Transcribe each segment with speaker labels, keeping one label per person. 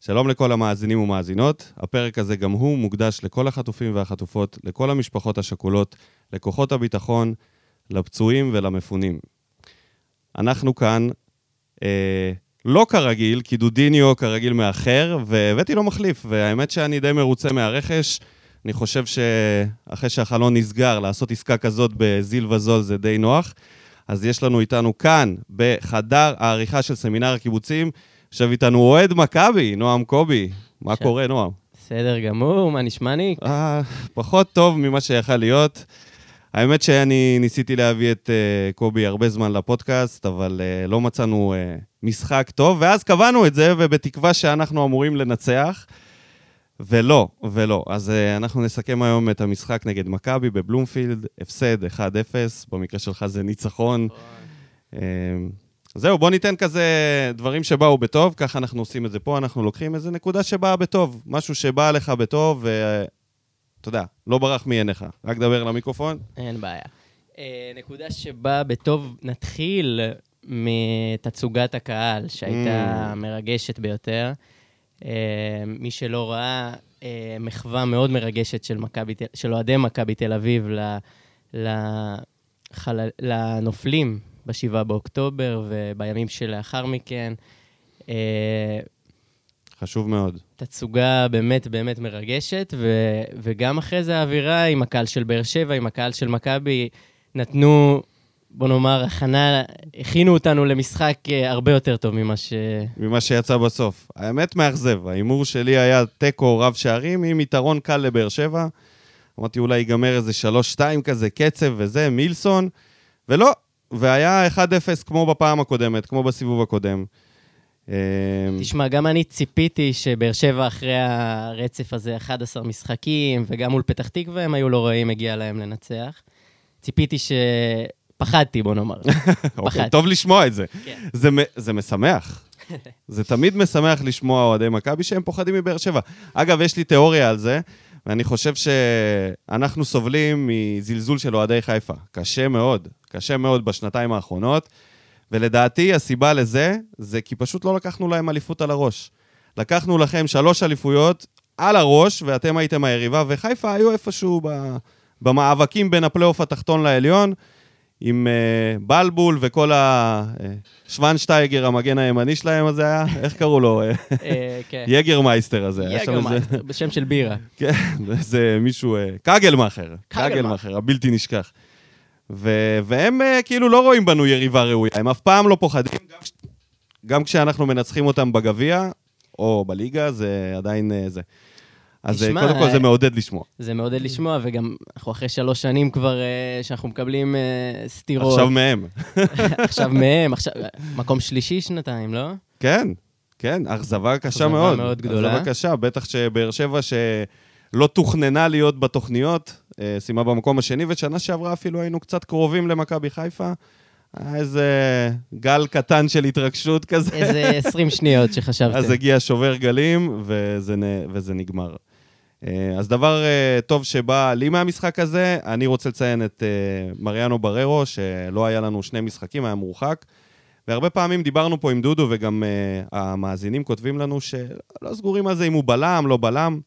Speaker 1: שלום לכל המאזינים ומאזינות, הפרק הזה גם הוא מוקדש לכל החטופים והחטופות, לכל המשפחות השכולות, לכוחות הביטחון, לפצועים ולמפונים. אנחנו כאן, אה, לא כרגיל, כי דודיניו כרגיל מאחר, והבאתי לו מחליף, והאמת שאני די מרוצה מהרכש. אני חושב שאחרי שהחלון נסגר, לעשות עסקה כזאת בזיל וזול זה די נוח. אז יש לנו איתנו כאן, בחדר העריכה של סמינר הקיבוצים, יושב איתנו אוהד מכבי, נועם קובי. מה
Speaker 2: ש-
Speaker 1: קורה, נועם?
Speaker 2: בסדר גמור, מה נשמע ניק?
Speaker 1: אה, פחות טוב ממה שיכל להיות. האמת שאני ניסיתי להביא את אה, קובי הרבה זמן לפודקאסט, אבל אה, לא מצאנו אה, משחק טוב, ואז קבענו את זה, ובתקווה שאנחנו אמורים לנצח. ולא, ולא. אז אה, אנחנו נסכם היום את המשחק נגד מכבי בבלומפילד, הפסד 1-0, במקרה שלך זה ניצחון. אה, זהו, בוא ניתן כזה דברים שבאו בטוב, ככה אנחנו עושים את זה פה, אנחנו לוקחים איזה נקודה שבאה בטוב, משהו שבא לך בטוב, אה, ואתה יודע, לא ברח מעיניך. רק דבר למיקרופון.
Speaker 2: אין בעיה. אה, נקודה שבה בטוב נתחיל מתצוגת הקהל, שהייתה
Speaker 1: Mm.
Speaker 2: מרגשת ביותר. אה, מי שלא ראה, אה, מחווה מאוד מרגשת של מכבי תל- של אוהדי מכבי תל אביב ל- לחלל- לנופלים ב-7 באוקטובר ובימים שלאחר מכן. אה,
Speaker 1: חשוב מאוד.
Speaker 2: תצוגה באמת באמת מרגשת, ו, וגם אחרי זה האווירה עם הקהל של באר שבע, עם הקהל של מכבי, נתנו, בוא נאמר, הכנה, הכינו אותנו למשחק אה, הרבה יותר טוב ממה ש...
Speaker 1: ממה שיצא בסוף. האמת, מאכזב. ההימור שלי היה תיקו רב שערים עם יתרון קל לבאר שבע. אמרתי, אולי ייגמר איזה 3-2 כזה, קצב וזה, מילסון, ולא. והיה 1-0 כמו בפעם הקודמת, כמו בסיבוב הקודם. אה,
Speaker 2: תשמע, גם אני ציפיתי שבאר שבע אחרי הרצף הזה, 11 משחקים, וגם מול פתח תקווה הם היו לא רעים, הגיע להם לנצח. ציפיתי ש... פחדתי, בוא נאמר.
Speaker 1: אוקיי,
Speaker 2: פחדתי.
Speaker 1: טוב לשמוע את זה.
Speaker 2: כן.
Speaker 1: זה, מ- זה משמח. זה תמיד משמח לשמוע אוהדי מכבי שהם פוחדים מבאר שבע. אגב, יש לי תיאוריה על זה, ואני חושב שאנחנו סובלים מזלזול של אוהדי חיפה. קשה מאוד, קשה מאוד בשנתיים האחרונות, ולדעתי הסיבה לזה, זה כי פשוט לא לקחנו להם אליפות על הראש. לקחנו לכם שלוש אליפויות על הראש, ואתם הייתם היריבה, וחיפה היו איפשהו ב... במאבקים בין הפלייאוף התחתון לעליון, עם uh, בלבול וכל ה... אה, שוונשטייגר, המגן הימני שלהם הזה היה, איך קראו לו? אה,
Speaker 2: אה, כן.
Speaker 1: יגרמייסטר הזה. היה שם איזה-
Speaker 2: יגרמייסטר, בשם של בירה.
Speaker 1: כן, זה מישהו... אה, קגלמאכר.
Speaker 2: קגלמאכר.
Speaker 1: קגלמאכר, הבלתי נשכח. ו- והם אה, כאילו לא רואים בנו יריבה ראויה, הם אף פעם לא פוחדים, גם כש- גם כשאנחנו מנצחים אותם בגביע, או בליגה, זה עדיין אה, זה. אז אה,
Speaker 2: תשמע,
Speaker 1: קודם כל
Speaker 2: אה,
Speaker 1: זה מעודד לשמוע.
Speaker 2: זה מעודד לשמוע, וגם אנחנו אחרי שלוש שנים כבר, אה, שאנחנו מקבלים אה, סטירות.
Speaker 1: עכשיו מהם.
Speaker 2: עכשיו מהם, עכשיו... מקום שלישי שנתיים, לא?
Speaker 1: כן, כן, אכזבה קשה
Speaker 2: אכזבה
Speaker 1: מאוד.
Speaker 2: מאוד גדולה.
Speaker 1: אכזבה קשה, בטח שבאר שבע שלא תוכננה להיות בתוכניות, אה, סיימה במקום השני, ושנה שעברה אפילו היינו קצת קרובים למכבי חיפה. היה איזה גל קטן של התרגשות כזה,
Speaker 2: איזה 20 שניות שחשבתם.
Speaker 1: אז הגיע שובר גלים, וזה, נ- וזה נגמר. אה, אז דבר אה, טוב שבא לי מהמשחק הזה, אני רוצה לציין את אה, מריאנו בררו, שלא היה לנו שני משחקים, היה מורחק. והרבה פעמים דיברנו פה עם דודו, וגם uh, המאזינים כותבים לנו שלא סגורים על זה אם הוא בלם, לא בלם.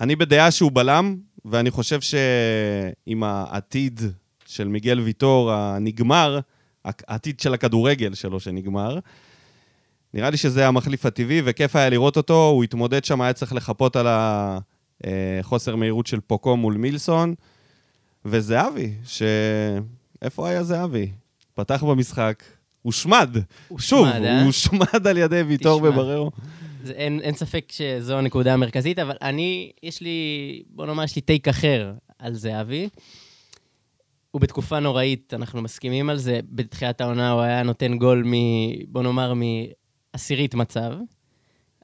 Speaker 1: אני בדעה שהוא בלם, ואני חושב שעם העתיד של מיגל ויטור הנגמר, הק- העתיד של הכדורגל שלו שנגמר, נראה לי שזה המחליף הטבעי, וכיף היה לראות אותו, הוא התמודד שם, היה צריך לחפות על החוסר מהירות של פוקו מול מילסון, וזהבי, ש... איפה היה זהבי? פתח במשחק, הושמד. שוב,
Speaker 2: הושמד, אה?
Speaker 1: הוא הושמד על ידי ויטור
Speaker 2: תשמע.
Speaker 1: ובררו.
Speaker 2: זה- אין אין ספק שזו הנקודה המרכזית, אבל אני, יש לי, בוא נאמר, יש לי טייק אחר על זהבי. הוא בתקופה נוראית, אנחנו מסכימים על זה. בתחילת העונה הוא היה נותן גול מ... בוא נאמר, מעשירית מצב.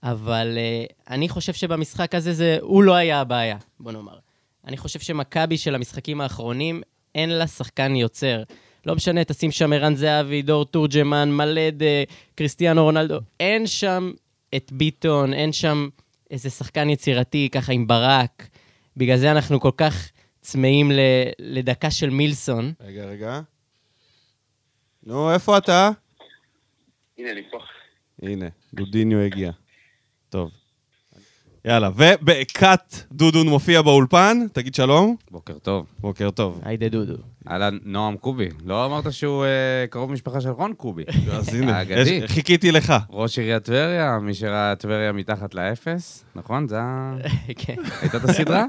Speaker 2: אבל uh, אני חושב שבמשחק הזה זה, הוא לא היה הבעיה, בוא נאמר. אני חושב שמכבי של המשחקים האחרונים, אין לה שחקן יוצר. לא משנה, תשים שם ערן זהבי, דור תורג'מן, מלד, אה, קריסטיאנו רונלדו, אין שם את ביטון, אין שם איזה שחקן יצירתי, ככה עם ברק. בגלל זה אנחנו כל כך צמאים ל, לדקה של מילסון.
Speaker 1: רגע, רגע. נו, איפה אתה?
Speaker 3: הנה, אני פה.
Speaker 1: הנה, דודיניו הגיע. טוב. יאללה, ובכת דודון מופיע באולפן, תגיד שלום.
Speaker 3: בוקר טוב.
Speaker 1: בוקר טוב.
Speaker 2: היידה דודו.
Speaker 3: אהלן, נועם קובי. לא אמרת שהוא אה, קרוב משפחה של רון קובי.
Speaker 1: אז הנה,
Speaker 3: האגדי.
Speaker 1: יש- חיכיתי לך.
Speaker 3: ראש עיריית טבריה, מי שראה טבריה מתחת לאפס, נכון? זה ה...
Speaker 2: כן.
Speaker 3: הייתה את הסדרה?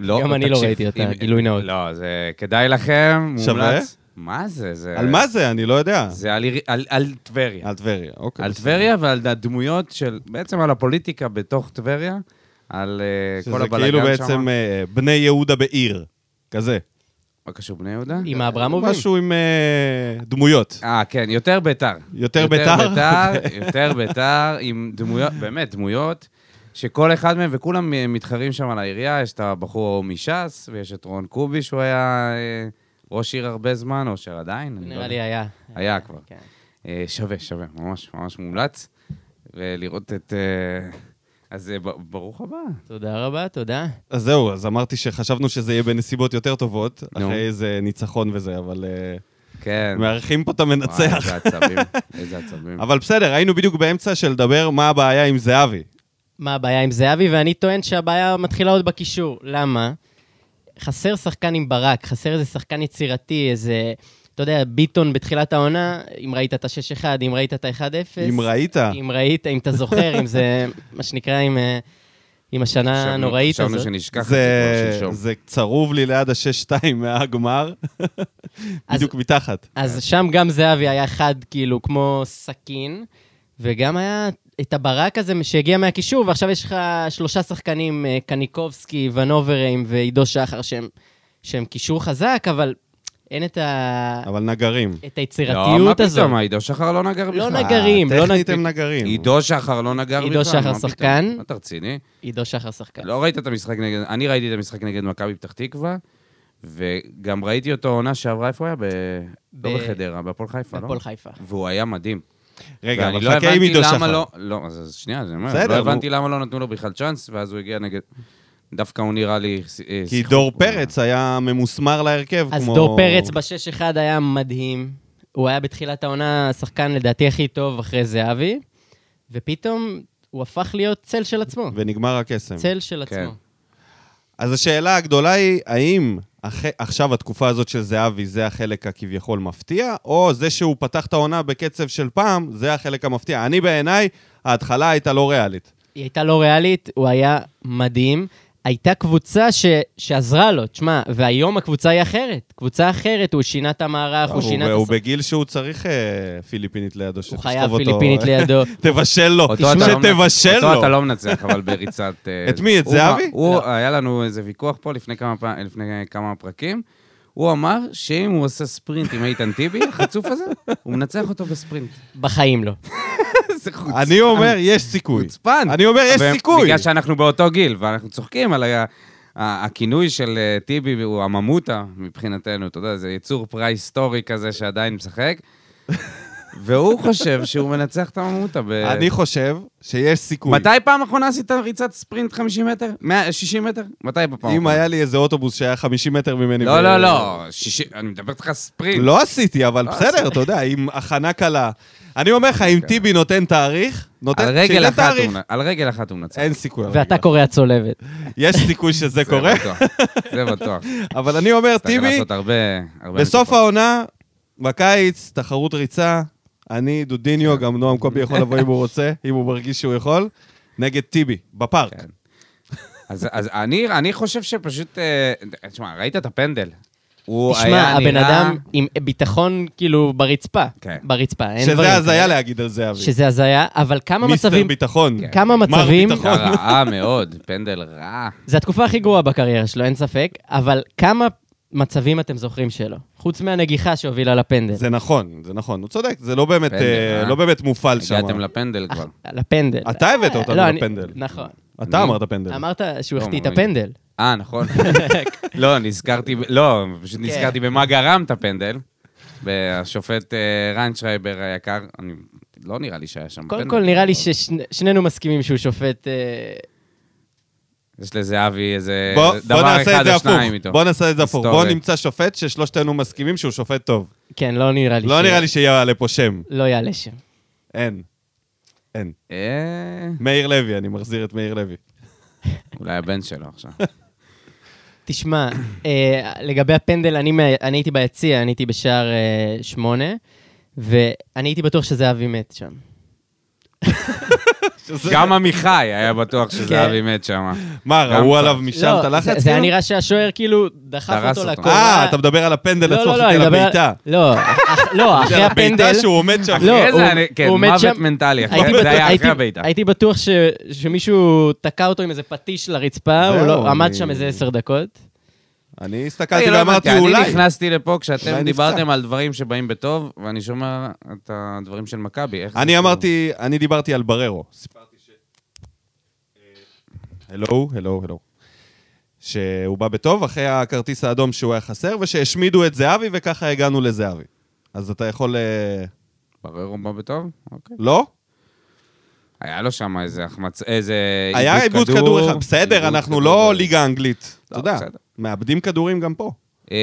Speaker 1: לא.
Speaker 2: גם אני לא
Speaker 3: תקשיב,
Speaker 2: ראיתי אותה,
Speaker 3: אם-
Speaker 2: גילוי נאות.
Speaker 3: לא, זה כדאי לכם,
Speaker 1: שווה?
Speaker 3: מומלץ. מה זה? זה...
Speaker 1: על מה זה? אני לא יודע.
Speaker 3: זה על עיר- על- על טבריה.
Speaker 1: על טבריה, אוקיי.
Speaker 3: על
Speaker 1: בסדר.
Speaker 3: טבריה ועל הדמויות של... בעצם על הפוליטיקה בתוך טבריה, על אה, כל
Speaker 1: שזה
Speaker 3: הבלאגן שם.
Speaker 1: כאילו בעצם אה, בני יהודה בעיר, כזה.
Speaker 3: מה קשור בני יהודה?
Speaker 2: עם האברמובים.
Speaker 1: משהו עם אה, דמויות.
Speaker 3: אה, כן, יותר ביתר.
Speaker 1: יותר ביתר?
Speaker 3: ביתר, יותר ביתר, עם דמויות, באמת, דמויות, שכל אחד מהם, וכולם אה, מתחרים שם על העירייה, יש את הבחור ההוא מש"ס, ויש את רון קובי, שהוא היה אה, ראש עיר הרבה זמן, או שעדיין, אני לא
Speaker 2: נראה לי
Speaker 3: יודע.
Speaker 2: היה.
Speaker 3: היה כבר.
Speaker 2: כן.
Speaker 3: אה, שווה, שווה, ממש, ממש מומלץ. ולראות את... אה, אז אה, ב- ברוך הבא.
Speaker 2: תודה רבה, תודה.
Speaker 1: אז זהו, אז אמרתי שחשבנו שזה יהיה בנסיבות יותר טובות,
Speaker 3: נו.
Speaker 1: אחרי איזה ניצחון וזה, אבל אה,
Speaker 3: כן.
Speaker 1: מארחים פה את
Speaker 3: וואי,
Speaker 1: המנצח.
Speaker 3: איזה עצבים, איזה עצבים.
Speaker 1: כן. אבל בסדר, היינו בדיוק באמצע של לדבר מה הבעיה עם זהבי.
Speaker 2: מה הבעיה עם זהבי? ואני טוען שהבעיה מתחילה עוד בקישור. למה? חסר שחקן עם ברק, חסר איזה שחקן יצירתי, איזה... אתה יודע, ביטון בתחילת העונה, אם ראית את ה-6-1, אם ראית את ה-1-0.
Speaker 1: אם ראית,
Speaker 2: אם ראית, אם אתה זוכר, אם זה, מה שנקרא, אם, אה, עם השנה
Speaker 3: חשבנו-
Speaker 2: הנוראית אה, הזאת.
Speaker 3: חשבנו שנשכח את זה כבר
Speaker 1: זה,
Speaker 3: שלשום.
Speaker 1: זה צרוב לי ליד השש-שתיים מהגמר,
Speaker 2: אז-
Speaker 1: בדיוק מתחת.
Speaker 2: אז שם גם זהבי היה חד, כאילו, כמו סכין, וגם היה את הברק הזה שהגיע מהקישור, ועכשיו יש לך שלושה שחקנים, אה, קניקובסקי, ונוברים ועידו שחר, שהם, שהם קישור חזק, אבל אין את, ה...
Speaker 1: אבל נגרים.
Speaker 2: את היצירתיות
Speaker 3: לא, מה
Speaker 2: הזאת.
Speaker 3: פתאום, עידו שחר לא נגר בכלל.
Speaker 2: לא נגרים, לא
Speaker 1: אה, טכנית
Speaker 2: נג-
Speaker 1: הם נגרים.
Speaker 3: עידו שחר לא נגר בכלל.
Speaker 2: עידו שחר
Speaker 3: מה
Speaker 2: שחקן. כן.
Speaker 3: פתאום? מה, אתה רציני?
Speaker 2: עידו שחר שחקן.
Speaker 3: לא ראית את המשחק נגד... אני ראיתי את המשחק נגד מכבי פתח תקווה, וגם ראיתי אותו עונה שעברה, איפה הוא היה? ב...
Speaker 2: ב-
Speaker 3: לא בחדרה, בהפועל חיפה, לא?
Speaker 2: הפועל חיפה.
Speaker 3: והוא היה מדהים.
Speaker 1: רגע,
Speaker 3: ואני
Speaker 1: אבל
Speaker 3: לא
Speaker 1: חכה עם
Speaker 3: הבנתי
Speaker 1: עידו
Speaker 3: למה
Speaker 1: שחר.
Speaker 3: לא... לא, אז- אז שנייה, אני אומר,
Speaker 1: בסדר,
Speaker 3: לא הבנתי
Speaker 1: הוא-
Speaker 3: למה לא נתנו לו בכלל צ'אנס, ואז הוא הגיע נגד... דווקא הוא נראה לי... ס- אה,
Speaker 1: כי
Speaker 3: שיחק-
Speaker 1: דור פרץ היה ממוסמר להרכב,
Speaker 2: אז
Speaker 1: כמו...
Speaker 2: דור פרץ ב-6-1 היה מדהים. הוא היה בתחילת העונה השחקן לדעתי הכי טוב אחרי זהבי, ופתאום הוא הפך להיות צל של עצמו.
Speaker 1: ונגמר הקסם.
Speaker 2: צל של
Speaker 3: כן.
Speaker 2: עצמו.
Speaker 1: אז השאלה הגדולה היא, האם אח... עכשיו התקופה הזאת של זהבי זה החלק הכביכול מפתיע, או זה שהוא פתח את העונה בקצב של פעם, זה החלק המפתיע. אני בעיניי, ההתחלה הייתה לא ריאלית.
Speaker 2: היא הייתה לא ריאלית, הוא היה מדהים. הייתה קבוצה ש... שעזרה לו, תשמע, והיום הקבוצה היא אחרת. קבוצה אחרת, הוא שינה את המערך, הוא
Speaker 1: הוא,
Speaker 2: שינה את
Speaker 1: הוא
Speaker 2: הס...
Speaker 1: בגיל שהוא צריך אה, פיליפינית לידו,
Speaker 2: הוא
Speaker 1: שתסחוב אותו. אה,
Speaker 2: חייב פיליפינית לידו.
Speaker 1: תבשל לו,
Speaker 3: אותו אתה לא
Speaker 1: שתבשל
Speaker 3: אותו
Speaker 1: לו.
Speaker 3: אתה לא מנצח, אבל בריצת... אה,
Speaker 1: את מי? את
Speaker 3: הוא-
Speaker 1: זהבי? לא.
Speaker 3: הוא, היה לנו איזה ויכוח פה לפני כמה, פע- לפני כמה פרקים. הוא אמר שאם הוא עושה ספרינט עם איתן טיבי, החצוף הזה, הוא מנצח אותו בספרינט.
Speaker 2: בחיים לא.
Speaker 3: איזה חוצפן.
Speaker 1: אני אומר, יש סיכוי.
Speaker 3: חוצפן.
Speaker 1: אני אומר, יש
Speaker 3: ו-
Speaker 1: סיכוי.
Speaker 3: בגלל שאנחנו באותו גיל, ואנחנו צוחקים על ה- ה- הכינוי של אה, טיבי, הוא הממותה מבחינתנו, אתה יודע, זה יצור פרה-היסטורי כזה שעדיין משחק. והוא חושב שהוא מנצח את הממותה ב...
Speaker 1: אני חושב שיש סיכוי.
Speaker 3: מתי פעם אחרונה עשית ריצת ספרינט 50 מטר? 100, 60 מטר? מתי בפעם
Speaker 1: אם
Speaker 3: האחרונה?
Speaker 1: היה לי איזה אוטובוס שהיה 50 מטר ממני...
Speaker 3: לא,
Speaker 1: ו-
Speaker 3: לא, לא, 60, אני מדבר איתך ספרינט.
Speaker 1: לא עשיתי, אוקיי. אבל
Speaker 3: לא
Speaker 1: בסדר, אתה יודע, עם הכנה קלה. אני אומר לך, אם טיבי נותן תאריך, נותן...
Speaker 3: על רגל
Speaker 1: שייתן
Speaker 3: אחת
Speaker 1: תאריך.
Speaker 3: הוא- על רגל אחת הוא מנצח.
Speaker 1: אין סיכוי. על רגל
Speaker 2: ואתה
Speaker 1: אחת.
Speaker 2: קורע צולבת.
Speaker 1: יש סיכוי שזה
Speaker 3: זה
Speaker 1: קורה,
Speaker 3: בטוח, זה בטוח.
Speaker 1: אבל אני אומר,
Speaker 3: צריך
Speaker 1: טיבי,
Speaker 3: לעשות הרבה... הרבה
Speaker 1: בסוף
Speaker 3: נקודות.
Speaker 1: העונה, בקיץ, תחרות ריצה, אני,
Speaker 3: כן.
Speaker 1: דודיניו, גם נועם קובי יכול לבוא אם הוא רוצה, אם הוא מרגיש שהוא יכול, נגד טיבי, בפארק.
Speaker 3: כן. אז, אז אני, אני חושב שפשוט... אה, תשמע, ראית את הפנדל. הוא
Speaker 2: תשמע,
Speaker 3: היה
Speaker 2: הבן
Speaker 3: נראה-
Speaker 2: אדם עם ביטחון כאילו ברצפה.
Speaker 3: כן.
Speaker 2: ברצפה, אין דברים.
Speaker 1: שזה הזיה
Speaker 2: כאלה.
Speaker 1: להגיד על זהבי.
Speaker 2: שזה הזיה, אבל כמה
Speaker 1: מיסטר
Speaker 2: מצבים...
Speaker 1: ביטחון.
Speaker 3: כן.
Speaker 2: כמה
Speaker 1: מר
Speaker 2: מצבים...
Speaker 1: ביטחון.
Speaker 3: היה רע מאוד, פנדל רע.
Speaker 2: זו התקופה הכי גרועה בקריירה שלו, אין ספק, אבל כמה מצבים אתם זוכרים שלו? חוץ מהנגיחה שהובילה לפנדל.
Speaker 1: זה נכון, זה נכון, הוא צודק, זה לא באמת,
Speaker 3: פנדל,
Speaker 1: אה,
Speaker 3: אה?
Speaker 1: לא באמת מופעל שם.
Speaker 3: הגעתם לפנדל כבר.
Speaker 2: אח- לפנדל.
Speaker 1: אתה הבאת אותנו
Speaker 2: לא, אני-
Speaker 1: לפנדל.
Speaker 2: נכון.
Speaker 1: אתה
Speaker 3: אני-
Speaker 1: אמרת פנדל.
Speaker 2: אמרת שהוא
Speaker 3: לא,
Speaker 2: החטיא את
Speaker 3: מאמין.
Speaker 2: הפנדל.
Speaker 3: אה, נכון.
Speaker 1: כן,
Speaker 3: לא, נזכרתי, ב- לא,
Speaker 2: כן.
Speaker 3: פשוט נזכרתי במה גרם את הפנדל. והשופט אה, ריינשרייבר היקר, אני, לא נראה לי שהיה שם
Speaker 2: קודם
Speaker 3: פנדל.
Speaker 2: כל, נראה לי ששנינו מסכימים שהוא שופט... אה,
Speaker 3: יש לזהבי איזה
Speaker 1: בוא, בוא
Speaker 3: אה, דבר
Speaker 1: נעשה את
Speaker 3: אחד
Speaker 1: זה
Speaker 3: או
Speaker 1: הפוך,
Speaker 3: שניים איתו.
Speaker 1: בוא נעשה את זה הפוך, בוא
Speaker 3: היסטוריה.
Speaker 1: נמצא שופט ששלושתנו מסכימים שהוא שופט טוב.
Speaker 2: כן, לא נראה לי
Speaker 1: לא
Speaker 2: ש-
Speaker 1: נראה לי שיעלה פה שם,
Speaker 2: לא יעלה שם.
Speaker 1: אין. אין.
Speaker 3: אה,
Speaker 1: מאיר לוי, אני מחזיר את מאיר לוי.
Speaker 3: אולי הבן שלו עכשיו.
Speaker 2: תשמע, אה, לגבי הפנדל, אני, מה- אני הייתי ביציע, אני הייתי בשער אה, שמונה, ואני הייתי בטוח שזהבי מת שם.
Speaker 3: גם עמיחי היה בטוח שזהבי
Speaker 2: כן.
Speaker 3: מת שם.
Speaker 1: מה,
Speaker 3: גם
Speaker 1: ראו
Speaker 3: פעם.
Speaker 1: עליו משם
Speaker 2: לא,
Speaker 1: את
Speaker 2: זה-
Speaker 1: הלחץ?
Speaker 2: זה היה
Speaker 1: כאילו?
Speaker 2: נראה שהשוער כאילו דחף
Speaker 3: דרס
Speaker 2: אותו
Speaker 3: אותו.
Speaker 2: לקורה.
Speaker 1: אה, אתה מדבר על הפנדל
Speaker 2: לא,
Speaker 1: עצמו
Speaker 2: לא, לא, אני
Speaker 1: של
Speaker 2: מדבר...
Speaker 1: הבעיטה.
Speaker 2: לא, אח- לא, אחרי הפנדל...
Speaker 1: הבעיטה שהוא עומד שם.
Speaker 2: לא,
Speaker 3: אחרי
Speaker 2: הוא-
Speaker 3: זה, אני- כן,
Speaker 2: הוא עומד
Speaker 3: מוות
Speaker 2: שם-
Speaker 3: מנטלי. אחרי-
Speaker 2: הייתי
Speaker 3: זה
Speaker 2: בטוח-
Speaker 3: היה
Speaker 2: הייתי-
Speaker 3: אחרי הבעיטה.
Speaker 2: הייתי בטוח ש- שמישהו תקע אותו עם איזה פטיש לרצפה,
Speaker 1: זהו,
Speaker 2: הוא לא- עמד
Speaker 1: אני-
Speaker 2: שם איזה עשר דקות.
Speaker 1: אני
Speaker 3: אני
Speaker 1: הסתכלתי
Speaker 3: לא
Speaker 1: ואמרתי,
Speaker 3: הבנתי,
Speaker 1: אולי.
Speaker 3: אני נכנסתי לפה כשאתם
Speaker 1: אולי
Speaker 3: דיברתם
Speaker 1: נפצע.
Speaker 3: על דברים שבאים בטוב, ואני שומע את הדברים של מכבי. איך זה
Speaker 1: אני
Speaker 3: קורה?
Speaker 1: אמרתי, אני דיברתי על בררו. סיפרתי ש... אה, הלו, הלו, הלו. שהוא בא בטוב אחרי הכרטיס האדום שהוא היה חסר, ושהשמידו את זהבי, וככה הגענו לזהבי. אז אתה יכול... אה,
Speaker 3: בררו בא בטוב? אוקיי.
Speaker 1: לא?
Speaker 3: היה לו שם איזה החמצ... איזה...
Speaker 1: היה איבוד כדור אחד. בסדר,
Speaker 3: אה, איבוד
Speaker 1: אנחנו
Speaker 3: כדור.
Speaker 1: לא ליגה אנגלית. אתה
Speaker 3: לא,
Speaker 1: יודע,
Speaker 3: בסדר.
Speaker 1: מאבדים כדורים גם פה.
Speaker 3: אה,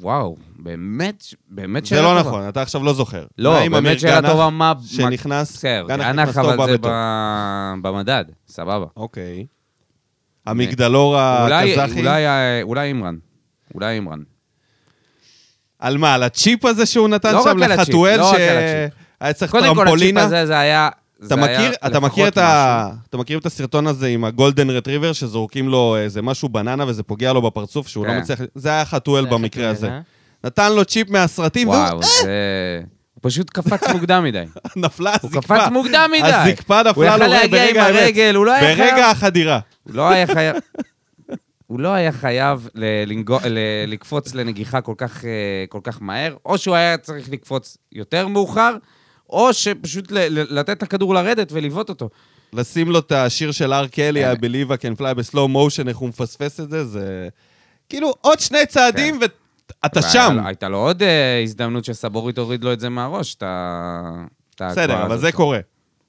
Speaker 3: וואו, באמת, באמת
Speaker 1: זה לא נכון, אתה עכשיו לא זוכר.
Speaker 3: לא,
Speaker 1: מה עם
Speaker 3: באמת
Speaker 1: אמיר
Speaker 3: שאלה
Speaker 1: גנח,
Speaker 3: טובה, מה-
Speaker 1: שנכנס,
Speaker 3: בסדר,
Speaker 1: גנח
Speaker 3: גנח
Speaker 1: נכנס טוב
Speaker 3: אבל זה
Speaker 1: בביתו.
Speaker 3: ב- במדד, סבבה.
Speaker 1: אוקיי. המגדלור
Speaker 3: אולי-
Speaker 1: הקזחי.
Speaker 3: אולי ה- אולי אימרן. אולי אימרן.
Speaker 1: על מה, על הצ'יפ הזה שהוא נתן
Speaker 3: לא
Speaker 1: שם
Speaker 3: רק על הצ'יפ,
Speaker 1: לחתואל,
Speaker 3: לא רק על
Speaker 1: שהיה צריך
Speaker 3: קודם כל, הצ'יפ
Speaker 1: טרמפולינה?
Speaker 3: הזה, זה היה... זה
Speaker 1: אתה
Speaker 3: היה
Speaker 1: מכיר, אתה,
Speaker 3: לפחות
Speaker 1: מכיר את
Speaker 3: משהו.
Speaker 1: ה... אתה מכיר את הסרטון הזה עם הגולדן רטריבר, שזורקים לו איזה משהו בננה וזה פוגע לו בפרצוף, שהוא
Speaker 3: כן.
Speaker 1: לא מצליח... זה היה חתואל
Speaker 2: זה היה
Speaker 1: במקרה
Speaker 2: חתואל,
Speaker 1: הזה.
Speaker 2: אה?
Speaker 1: נתן לו צ'יפ מהסרטים, והוא
Speaker 3: וואו, זה... הוא פשוט קפץ מוקדם מדי.
Speaker 1: נפלה
Speaker 3: הוא
Speaker 1: הזקפה.
Speaker 3: קפץ מוקדם מדי.
Speaker 1: הזקפה
Speaker 3: הוא
Speaker 1: נפלה
Speaker 3: יכל
Speaker 1: לו
Speaker 3: להגיע עם
Speaker 1: ברגע האמת.
Speaker 3: הרגל, הוא לא היה חייב...
Speaker 1: ברגע החדירה.
Speaker 3: הוא לא היה חייב... הוא לא היה חייב ל- לנגו- ל- לקפוץ לנגיחה כל כך, אה, כל כך מהר, או שהוא היה צריך לקפוץ יותר מאוחר, או שפשוט ל- ל- לתת לכדור לרדת ולבעוט אותו.
Speaker 1: לשים לו את השיר של הר קלי, I
Speaker 3: אמת.
Speaker 1: believe I can fly בסלואו מושן, איך הוא מפספס את זה, זה... כאילו, עוד שני צעדים ואתה
Speaker 3: כן. והיה
Speaker 1: שם.
Speaker 3: לו- הייתה לו עוד אה, הזדמנות שסבורית הוריד לו את זה מהראש, את ה... את ההגברה
Speaker 1: בסדר, אבל
Speaker 3: הזאת.
Speaker 1: זה קורה.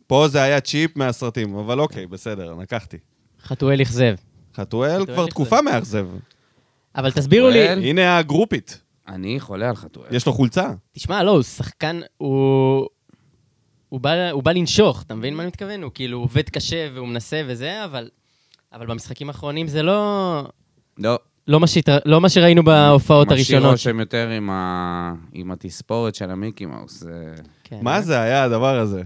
Speaker 1: פה זה היה צ'יפ מהסרטים, אבל אוקיי, בסדר, לקחתי.
Speaker 2: חתואל אכזב.
Speaker 1: חתואל
Speaker 2: חתואל
Speaker 1: כבר
Speaker 2: נכזב.
Speaker 1: תקופה מאכזב.
Speaker 2: אבל תסבירו לי,
Speaker 3: חתואל?
Speaker 1: הנה הגרופית,
Speaker 3: אני חולה על חתואל.
Speaker 1: יש לו חולצה.
Speaker 2: תשמע, לא, הוא שחקן, הוא... הוא בא, הוא בא לנשוך, אתה מבין מה אני מתכוון? הוא כאילו עובד קשה והוא מנסה וזה, אבל, אבל במשחקים האחרונים זה לא,
Speaker 3: לא,
Speaker 2: לא, מה, שהתר... לא מה שראינו בהופעות
Speaker 3: משאיר
Speaker 2: הראשונות.
Speaker 3: רושם יותר עם, ה... עם התספורת של המיקי מאוס. אה. זה...
Speaker 2: כן.
Speaker 1: מה זה היה הדבר הזה?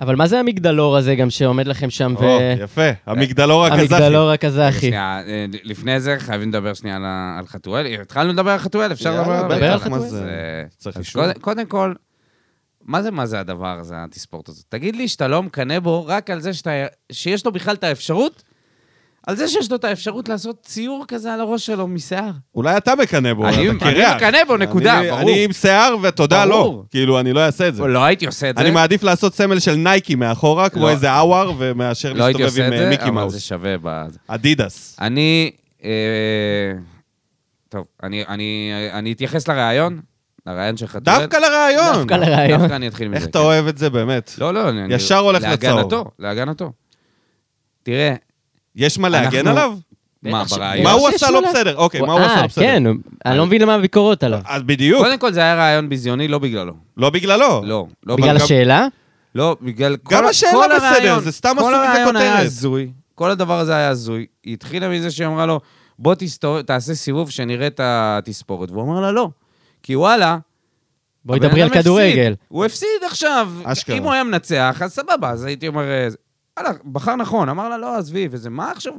Speaker 2: אבל מה זה המגדלור הזה גם שעומד לכם שם?
Speaker 1: או,
Speaker 3: אוקיי.
Speaker 1: אוקיי, יפה, המגדלור
Speaker 3: אה,
Speaker 1: הקזחי.
Speaker 2: המגדלור הקזחי.
Speaker 3: שנייה, אה, לפני זה חייבים לדבר שנייה על, ה- על חתואל. התחלנו לדבר על חתואל, אפשר
Speaker 1: יאללה,
Speaker 3: לדבר
Speaker 1: בטח,
Speaker 2: דבר על
Speaker 3: אז-
Speaker 2: חתואל.
Speaker 1: מה זה?
Speaker 3: אז
Speaker 1: צריך
Speaker 3: אז
Speaker 1: אישור.
Speaker 3: קודם- קודם כל, מה זה מה זה הדבר הזה, התספורט הזאת? תגיד לי שאתה לא מקנא בו רק על זה שאתה, שיש לו בכלל את האפשרות, על זה שיש לו את האפשרות לעשות ציור כזה על הראש שלו משיער.
Speaker 1: אולי אתה מקנא בו,
Speaker 3: אני-
Speaker 1: אתה
Speaker 3: אני
Speaker 1: קרח.
Speaker 3: מקנא בו, נקודה,
Speaker 1: אני-
Speaker 3: ברור.
Speaker 1: אני עם שיער ותודה לא.
Speaker 3: ברור.
Speaker 1: כאילו, אני לא אעשה את זה.
Speaker 3: לא הייתי עושה את זה.
Speaker 1: אני מעדיף לעשות סמל של נייקי מאחורה, כמו
Speaker 3: לא.
Speaker 1: איזה אאואר, ומאשר
Speaker 3: לא הייתי
Speaker 1: להסתובב
Speaker 3: עושה
Speaker 1: עם
Speaker 3: את
Speaker 1: אה,
Speaker 3: זה,
Speaker 1: מיקי
Speaker 3: אבל זה
Speaker 1: מאוס.
Speaker 3: שווה. בזה.
Speaker 1: אדידס.
Speaker 3: אני... אה, טוב, אני- אני אני אתייחס לראיון, לראיון של חתואל.
Speaker 1: דווקא לרעיון.
Speaker 2: דווקא לרעיון.
Speaker 3: דווקא אני אתחיל מזה.
Speaker 1: איך אתה
Speaker 3: כן.
Speaker 1: אוהב את זה באמת?
Speaker 3: לא, לא, אני...
Speaker 1: ישר הולך לצהוב.
Speaker 3: להגנתו, להגנתו. תראה,
Speaker 1: יש מה להגן
Speaker 3: אנחנו-
Speaker 1: עליו?
Speaker 2: בטח
Speaker 3: מה,
Speaker 2: ש-
Speaker 3: ברעיון?
Speaker 1: מה הוא
Speaker 2: שיש
Speaker 1: עשה לא
Speaker 2: לו-
Speaker 1: בסדר? אוקיי, מה הוא עשה לא בסדר?
Speaker 2: אה, כן, הוא- אני לא מבין למה הביקורות עליו.
Speaker 1: אז בדיוק,
Speaker 3: קודם כל זה היה רעיון ביזיוני, לא בגללו.
Speaker 1: לא בגללו.
Speaker 3: לא. לא
Speaker 2: בגלל
Speaker 3: בגלל-
Speaker 2: השאלה?
Speaker 3: לא, בגלל...
Speaker 1: גם
Speaker 3: כל ה-
Speaker 1: השאלה
Speaker 3: כל
Speaker 1: בסדר,
Speaker 3: הרעיון-
Speaker 1: זה סתם עשו מזה
Speaker 3: כל הרעיון היה
Speaker 1: כותרת.
Speaker 3: הזוי, כל הדבר הזה היה הזוי. היא התחילה מזה שהיא אמרה לו, בוא תסתובב, תעשה סיבוב שנראה את התספורת. והוא אמר לה, לא. כי וואלה,
Speaker 2: בואי
Speaker 3: הבן
Speaker 2: דברי על
Speaker 3: אדם
Speaker 2: כדורגל.
Speaker 3: הפסיד. הוא הפסיד עכשיו.
Speaker 1: אשכרה.
Speaker 3: אשכרה. אם הוא היה מנצח, אז סבבה, אז הייתי אומר... אה, זה- וואלה, בחר נכון, אמר לה, לא, עזבי, וזה, מה עכשיו,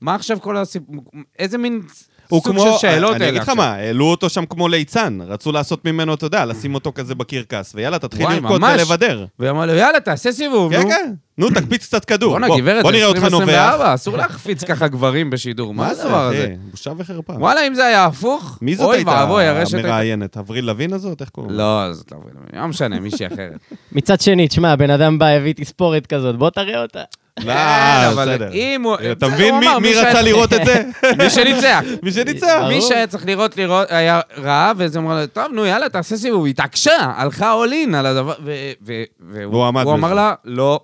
Speaker 3: מה עכשיו כל הסיפור, איזה מין
Speaker 1: הוא
Speaker 3: סוג
Speaker 1: כמו,
Speaker 3: של שאלות
Speaker 1: אני אגיד לך
Speaker 3: עכשיו?
Speaker 1: מה, העלו אותו שם כמו ליצן, רצו לעשות ממנו, אתה יודע, לשים אותו כזה בקרקס, ויאללה, תתחיל
Speaker 3: וואי,
Speaker 1: לרקוד
Speaker 3: ממש.
Speaker 1: ולבדר.
Speaker 3: והיא אמרה לו, יאללה, תעשה סיבוב,
Speaker 1: כן,
Speaker 3: נו.
Speaker 1: כן, נו, תקפיץ קצת כדור.
Speaker 3: בואנה,
Speaker 1: בוא-
Speaker 3: גברת,
Speaker 1: בוא
Speaker 3: זה
Speaker 1: נראה אותך נובח. אה,
Speaker 3: 2024, אסור להחפיץ ככה גברים בשידור, מה זה הדבר הזה?
Speaker 1: אחי? בושה וחרפה.
Speaker 3: וואלה, אם זה היה הפוך,
Speaker 1: מי זאת
Speaker 3: אוי
Speaker 1: הייתה
Speaker 3: ואבוי, הרשת הייתה...
Speaker 1: המראיינת? אבריל לוין הזאת? איך קוראים לה?
Speaker 3: לא, זאת לא אברהם, לא משנה, מישהי אחרת.
Speaker 2: מצד שני, תשמע, הבן אדם בא, הביא תספורת כזאת, בוא תראה אותה.
Speaker 1: לא,
Speaker 3: כן, אבל
Speaker 1: בסדר.
Speaker 3: אם הוא...
Speaker 1: אתה
Speaker 3: בסדר,
Speaker 1: מבין
Speaker 3: הוא
Speaker 1: מי-
Speaker 3: אמר,
Speaker 1: מי
Speaker 3: שהיה-
Speaker 1: רצה לראות את זה?
Speaker 3: מי שניצח.
Speaker 1: מי שניצח.
Speaker 2: ברור.
Speaker 3: מי שהיה צריך לראות, לראות, היה ראה, ואז אמרה לו, טוב, נו, יאללה, תעשה סיבוב. היא התעקשה, הלכה all in על הדבר, ו- ו-
Speaker 1: והוא עמד
Speaker 3: הוא אמר
Speaker 1: בזה.
Speaker 3: לה, לא.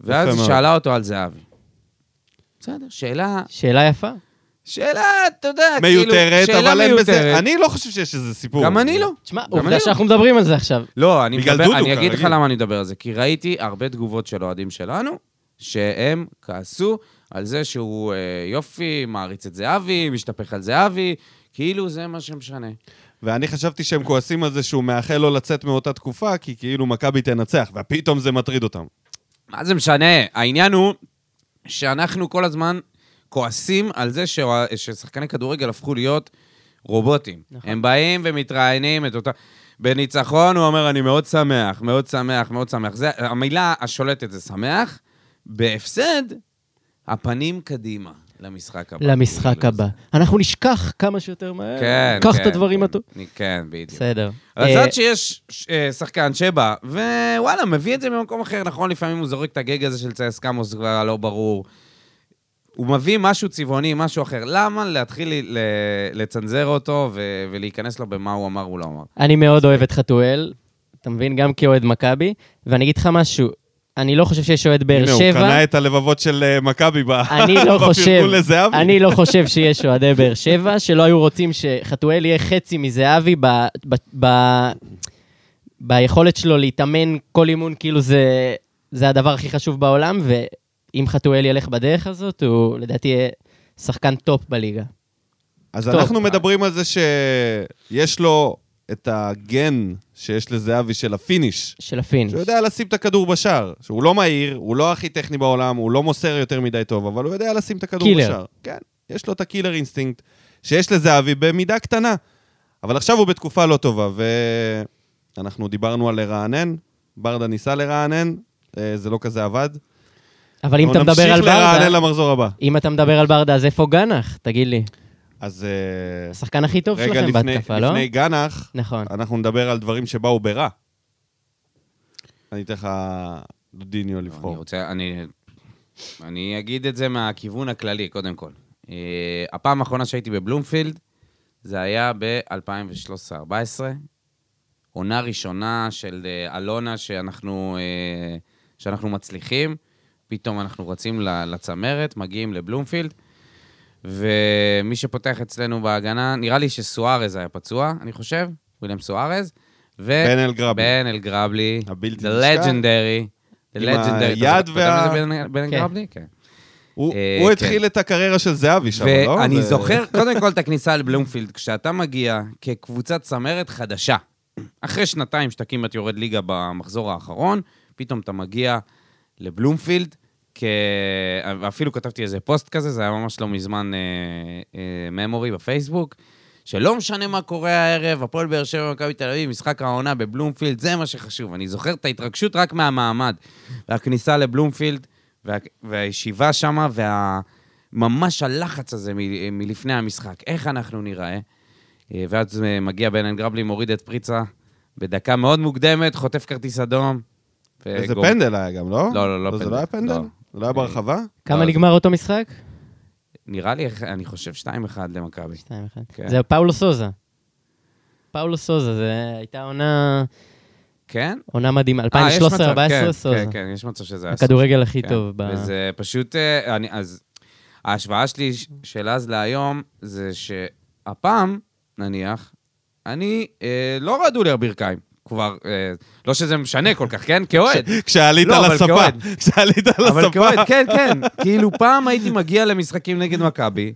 Speaker 3: ואז
Speaker 1: יפה
Speaker 3: היא
Speaker 1: מאוד.
Speaker 3: שאלה אותו על זהבי. בסדר, שאלה
Speaker 2: שאלה יפה.
Speaker 3: שאלה, אתה יודע, כאילו,
Speaker 1: מיותרת,
Speaker 3: שאלה
Speaker 1: אבל אין בזה...
Speaker 3: מיותרת.
Speaker 1: אני לא חושב שיש איזה סיפור.
Speaker 3: גם אני לא.
Speaker 2: תשמע,
Speaker 3: גם אני
Speaker 2: עובדה
Speaker 3: לא.
Speaker 2: שאנחנו מדברים על זה עכשיו.
Speaker 3: לא, אני,
Speaker 1: בגלל
Speaker 3: מדבר,
Speaker 1: דודו,
Speaker 3: אני אגיד לך
Speaker 1: כרגיל.
Speaker 3: למה אני מדבר על זה. כי ראיתי הרבה תגובות של אוהדים שלנו, שהם כעסו על זה שהוא אה, יופי, מעריץ את זהבי, משתפך על זהבי, כאילו זה מה שמשנה.
Speaker 1: ואני חשבתי שהם כועסים על זה שהוא מאחל לו לצאת מאותה תקופה, כי כאילו מכבי תנצח, ופתאום זה מטריד אותם.
Speaker 3: מה זה משנה? העניין הוא שאנחנו כל הזמן כועסים על זה ש... ששחקני כדורגל הפכו להיות רובוטים.
Speaker 2: נכון.
Speaker 3: נכון. הם באים ומתראיינים את אותה... בניצחון הוא אומר, אני מאוד שמח, מאוד שמח, מאוד שמח. זה, המילה השולטת זה שמח. בהפסד, הפנים קדימה למשחק הבא.
Speaker 2: למשחק
Speaker 3: כאילו,
Speaker 2: הבא. אנחנו נשכח כמה שיותר מהר.
Speaker 3: כן,
Speaker 2: קח את
Speaker 3: כן,
Speaker 2: הדברים
Speaker 3: כן.
Speaker 2: הטובים.
Speaker 3: אני- כן, בדיוק.
Speaker 2: בסדר.
Speaker 3: אז
Speaker 2: אה,
Speaker 3: עד שיש ש- אה, שחקן שבא, ווואלה, מביא את זה ממקום אחר, נכון, לפעמים הוא זורק את הגג הזה של צייס קמוס כבר הלא ברור. הוא מביא משהו צבעוני, משהו אחר. למה להתחיל ל- ל- לצנזר אותו ו- ולהיכנס לו במה הוא אמר, הוא לא אמר?
Speaker 2: אני מאוד אוהב את חתואל, אתה מבין? גם כאוהד מכבי. ואני אגיד לך משהו, אני לא חושב שיש אוהד באר
Speaker 1: הנה, הוא
Speaker 2: שבע.
Speaker 1: קנה את הלבבות של אה, מכבי ב-
Speaker 2: אני לא חושב,
Speaker 1: בפרגון לזהבי.
Speaker 2: אני לא חושב שיש אוהדי באר שבע שלא היו רוצים שחתואל יהיה חצי מזהבי ב, ב, ב, ביכולת שלו להתאמן כל אימון, כאילו זה, זה הדבר הכי חשוב בעולם, ואם חתואל ילך בדרך הזאת, הוא לדעתי יהיה שחקן טופ בליגה.
Speaker 1: אז
Speaker 2: טוב.
Speaker 1: אנחנו מדברים על זה שיש לו את הגן שיש לזהבי של הפיניש.
Speaker 2: של הפינש.
Speaker 1: שהוא יודע לשים את הכדור בשער. שהוא לא מהיר, הוא לא הכי טכני בעולם, הוא לא מוסר יותר מדי טוב, אבל הוא יודע לשים את הכדור
Speaker 2: קילר.
Speaker 1: בשער. כן, יש לו את הקילר אינסטינקט, שיש לזהבי במידה קטנה. אבל עכשיו הוא בתקופה לא טובה, ואנחנו דיברנו על לרענן, ברדה ניסה לרענן, אה, זה לא כזה עבד.
Speaker 2: אבל אם אתה
Speaker 1: אנחנו
Speaker 2: מדבר על
Speaker 1: נמשיך לרענן
Speaker 2: ברדה,
Speaker 1: למחזור הבא.
Speaker 2: אם אתה מדבר על ברדה, אז איפה גנח? תגיד לי.
Speaker 1: אז אה,
Speaker 2: השחקן הכי טוב
Speaker 1: רגע
Speaker 2: שלכם
Speaker 1: לפני,
Speaker 2: בהתקפה, לא?
Speaker 1: לפני גנח,
Speaker 2: נכון.
Speaker 1: אנחנו נדבר על דברים שבאו ברע. אני אתן לך דודיניו
Speaker 3: אני
Speaker 1: לבחור.
Speaker 3: רוצה, אני... אני אגיד את זה מהכיוון הכללי, קודם כל. אה, הפעם האחרונה שהייתי בבלומפילד, זה היה ב-2013-2014, עונה ראשונה של אה, אלונה שאנחנו, אה, שאנחנו מצליחים, פתאום אנחנו רצים ל- לצמרת, מגיעים לבלומפילד, ומי שפותח אצלנו בהגנה, נראה לי שסוארז היה פצוע, אני חושב, וויליאם סוארז, ו...
Speaker 1: בן אלגרבלי.
Speaker 3: בן אלגרבלי,
Speaker 1: הבלתי
Speaker 3: the
Speaker 1: נשכח.
Speaker 3: legendary, the
Speaker 1: עם
Speaker 3: legendary. אתה
Speaker 1: היד
Speaker 3: זוכר
Speaker 1: וה-
Speaker 3: מי זה בן- בן
Speaker 2: כן.
Speaker 3: אלגרבלי? כן.
Speaker 1: הוא
Speaker 3: אה,
Speaker 1: הוא
Speaker 3: כן.
Speaker 1: התחיל את הקריירה של זהבי שם, לא?
Speaker 3: ואני
Speaker 1: זה-
Speaker 3: זוכר, קודם כל, את הכניסה לבלומפילד, כשאתה מגיע כקבוצת צמרת חדשה, אחרי שנתיים שאתה כמעט יורד ליגה במחזור האחרון, פתאום אתה מגיע לבלומפילד, כ... ואפילו כתבתי איזה פוסט כזה, זה היה ממש לא מזמן ממורי בפייסבוק, שלא משנה מה קורה הערב, הפועל באר שבע ומכבי תל אביב, משחק העונה בבלומפילד, זה מה שחשוב. אני זוכר את ההתרגשות רק מהמעמד. והכניסה לבלומפילד, וה... והישיבה שמה, וה... ממש הלחץ הזה מ- מלפני המשחק. איך אנחנו נראה? אה, ואז אה, מגיע בן אנגרבלי, מוריד את פריצה בדקה מאוד מוקדמת, חוטף כרטיס אדום.
Speaker 1: איזה
Speaker 3: וגומר.
Speaker 1: פנדל היה גם, לא?
Speaker 3: אה, לא, לא, לא
Speaker 1: זה
Speaker 3: פנדל.
Speaker 1: לא היה פנדל?
Speaker 3: לא.
Speaker 1: לא היה ברחבה?
Speaker 2: כמה
Speaker 3: לא,
Speaker 2: נגמר אותו משחק?
Speaker 3: נראה לי, אני חושב, 2-1 למכבי.
Speaker 2: 2-1.
Speaker 3: כן.
Speaker 2: זה פאולו סוזה. פאולו סוזה, זו הייתה עונה,
Speaker 3: כן?
Speaker 2: עונה מדהימה.
Speaker 3: אה, יש מצב,
Speaker 2: 2013-2014
Speaker 3: כן,
Speaker 2: סוזה.
Speaker 3: כן, כן, יש מצב שזה היה סוזה.
Speaker 2: הכדורגל הכי
Speaker 3: כן.
Speaker 2: טוב. ב-
Speaker 3: וזה פשוט... אה, אני, אז ההשוואה שלי ש- של אז להיום זה שהפעם, נניח, אני אה, לא רעדו לי הברכיים. כבר, אה, לא שזה משנה כל כך, כן? כאוהד.
Speaker 1: כשעלית על
Speaker 3: לא, אבל כאוהד.
Speaker 1: הספה. כשעלית על
Speaker 3: אבל כאוהד,
Speaker 1: הספה.
Speaker 3: כן, כן. כאילו, פעם הייתי מגיע למשחקים נגד מכבי.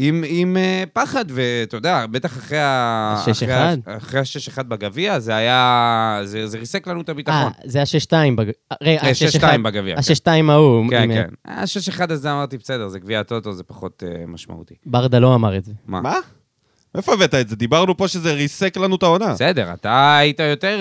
Speaker 3: עם, עם אה, פחד, ואתה יודע, בטח אחרי ה...
Speaker 2: השש
Speaker 3: אחרי ה-
Speaker 2: אחד.
Speaker 3: אחרי השש אחד בגביע, זה היה... זה, זה ריסק לנו את הביטחון.
Speaker 2: אה, זה ה-6-2. בג- רגע,
Speaker 3: אה,
Speaker 2: ה-6-2
Speaker 3: 6-2 בגביע, כן.
Speaker 2: ה-6-2 ההוא.
Speaker 3: כן,
Speaker 2: עם-
Speaker 3: כן. השש אחד הזה אמרתי, בסדר, זה גביע הטוטו, זה פחות אה, משמעותי.
Speaker 2: ברדה לא אמר את זה.
Speaker 1: מה? איפה הבאת את זה? דיברנו פה שזה ריסק לנו את העונה.
Speaker 3: בסדר, אתה היית יותר...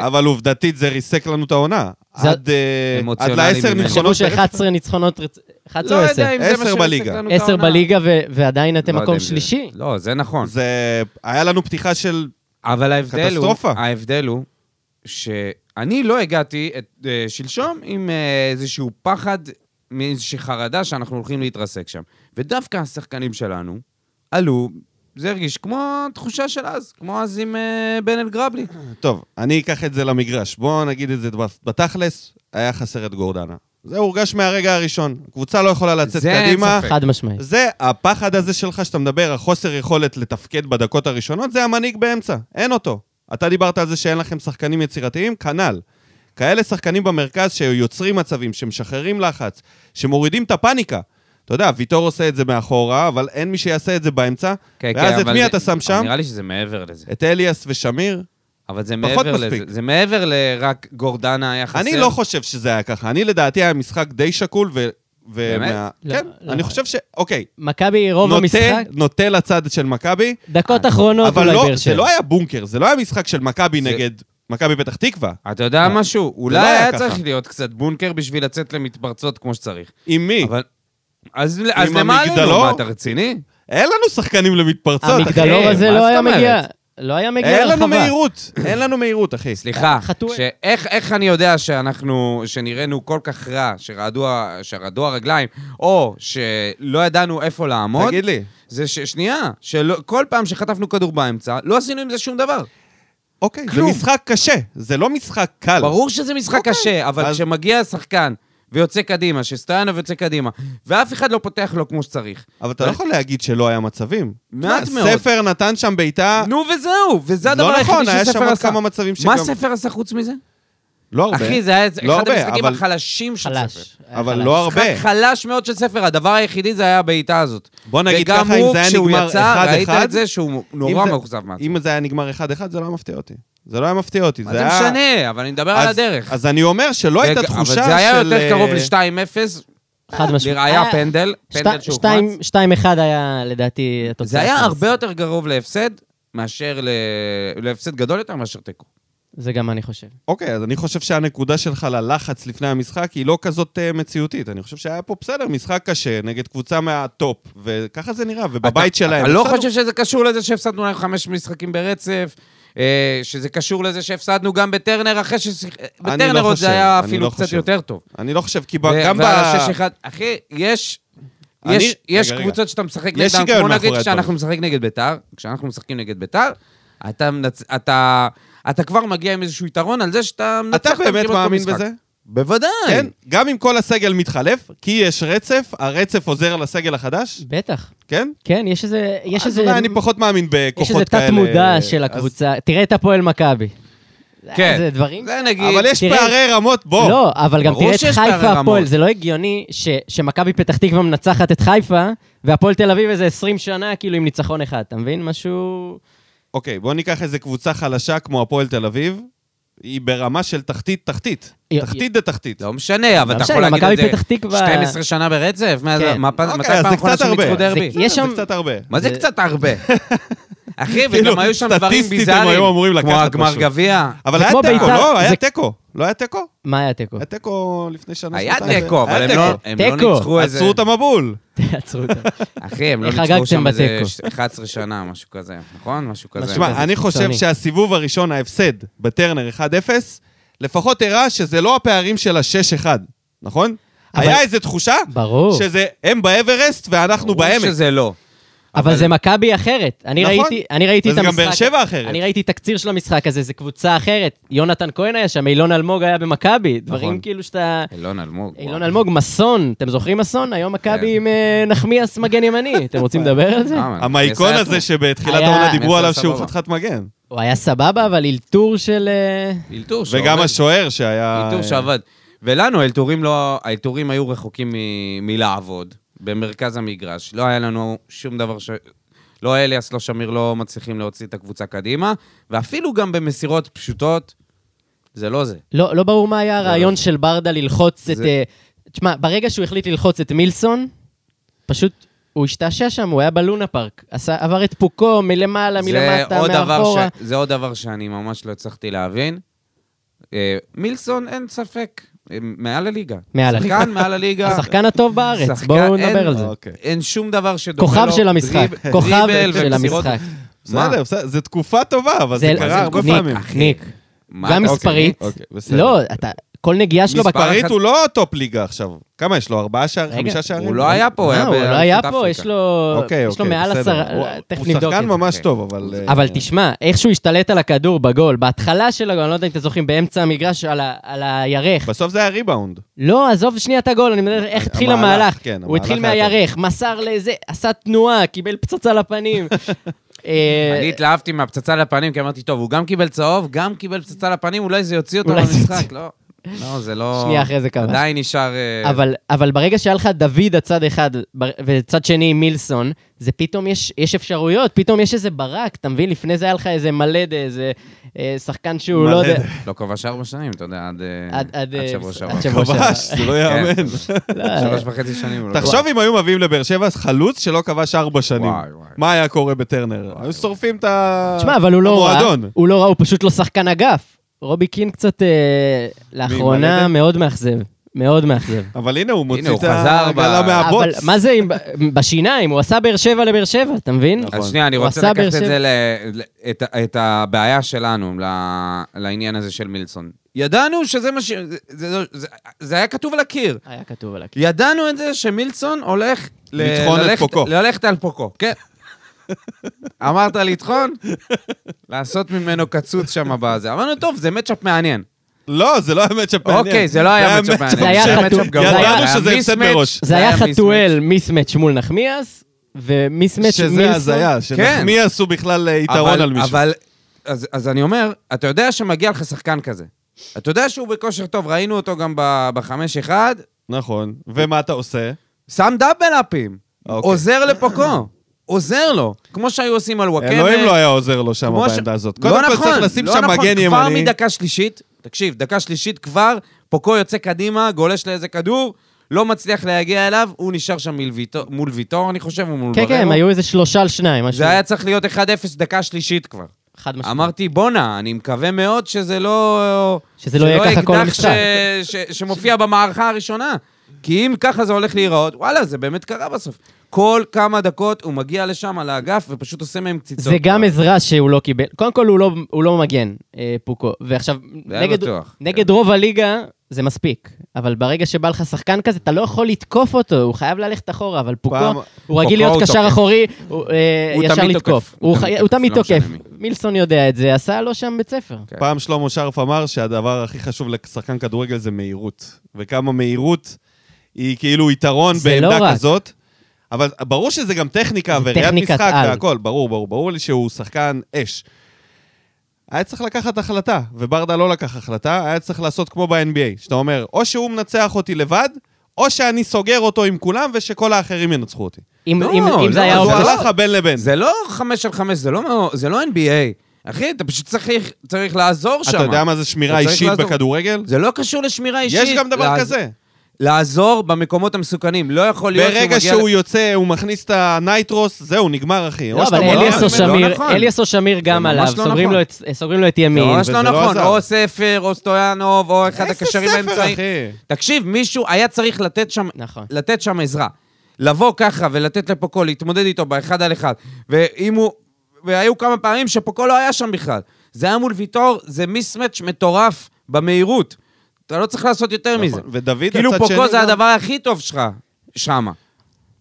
Speaker 3: אה,
Speaker 1: אבל עובדתית זה ריסק לנו את העונה.
Speaker 2: זה-
Speaker 1: עד אה, עד
Speaker 3: אמוציונלי
Speaker 1: לעשר
Speaker 3: ממנו.
Speaker 2: תחשבו
Speaker 1: ניצחונות. ברצף.
Speaker 2: ש-11 ניצחונות, רצ- 11
Speaker 3: לא
Speaker 2: או
Speaker 3: יודע
Speaker 2: 10.
Speaker 3: אם זה מה
Speaker 1: עשר
Speaker 3: שריסק
Speaker 1: בליגה.
Speaker 3: לנו את
Speaker 2: 10
Speaker 3: העונה.
Speaker 2: בליגה ו- ועדיין
Speaker 3: לא
Speaker 2: אתם
Speaker 3: יודע
Speaker 2: מקום
Speaker 3: אם זה-
Speaker 2: שלישי.
Speaker 3: לא, זה נכון.
Speaker 1: זה... היה לנו פתיחה של...
Speaker 3: אבל ההבדל הוא,
Speaker 1: קטסטרופה.
Speaker 3: ההבדל הוא שאני לא הגעתי את, אה, שלשום עם אה, איזשהו פחד, מאיזושהי חרדה שאנחנו הולכים להתרסק שם. ודווקא השחקנים שלנו עלו, זה הרגיש כמו התחושה של אז, כמו אז עם אה, בן אלגרבלי.
Speaker 1: כן, טוב, אני אקח את זה למגרש. בואו נגיד את זה בתכלס, היה חסר את גורדנה. זה הורגש מהרגע הראשון. קבוצה לא יכולה לצאת
Speaker 3: זה אין
Speaker 1: קדימה.
Speaker 3: ספק.
Speaker 2: חד משמעית.
Speaker 1: זה הפחד הזה שלך שאתה מדבר, החוסר יכולת לתפקד בדקות הראשונות, זה המנהיג באמצע, אין אותו. אתה דיברת על זה שאין לכם שחקנים יצירתיים, כנ"ל. כאלה שחקנים במרכז שיוצרים מצבים, שמשחררים לחץ, שמורידים את הפאניקה. אתה יודע, ויטור עושה את זה מאחורה, אבל אין מי שיעשה את זה באמצע.
Speaker 3: כן,
Speaker 1: ואז
Speaker 3: כן,
Speaker 1: את
Speaker 3: אבל
Speaker 1: מי
Speaker 3: זה-
Speaker 1: אתה שם
Speaker 3: אבל
Speaker 1: שם?
Speaker 3: נראה לי שזה מעבר לזה.
Speaker 1: את אליאס ושמיר?
Speaker 3: אבל זה
Speaker 1: פחות
Speaker 3: מעבר לזה.
Speaker 1: מספיק.
Speaker 3: זה מעבר לרק גורדנה היה חסר.
Speaker 1: אני לא חושב שזה היה ככה. אני לדעתי היה משחק די שקול, ו... ו-
Speaker 3: באמת?
Speaker 1: מה-
Speaker 2: לא,
Speaker 1: כן,
Speaker 2: לא.
Speaker 1: אני חושב ש... אוקיי.
Speaker 2: מכבי, רוב
Speaker 1: נוטה-
Speaker 2: המשחק,
Speaker 1: נוטה לצד של מכבי,
Speaker 2: דקות
Speaker 3: אה,
Speaker 2: אחרונות
Speaker 1: אבל
Speaker 2: אולי
Speaker 1: לא,
Speaker 2: באר
Speaker 1: זה
Speaker 2: שבע.
Speaker 1: לא היה בונקר, זה לא היה משחק של מכבי
Speaker 3: זה-
Speaker 1: נגד מכבי פתח תקווה.
Speaker 3: אתה יודע משהו? אולי
Speaker 1: לא היה
Speaker 3: היה
Speaker 1: ככה.
Speaker 3: צריך להיות קצת בונקר בשביל לצאת למתפרצות כמו שצריך.
Speaker 1: עם מי?
Speaker 3: אבל... אז אז למה עלינו?
Speaker 1: המגדלור?
Speaker 3: מה, אתה רציני? אין
Speaker 1: אין לנו שחקנים למתפרצות, אחי.
Speaker 2: המגדלור
Speaker 3: אחי,
Speaker 2: הזה
Speaker 3: מה
Speaker 2: לא
Speaker 3: זאת
Speaker 2: היה
Speaker 3: אומרת?
Speaker 2: מגיע. לא היה מגיע
Speaker 1: אין
Speaker 2: לרחבה.
Speaker 1: לנו מהירות, אין לנו מהירות, אחי.
Speaker 3: סליחה,
Speaker 2: חתואל.
Speaker 3: שאיך, איך אני יודע שאנחנו, שנראינו כל כך רע, שרעדו, ה- שרעדו הרגליים, או שלא ידענו איפה לעמוד,
Speaker 1: תגיד לי.
Speaker 3: זה ש... שנייה, שכל פעם שחטפנו כדור באמצע, לא עשינו עם זה שום דבר.
Speaker 1: אוקיי, זה
Speaker 3: כלום.
Speaker 1: משחק קשה, זה לא משחק קל.
Speaker 3: ברור שזה משחק קשה, אבל
Speaker 1: אוקיי. אז-
Speaker 3: כשמגיע שחקן ויוצא קדימה, שסטויאנוב יוצא קדימה, ואף אחד לא פותח לו כמו שצריך.
Speaker 1: אבל אתה לא יכול להגיד שלא היה מצבים.
Speaker 3: מעט
Speaker 1: מה,
Speaker 3: מאוד.
Speaker 1: ספר נתן שם בעיטה,
Speaker 3: נו, וזהו, וזה
Speaker 1: לא
Speaker 3: הדבר
Speaker 1: נכון,
Speaker 3: היחידי
Speaker 1: היה שם
Speaker 3: שספר
Speaker 1: עוד
Speaker 3: עשה.
Speaker 1: כמה מצבים
Speaker 3: מה
Speaker 1: שגם-
Speaker 3: ספר עשה חוץ מזה?
Speaker 1: לא הרבה.
Speaker 3: אחי, זה היה
Speaker 1: לא
Speaker 3: אחד
Speaker 1: הרבה,
Speaker 3: המשחקים
Speaker 1: אבל-
Speaker 3: החלשים של ספר.
Speaker 2: חלש. היה
Speaker 1: אבל
Speaker 2: חלש.
Speaker 1: לא הרבה.
Speaker 3: משחק חלש מאוד של ספר, הדבר היחידי זה היה הבעיטה הזאת.
Speaker 1: בוא נגיד ככה, אם זה היה
Speaker 3: וגם
Speaker 1: נגמר
Speaker 3: הוא, כשהוא יצא, ראית
Speaker 1: 1-1,
Speaker 3: את זה שהוא נורא
Speaker 1: אם זה-
Speaker 3: מאוכזב מעצמו.
Speaker 1: אם זה היה נגמר 1-1, זה לא היה מפתיע אותי. זה לא היה מפתיע אותי,
Speaker 3: מה
Speaker 1: זה
Speaker 3: זה
Speaker 1: היה...
Speaker 3: משנה, אבל אני מדבר על
Speaker 1: אז-
Speaker 3: הדרך.
Speaker 1: אז אני אומר שלא הייתה
Speaker 3: וג-
Speaker 1: תחושה של...
Speaker 3: אבל זה היה יותר
Speaker 1: אה,
Speaker 3: קרוב ל-2-0,
Speaker 2: חד משמעית.
Speaker 3: לראיה
Speaker 2: היה-
Speaker 3: פנדל, פנדל
Speaker 2: שת-
Speaker 3: שהוחמץ.
Speaker 2: שתיים- שתיים אחד היה לדעתי התוצאה.
Speaker 3: זה היה
Speaker 2: של
Speaker 3: הרבה יותר קרוב להפסד מאשר ל- להפסד גדול יותר מאשר תיקו.
Speaker 2: זה גם אני חושב.
Speaker 1: אוקיי, אז אני חושב שהנקודה שלך ללחץ לפני המשחק היא לא כזאת אה, מציאותית. אני חושב שהיה פה בסדר, משחק קשה נגד קבוצה מהטופ, וככה זה נראה, ובבית
Speaker 3: אתה-
Speaker 1: שלהם.
Speaker 3: אתה לא
Speaker 1: בסדר.
Speaker 3: חושב שזה קשור לזה שהפסדנו להם חמש משחקים ברצף? אה, שזה קשור לזה שהפסדנו גם בטרנר אחרי ששיח... אה,
Speaker 1: אני
Speaker 3: בטרנר
Speaker 1: לא
Speaker 3: עוד
Speaker 1: חושב,
Speaker 3: זה היה
Speaker 1: אני
Speaker 3: אפילו
Speaker 1: לא
Speaker 3: קצת
Speaker 1: חושב.
Speaker 3: יותר טוב.
Speaker 1: אני לא חושב, כי ב-
Speaker 3: ו-
Speaker 1: גם ב...
Speaker 3: והשש אחד- אחי, יש...
Speaker 1: אני-
Speaker 3: יש, יש
Speaker 1: רגע, רגע.
Speaker 3: קבוצות שאתה משחק
Speaker 1: יש
Speaker 3: נגדן,
Speaker 1: היגיון
Speaker 3: כמו
Speaker 1: מאחורי
Speaker 3: נגיד
Speaker 1: הדברים.
Speaker 3: כשאנחנו משחק נגד ביתר, כשאנחנו משחקים נגד ביתר, אתה, מנצ... אתה, אתה כבר מגיע עם איזשהו יתרון על זה שאתה מנצח
Speaker 1: אתה
Speaker 3: אותם
Speaker 1: באמת
Speaker 3: כמעט כל
Speaker 1: מאמין
Speaker 3: משחק.
Speaker 1: בזה?
Speaker 3: בוודאי.
Speaker 1: כן, גם אם כל הסגל מתחלף, כי יש רצף, הרצף עוזר לסגל החדש,
Speaker 2: בטח.
Speaker 1: כן?
Speaker 2: כן, יש איזה... יש
Speaker 1: אז
Speaker 2: איזה...
Speaker 1: אולי אני פחות מאמין בכוחות
Speaker 2: יש
Speaker 1: כאלה.
Speaker 2: איזה תת-מודע של
Speaker 1: אז-
Speaker 2: הקבוצה. תראה את הפועל מכבי.
Speaker 3: כן.
Speaker 2: זה דברים...
Speaker 3: זה נגיד...
Speaker 1: אבל יש
Speaker 2: תראה-
Speaker 1: פערי רמות, בוא.
Speaker 2: לא, אבל גם
Speaker 3: ברור
Speaker 2: תראה את
Speaker 3: שיש פערי
Speaker 2: חיפה
Speaker 3: רמות.
Speaker 2: הפועל, זה לא הגיוני ש- שמכבי פתח תקווה מנצחת את חיפה, והפועל תל אביב איזה 20 שנה, כאילו עם ניצחון אחד, אתה מבין? משהו...
Speaker 1: אוקיי, בוא ניקח איזה קבוצה חלשה כמו הפועל תל אביב, היא ברמה של תחתית תחתית.
Speaker 2: היא-
Speaker 1: תחתית דה תחתית.
Speaker 3: לא משנה, אבל
Speaker 2: לא
Speaker 3: אתה
Speaker 2: משנה,
Speaker 3: יכול
Speaker 2: גם
Speaker 3: להגיד
Speaker 2: מכבי
Speaker 3: את זה
Speaker 2: פתח תקווה-
Speaker 3: 12 שנה ברצף? מה-
Speaker 2: כן. כאילו-
Speaker 3: מה פעם- מתי
Speaker 1: אוקיי, אז
Speaker 3: פעם
Speaker 1: זה
Speaker 3: אחרונה
Speaker 1: קצת
Speaker 3: שהם
Speaker 1: הרבה.
Speaker 3: ניצחו
Speaker 1: זה-
Speaker 3: דרבי?
Speaker 1: בסדר,
Speaker 2: יש שם-
Speaker 1: זה קצת הרבה.
Speaker 3: מה זה
Speaker 2: זה-
Speaker 3: קצת הרבה? אחי,
Speaker 1: כאילו,
Speaker 3: וגם היו שם דברים
Speaker 1: סטטיסטית הם
Speaker 3: ביזאריים,
Speaker 1: היו אמורים
Speaker 3: כמו
Speaker 1: לקחת
Speaker 3: הגמר
Speaker 1: פשוט.
Speaker 3: גביע.
Speaker 1: אבל
Speaker 2: זה
Speaker 1: היה
Speaker 2: כמו
Speaker 1: תיקו,
Speaker 2: בית"ר,
Speaker 1: לא? היה
Speaker 2: זה-
Speaker 1: תיקו. לא היה תיקו?
Speaker 2: מה היה תיקו?
Speaker 1: היה תיקו לפני שנה.
Speaker 3: היה
Speaker 1: שנתיים.
Speaker 3: תיקו, אבל
Speaker 1: היה
Speaker 3: הם לא-
Speaker 1: תיקו.
Speaker 3: הם לא
Speaker 2: תיקו.
Speaker 3: ניצחו איזה...
Speaker 1: עצרו את המבול.
Speaker 2: תעצרו אותם.
Speaker 3: אחי, הם לא
Speaker 2: איך
Speaker 3: ניצחו
Speaker 2: חגגתם
Speaker 3: שם איזה
Speaker 2: בתיקו?
Speaker 3: ש- 11 שנה, משהו כזה, נכון? משהו כזה.
Speaker 2: משהו כזה,
Speaker 1: תשמע, אני חושב
Speaker 2: קיצוני.
Speaker 1: שהסיבוב הראשון, ההפסד בטרנר 1-0, לפחות הראה שזה לא הפערים של ה-6-1, נכון?
Speaker 2: אבל-
Speaker 1: היה איזו תחושה
Speaker 2: ברור.
Speaker 1: שזה הם באברסט ואנחנו
Speaker 3: ברור
Speaker 1: בעמק.
Speaker 3: שזה לא.
Speaker 2: אבל זה מכבי אחרת. אני
Speaker 1: נכון.
Speaker 2: ראיתי, אני ראיתי את
Speaker 1: וזה
Speaker 2: המשחק.
Speaker 1: גם באר שבע אחרת.
Speaker 2: אני ראיתי תקציר של המשחק הזה, זה קבוצה אחרת. יונתן כהן היה שם, אילון אלמוג היה במכבי.
Speaker 1: נכון.
Speaker 2: דברים כאילו שאתה...
Speaker 3: אילון אלמוג.
Speaker 2: אילון
Speaker 3: וואו.
Speaker 2: אלמוג, מסון. אתם זוכרים מסון? היום מכבי
Speaker 3: כן.
Speaker 2: עם אה, נחמיאס מגן ימני. אתם רוצים לדבר על זה?
Speaker 3: אה, אבל
Speaker 1: המייקון
Speaker 3: בסדר.
Speaker 1: הזה שבתחילת
Speaker 2: היה-
Speaker 1: העונה דיברו
Speaker 3: בסדר,
Speaker 1: עליו שהוא
Speaker 3: סבבה.
Speaker 1: חתיכת מגן.
Speaker 2: הוא היה סבבה, אבל אלתור של... אה,
Speaker 3: אלתור שעובד.
Speaker 1: וגם השוער שהיה...
Speaker 3: אלתור שעבד. ולנו, האלתורים לא... האלתורים היו רחוקים מ- מלעבוד במרכז המגרש. לא היה לנו שום דבר ש... לא אליאס, לא שמיר, לא מצליחים להוציא את הקבוצה קדימה, ואפילו גם במסירות פשוטות, זה לא זה.
Speaker 2: לא לא ברור מה היה הרעיון של ברדה ללחוץ את...
Speaker 3: זה-
Speaker 2: אה, תשמע, ברגע שהוא החליט ללחוץ את מילסון, פשוט... הוא השתעשע שם, הוא היה בלונה פארק. עשה- עבר את פוקו מלמעלה,
Speaker 3: זה
Speaker 2: מלמטה,
Speaker 3: עוד דבר
Speaker 2: מאחורה.
Speaker 3: ש- זה עוד דבר שאני ממש לא הצלחתי להבין. אה, מילסון, אין ספק, אה, מעל הליגה.
Speaker 2: מעל הליגה.
Speaker 3: שחקן מעל הליגה.
Speaker 2: השחקן הטוב בארץ,
Speaker 3: שחקן-
Speaker 2: בואו
Speaker 3: אין-
Speaker 2: נדבר על זה.
Speaker 1: אוקיי.
Speaker 3: אין שום דבר שדומה לו.
Speaker 2: כוכב של המשחק,
Speaker 3: דריב-
Speaker 2: כוכב
Speaker 3: דריבל
Speaker 2: של
Speaker 3: ומסירות.
Speaker 2: המשחק.
Speaker 1: בסדר, בסדר, זו תקופה טובה, אבל זה
Speaker 2: זה-
Speaker 1: קרה הרבה
Speaker 2: ניק,
Speaker 1: פעמים.
Speaker 2: ניק,
Speaker 3: מה
Speaker 2: גם
Speaker 3: אתה-
Speaker 2: מספרית.
Speaker 1: אוקיי, בסדר.
Speaker 2: לא, אתה, כל נגיעה שלו...
Speaker 3: מספר-
Speaker 2: בכ-
Speaker 1: פריט
Speaker 3: אחד-
Speaker 1: הוא לא טופ ליגה עכשיו. כמה יש לו? ארבעה שערים?
Speaker 2: רגע,
Speaker 1: חמישה שערים?
Speaker 3: הוא לא היה פה, הוא
Speaker 2: אה,
Speaker 3: היה
Speaker 2: הוא לא היה
Speaker 3: באליפות
Speaker 2: פה, יש
Speaker 3: אפריקה.
Speaker 2: לו
Speaker 1: אוקיי,
Speaker 2: יש לו
Speaker 1: אוקיי,
Speaker 2: מעל
Speaker 1: בסדר.
Speaker 2: עשרה...
Speaker 1: הוא-
Speaker 2: תכף נבדוק את זה. אוקיי.
Speaker 1: הוא שחקן ממש
Speaker 3: כן.
Speaker 1: טוב, אבל...
Speaker 2: אבל
Speaker 1: אה,
Speaker 2: תשמע, איך שהוא השתלט על הכדור בגול, בהתחלה של הגול, אני לא יודע אם אתם זוכרים, באמצע המגרש, על ה- על הירך.
Speaker 1: בסוף זה היה ריבאונד.
Speaker 2: לא, עזוב שנייה את הגול, אני מדבר איך התחיל
Speaker 1: המהלך,
Speaker 2: המהלך.
Speaker 1: כן,
Speaker 2: הוא התחיל
Speaker 1: המהלך היה טוב.
Speaker 2: מהירך, מסר לזה, עשה תנועה, קיבל פצצה לפנים. אה,
Speaker 3: אני התלהבתי מהפצצה לפנים, כי אמרתי, טוב, הוא גם קיבל צהוב, גם קיבל פצצה לפנים, אולי זה יוציא אותו
Speaker 2: אולי זה
Speaker 3: מהמשחק.
Speaker 2: יוציא.
Speaker 3: לא, לא, זה לא...
Speaker 2: שנייה אחרי זה כבש.
Speaker 3: עדיין נשאר... אה,
Speaker 2: אבל, אבל ברגע שהיה לך דוד הצד אחד, בר- וצד שני מילסון, זה פתאום יש, יש אפשרויות, פתאום יש איזה ברק, אתה מבין? לפני זה היה לך איזה מלדה, איזה אה, שחקן שהוא לא יודע...
Speaker 1: מלדה.
Speaker 3: לא כובש ארבע שנים, אתה יודע, עד אה,
Speaker 2: עד- עד,
Speaker 3: עד
Speaker 2: אה,
Speaker 3: שבוע
Speaker 2: עד
Speaker 3: שעבר.
Speaker 2: שבוע שבוע שעבר.
Speaker 1: כבש, זה לא
Speaker 2: כן.
Speaker 1: יאמן.
Speaker 2: לא,
Speaker 3: שלוש וחצי שנים. הוא לא
Speaker 1: תחשוב אם היו מביאים לבאר שבע חלוץ שלא כבש ארבע שנים.
Speaker 3: וואי, וואי.
Speaker 1: מה היה קורה בטרנר? היו שורפים את ה-
Speaker 2: תשמע, אבל הוא לא רע,
Speaker 1: המועדון.
Speaker 2: הוא לא רע, הוא פשוט לא שחקן אגף. רובי קין קצת אה,
Speaker 1: מלדה?
Speaker 2: לאחרונה מאוד מאכזב, מאוד מאכזב.
Speaker 1: אבל הנה, הוא מוציא
Speaker 3: הוא
Speaker 1: את
Speaker 3: חזר
Speaker 1: הגלה
Speaker 3: ב-
Speaker 1: מהבוץ.
Speaker 2: אבל מה זה עם- בשיניים? הוא עשה באר שבע לבאר שבע, אתה מבין?
Speaker 1: נכון.
Speaker 3: אז שנייה, אני
Speaker 2: הוא
Speaker 3: רוצה
Speaker 2: עשה באר
Speaker 3: לקחת את
Speaker 2: שבע.
Speaker 3: זה, ל... ל- את, ה- את הבעיה שלנו ל- לעניין הזה של מילסון. ידענו שזה מה ש... זה, זה, לא- זה, זה היה כתוב על הקיר.
Speaker 2: היה כתוב על הקיר.
Speaker 3: ידענו את זה שמילסון הולך...
Speaker 1: לטחון את
Speaker 3: ללכת-
Speaker 1: פוקו.
Speaker 3: ללכת על פוקו, כן. אמרת לטחון? לעשות ממנו קצוץ שם בזה. אמרנו, טוב, זה מצ'אפ מעניין.
Speaker 1: לא, זה לא היה מצ'אפ מעניין.
Speaker 3: אוקיי, זה לא היה מצ'אפ מעניין.
Speaker 2: זה היה
Speaker 1: ש-
Speaker 2: חתום.
Speaker 3: מצ'אפ גרוע.
Speaker 2: ידענו
Speaker 3: היה
Speaker 1: שזה הפסד
Speaker 3: מיסמץ'.
Speaker 1: מראש.
Speaker 2: זה היה
Speaker 3: מיסמץ'.
Speaker 2: חתואל מיסמץ' מול נחמיאס, ומיסמץ' מילסון.
Speaker 1: שזה הזיה, שנחמיאס הוא בכלל אה, יתרון
Speaker 3: כן. אבל-
Speaker 1: על מישהו.
Speaker 3: אבל, אז, אז אני אומר, אתה יודע שמגיע לך שחקן כזה. אתה יודע שהוא בכושר טוב, ראינו אותו גם ב- בחמש אחד,
Speaker 1: נכון. ומה אתה עושה?
Speaker 3: שם דאבל אפים.
Speaker 1: אוקיי.
Speaker 3: עוזר לפוקו. עוזר לו. כמו שהיו עושים על וואקמה.
Speaker 1: אלוהים לא היה עוזר לו שם
Speaker 3: אוקיי, כמו ש-
Speaker 1: בעמדה הזאת.
Speaker 3: לא
Speaker 1: קודם כל
Speaker 3: נכון,
Speaker 1: צריך לשים
Speaker 3: לא
Speaker 1: שם
Speaker 3: נכון,
Speaker 1: מגן
Speaker 3: כבר
Speaker 1: ימני.
Speaker 3: מדקה שלישית, תקשיב, דקה שלישית כבר, פוקו יוצא קדימה, גולש לאיזה כדור, לא מצליח להגיע אליו, הוא נשאר שם מול ויטור- מול ויטור, אני חושב, או מול
Speaker 2: כן, כן, הם
Speaker 3: בררו.
Speaker 2: היו איזה שלושה על שניים, משהו.
Speaker 3: זה היה צריך להיות 1-0 דקה שלישית כבר.
Speaker 2: חד משמעית.
Speaker 3: אמרתי, בואנה, אני מקווה מאוד שזה לא...
Speaker 2: שזה לא יהיה ככה כל
Speaker 3: אקדח
Speaker 2: המשחק."
Speaker 3: ש- ש- שמופיע במערכה הראשונה. כי אם ככה זה הולך להיראות, וואלה, זה באמת קרה בסוף. כל כמה דקות הוא מגיע לשם, על האגף, ופשוט עושה מהם קציצות.
Speaker 2: זה גם עזרה שהוא לא קיבל. קודם כל, הוא לא- הוא לא מגן, אה, פוקו. ועכשיו,
Speaker 3: היה
Speaker 2: נגד-
Speaker 3: בטוח. כן.
Speaker 2: נגד רוב הליגה זה מספיק. אבל ברגע שבא לך שחקן כזה, אתה לא יכול לתקוף אותו, הוא חייב ללכת אחורה. אבל פוקו,
Speaker 1: פעם-
Speaker 2: הוא
Speaker 3: פוקו
Speaker 2: רגיל להיות
Speaker 3: הוא
Speaker 2: קשר
Speaker 3: תוקף.
Speaker 2: אחורי, הוא, אה,
Speaker 3: הוא
Speaker 2: ישר
Speaker 3: תמיד
Speaker 2: לתקוף.
Speaker 3: תוקף.
Speaker 2: הוא
Speaker 3: הוא
Speaker 2: חי-
Speaker 3: תמיד
Speaker 2: הוא תמיד
Speaker 3: תוקף, לא
Speaker 2: תוקף.
Speaker 3: משנה
Speaker 2: מילסון יודע את זה, עשה לו שם בית ספר.
Speaker 3: כן.
Speaker 1: פעם שלמה שרף אמר שהדבר הכי חשוב לשחקן כדורגל זה מהירות. וכמה מהירות היא כאילו יתרון
Speaker 2: זה
Speaker 1: בעמדה
Speaker 2: לא רק.
Speaker 1: כזאת. אבל ברור שזה גם טכניקה
Speaker 2: זה
Speaker 1: וראיית
Speaker 2: טכניקת
Speaker 1: משחק
Speaker 2: על.
Speaker 1: והכל, ברור, ברור. ברור לי שהוא שחקן אש. היה צריך לקחת החלטה, וברדה לא לקח החלטה, היה צריך לעשות כמו ב-NBA, שאתה אומר, או שהוא מנצח אותי לבד, או שאני סוגר אותו עם כולם ושכל האחרים ינצחו אותי.
Speaker 2: אם
Speaker 3: לא,
Speaker 2: אם- אם
Speaker 3: לא,
Speaker 2: זה היה
Speaker 1: אז הוא
Speaker 2: אופציה...
Speaker 1: הלך הבן לבן.
Speaker 3: זה לא חמש על חמש, זה לא, זה לא NBA. אחי, אתה פשוט צריך, צריך לעזור שם.
Speaker 1: אתה יודע מה זה שמירה
Speaker 3: לא אתה צריך
Speaker 1: אישית
Speaker 3: לעזור.
Speaker 1: בכדורגל?
Speaker 3: זה לא קשור לשמירה אישית.
Speaker 1: יש גם דבר
Speaker 3: לעז-
Speaker 1: כזה.
Speaker 3: לעזור במקומות המסוכנים. לא יכול להיות שהוא מגיע...
Speaker 1: ברגע שהוא
Speaker 3: ל-
Speaker 1: יוצא, הוא מכניס את הנייטרוס, זהו, נגמר, אחי.
Speaker 2: לא,
Speaker 1: או שאתה
Speaker 2: אבל
Speaker 1: מונע
Speaker 2: אליאס
Speaker 1: ממנו-
Speaker 2: או שמיר,
Speaker 3: לא נכון.
Speaker 2: אליאס או שמיר גם
Speaker 3: זה ממש
Speaker 2: עליו,
Speaker 3: לא
Speaker 2: סוגרים
Speaker 3: נכון.
Speaker 2: לו את- סוגרים לו את ימין.
Speaker 3: ממש לא
Speaker 1: וזה לא
Speaker 3: נכון,
Speaker 1: עזר.
Speaker 3: או ספר, או סטויאנוב, או אחד הקשרים
Speaker 1: איזה ספר,
Speaker 3: האמצעיים.
Speaker 1: אחי.
Speaker 3: תקשיב, מישהו היה צריך לתת שם,
Speaker 2: נכון.
Speaker 3: לתת שם עזרה. לבוא ככה ולתת לפוקו, להתמודד איתו באחד על אחד. ואם הוא... והיו כמה פעמים שפוקו לא היה שם בכלל. זה היה מול ויטור, זה מיסמץ' מטורף במהירות. אתה לא צריך לעשות יותר
Speaker 1: נכון.
Speaker 3: מזה.
Speaker 1: ודוד,
Speaker 3: כאילו
Speaker 1: הצד
Speaker 3: פוקו
Speaker 1: שני
Speaker 3: זה
Speaker 1: גם-
Speaker 3: הדבר הכי טוב שלך, שמה.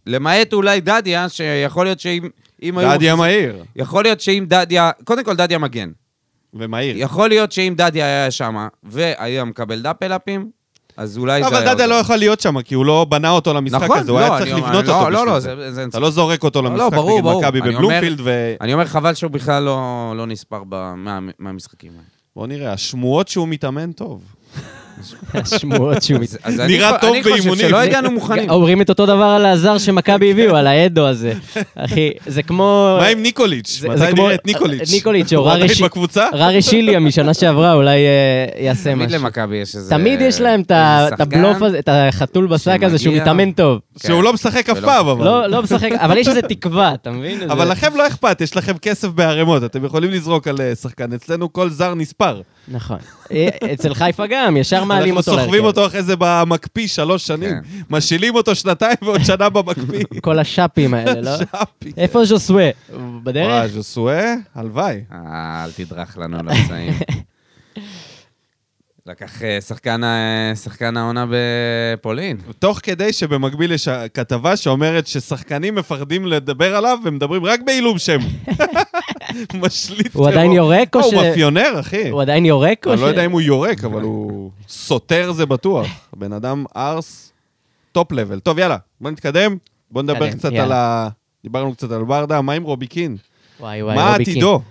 Speaker 3: למעט אולי דדיה, שיכול להיות שאם... אם היו-
Speaker 1: דדיה מהיר.
Speaker 3: יכול להיות שאם דדיה... קודם כל, דדיה מגן.
Speaker 1: ומהיר.
Speaker 3: יכול להיות שאם דדיה היה שם והיה מקבל דאפל-אפים, אז אולי זה היה...
Speaker 1: אבל דדיה
Speaker 3: עוזר.
Speaker 1: לא יכול להיות שם, כי הוא לא בנה אותו למשחק
Speaker 3: נכון,
Speaker 1: הזה, הוא
Speaker 3: לא,
Speaker 1: היה
Speaker 3: אני
Speaker 1: צריך
Speaker 3: אומר,
Speaker 1: לבנות
Speaker 3: לא,
Speaker 1: אותו בשביל
Speaker 3: לא, לא,
Speaker 1: זה.
Speaker 3: זה- זה-
Speaker 1: אתה לא זורק אותו
Speaker 3: לא,
Speaker 1: למשחק
Speaker 3: ברור,
Speaker 1: נגד
Speaker 3: ברור.
Speaker 1: מכבי
Speaker 3: אני אומר-
Speaker 1: בבלומפילד, ו...
Speaker 3: אני אומר, חבל שהוא בכלל לא, לא נספר ב- מה- מהמשחקים האלה.
Speaker 1: בוא נראה, השמועות שהוא מתאמן טוב.
Speaker 2: השמועות שהוא
Speaker 3: אז- אז אני
Speaker 1: נראה
Speaker 3: חו-
Speaker 1: טוב
Speaker 3: אני חושב
Speaker 1: באימונים.
Speaker 3: שלא הגענו מוכנים.
Speaker 2: אומרים את אותו דבר על הזר
Speaker 1: כן.
Speaker 2: שמכבי הביאו, על האדו הזה. אחי, זה כמו...
Speaker 1: מה עם ניקוליץ'?
Speaker 2: לא, זה-
Speaker 1: מתי
Speaker 2: זה
Speaker 1: נראה
Speaker 2: כמו-
Speaker 1: את ניקוליץ'?
Speaker 2: ניקוליץ', או
Speaker 1: הוא עדיין
Speaker 2: ררשי-
Speaker 1: בקבוצה?
Speaker 2: ררי שיליה משנה שעברה, אולי אה, יעשה
Speaker 3: תמיד
Speaker 2: משהו.
Speaker 3: למכבי יש איזה...
Speaker 2: תמיד יש להם את ה-
Speaker 3: איזה
Speaker 2: את הבלוף
Speaker 3: שחקן.
Speaker 2: הזה, את החתול בשק הזה, שהוא
Speaker 3: שמגיע.
Speaker 2: מתאמן טוב.
Speaker 1: שהוא לא משחק אף
Speaker 3: ולא-
Speaker 1: פעם, אבל.
Speaker 2: כן. לא לא משחק, אבל יש איזה תקווה, אתה מבין? איזה-
Speaker 1: אבל לכם לא אכפת, יש לכם כסף בערימות, אתם יכולים לזרוק על אה, שחקן. אצלנו כל זר נספר.
Speaker 2: נכון. אה, אצל חיפה גם, ישר מעלים
Speaker 1: אנחנו
Speaker 2: אותו
Speaker 1: סוחבים
Speaker 2: להרכב.
Speaker 1: אותו אחרי זה במקפיא שלוש שנים. משילים אותו שנתיים ועוד שנה במקפיא.
Speaker 2: כל השאפים האלה, לא?
Speaker 1: שפי.
Speaker 2: איפה ז'וסווה? הוא
Speaker 1: וואי,
Speaker 2: בדרך?
Speaker 1: ז'וסואה, הלוואי.
Speaker 3: אה, אל תדרך לנו על הפצעים. לקח אה, שחקן ה- שחקן העונה בפולין.
Speaker 1: תוך כדי שבמקביל יש כתבה שאומרת ששחקנים מפחדים לדבר עליו ומדברים רק בעילום שם. משליט
Speaker 2: הוא עדיין יורק או
Speaker 1: ש...
Speaker 2: ש...
Speaker 1: הוא מאפיונר, אחי.
Speaker 2: הוא עדיין יורק או
Speaker 1: אני
Speaker 2: ש...
Speaker 1: לא יודע אם הוא יורק, אבל הוא סותר זה בטוח. בן אדם ארס, טופ לבל. טוב, יאללה, בוא נתקדם. בוא נדבר
Speaker 2: נתקדם,
Speaker 1: קצת
Speaker 2: יאללה.
Speaker 1: על ה... דיברנו קצת על ברדה, מה עם רוביקין?
Speaker 2: וואי, לא וואי,
Speaker 1: מה
Speaker 2: רוביקין.
Speaker 1: עתידו?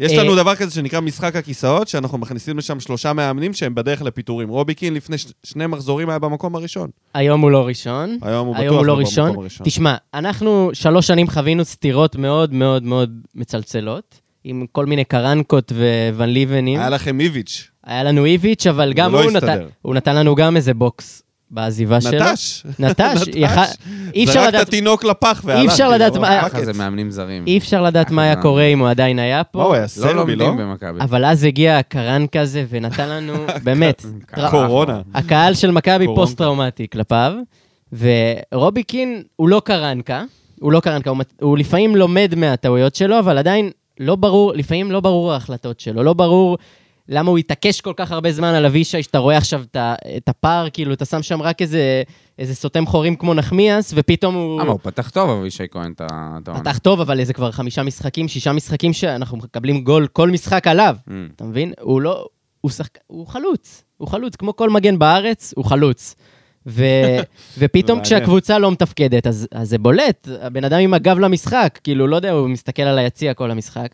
Speaker 1: יש
Speaker 2: אה,
Speaker 1: לנו דבר כזה שנקרא משחק הכיסאות, שאנחנו מכניסים לשם שלושה מאמנים שהם בדרך לפיטורים. רוביקין לפני ש- שני מחזורים היה במקום הראשון.
Speaker 2: היום הוא לא ראשון.
Speaker 1: היום הוא בטוח
Speaker 2: היום הוא לא
Speaker 1: במקום
Speaker 2: ראשון.
Speaker 1: הראשון.
Speaker 2: תשמע, אנחנו שלוש שנים חווינו סתירות מאוד מאוד מאוד מצלצלות, עם כל מיני קרנקות וון ליבנים.
Speaker 1: היה לכם איביץ',
Speaker 2: היה לנו איביץ', אבל גם
Speaker 1: לא
Speaker 2: הוא נתן,
Speaker 1: הסתדר.
Speaker 2: הוא נתן לנו גם איזה בוקס בעזיבה שלו.
Speaker 1: נטש.
Speaker 2: נטש. יכל- אי אפשר
Speaker 1: זרק את
Speaker 2: לדעת...
Speaker 1: התינוק לפח והלך.
Speaker 2: אפשר
Speaker 1: כאילו,
Speaker 2: לדעת מה-
Speaker 1: הפקט.
Speaker 3: ככה זה מאמנים זרים.
Speaker 2: אי אפשר לדעת מה היה קורה אם הוא עדיין היה
Speaker 1: אה. מה הוא
Speaker 2: פה,
Speaker 1: היה
Speaker 3: לא
Speaker 1: סרבי, לא?
Speaker 3: לומדים במכבי.
Speaker 2: אבל אז הגיע הקרן כזה ונתן לנו, באמת, טרא-
Speaker 1: קורונה.
Speaker 2: הקהל של מכבי
Speaker 1: קורונה.
Speaker 2: פוסט-טראומטי כלפיו, ורובי קין הוא לא קרנקה, הוא לא קרנקה, הוא, מת- הוא לפעמים לומד מהטעויות שלו, אבל עדיין לא ברור, לפעמים לא ברור ההחלטות שלו, לא ברור למה הוא התעקש כל כך הרבה זמן על אבישי, שאתה רואה עכשיו את ה- את הפער, כאילו, אתה שם שם רק איזה, איזה סותם חורים כמו נחמיאס, ופתאום הוא...
Speaker 3: למה, הוא פתח טוב, אבישי כהן, את ה- את העונה.
Speaker 2: פתח טוב, אבל איזה כבר חמישה משחקים, שישה משחקים שאנחנו מקבלים גול כל משחק עליו.
Speaker 3: Mm.
Speaker 2: אתה מבין? הוא לא... הוא שחק... הוא חלוץ. הוא חלוץ. כמו כל מגן בארץ, הוא חלוץ. ו... ופתאום
Speaker 1: מעניין.
Speaker 2: כשהקבוצה לא מתפקדת, אז, אז זה בולט. הבן אדם עם הגב למשחק, כאילו, לא יודע, הוא מסתכל על היציע כל המשחק.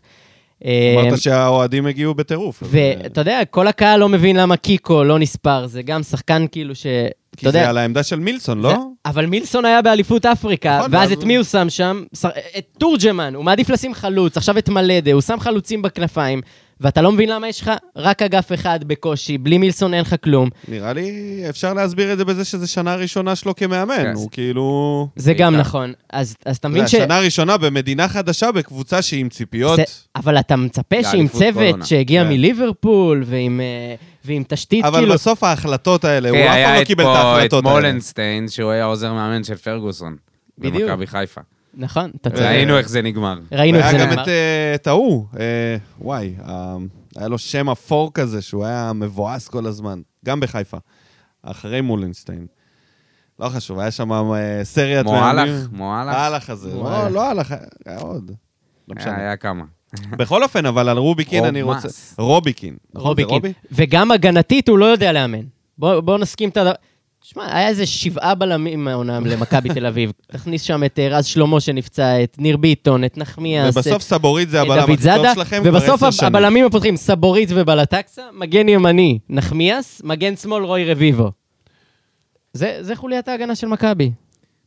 Speaker 2: אמ,
Speaker 1: אמרת שהאוהדים הגיעו בטירוף. אז, אה,
Speaker 2: ואתה יודע, כל הקהל לא מבין למה קיקו לא נספר. זה גם שחקן כאילו ש... אתה
Speaker 1: כי
Speaker 2: יודע...
Speaker 1: זה על העמדה של מילסון, לא?
Speaker 2: זה- אבל מילסון היה באליפות אפריקה,
Speaker 1: נכון,
Speaker 2: ואז
Speaker 1: ואז
Speaker 2: את
Speaker 1: הוא-
Speaker 2: מי הוא שם שם? שר- את תורג'מן, הוא מעדיף לשים חלוץ, עכשיו את מלדה, הוא שם חלוצים בכנפיים, ואתה לא מבין למה יש לך רק אגף אחד בקושי, בלי מילסון אין לך כלום.
Speaker 1: נראה לי אפשר להסביר את זה בזה שזו שנה ראשונה שלו כמאמן.
Speaker 3: כן.
Speaker 1: הוא כאילו...
Speaker 2: זה גם
Speaker 3: בעיקר.
Speaker 2: נכון. אז אז
Speaker 1: אתה
Speaker 2: אתה
Speaker 1: יודע,
Speaker 2: מבין ש...
Speaker 1: שנה ראשונה במדינה חדשה, בקבוצה שהיא עם ציפיות.
Speaker 2: זה- אבל אתה מצפה
Speaker 3: זה
Speaker 2: שעם
Speaker 3: אליפות
Speaker 2: צוות
Speaker 3: קורונה.
Speaker 2: שהגיע
Speaker 1: כן.
Speaker 2: מליברפול, ועם אה, ועם תשתית,
Speaker 1: אבל
Speaker 2: כאילו...
Speaker 1: בסוף ההחלטות האלה, הוא
Speaker 3: כן,
Speaker 1: אף פעם
Speaker 3: היה
Speaker 1: לא
Speaker 3: את
Speaker 1: קיבל את
Speaker 3: פה-
Speaker 1: ההחלטות
Speaker 3: את
Speaker 1: האלה.
Speaker 3: מולנסטיין, שהוא היה עוזר מאמן של פרגוסון.
Speaker 2: בדיוק.
Speaker 3: במכבי חיפה.
Speaker 2: נכון, אתה צודק.
Speaker 3: ראינו איך זה נגמר.
Speaker 2: ראינו איך
Speaker 1: והיה
Speaker 2: זה
Speaker 1: גם
Speaker 2: נאמר.
Speaker 1: את, אה, את ההוא, אה, וואי, אה, היה לו שם אפור כזה, שהוא היה מבואס כל הזמן, גם בחיפה, אחרי מולנסטיין. לא חשוב, היה שם אה, סריית...
Speaker 3: מועלך,
Speaker 1: מאמנים.
Speaker 3: מועלך.
Speaker 1: הלך הזה. לא,
Speaker 2: מועלך.
Speaker 1: לא הלך, היה עוד. לא
Speaker 3: היה
Speaker 1: משנה.
Speaker 3: אה, היה כמה.
Speaker 1: בכל אופן, אבל על רוביקין
Speaker 3: רוב
Speaker 1: אני רוצה...
Speaker 3: מס.
Speaker 1: רוביקין. נכון? זה
Speaker 2: רוביקין.
Speaker 1: רובי?
Speaker 2: וגם הגנתית הוא לא יודע לאמן. בואו בוא נסכים את ה... שמע, היה איזה שבעה בלמים העונה למכבי תל אביב. תכניס שם את אה, רז שלמה שנפצע, את ניר ביטון, את נחמיאס, את,
Speaker 1: ובסוף סבורית זה
Speaker 2: את
Speaker 1: הבלם
Speaker 2: דוד
Speaker 1: הכי טוב
Speaker 2: זאדה,
Speaker 1: שלכם כבר
Speaker 2: ובסוף
Speaker 1: עשר
Speaker 2: הב-
Speaker 1: שנים.
Speaker 2: הבלמים הפותחים, סבורית ובלטקסה, מגן ימני, נחמיאס, מגן שמאל, רוי רביבו. זה, זה חוליית ההגנה של מכבי.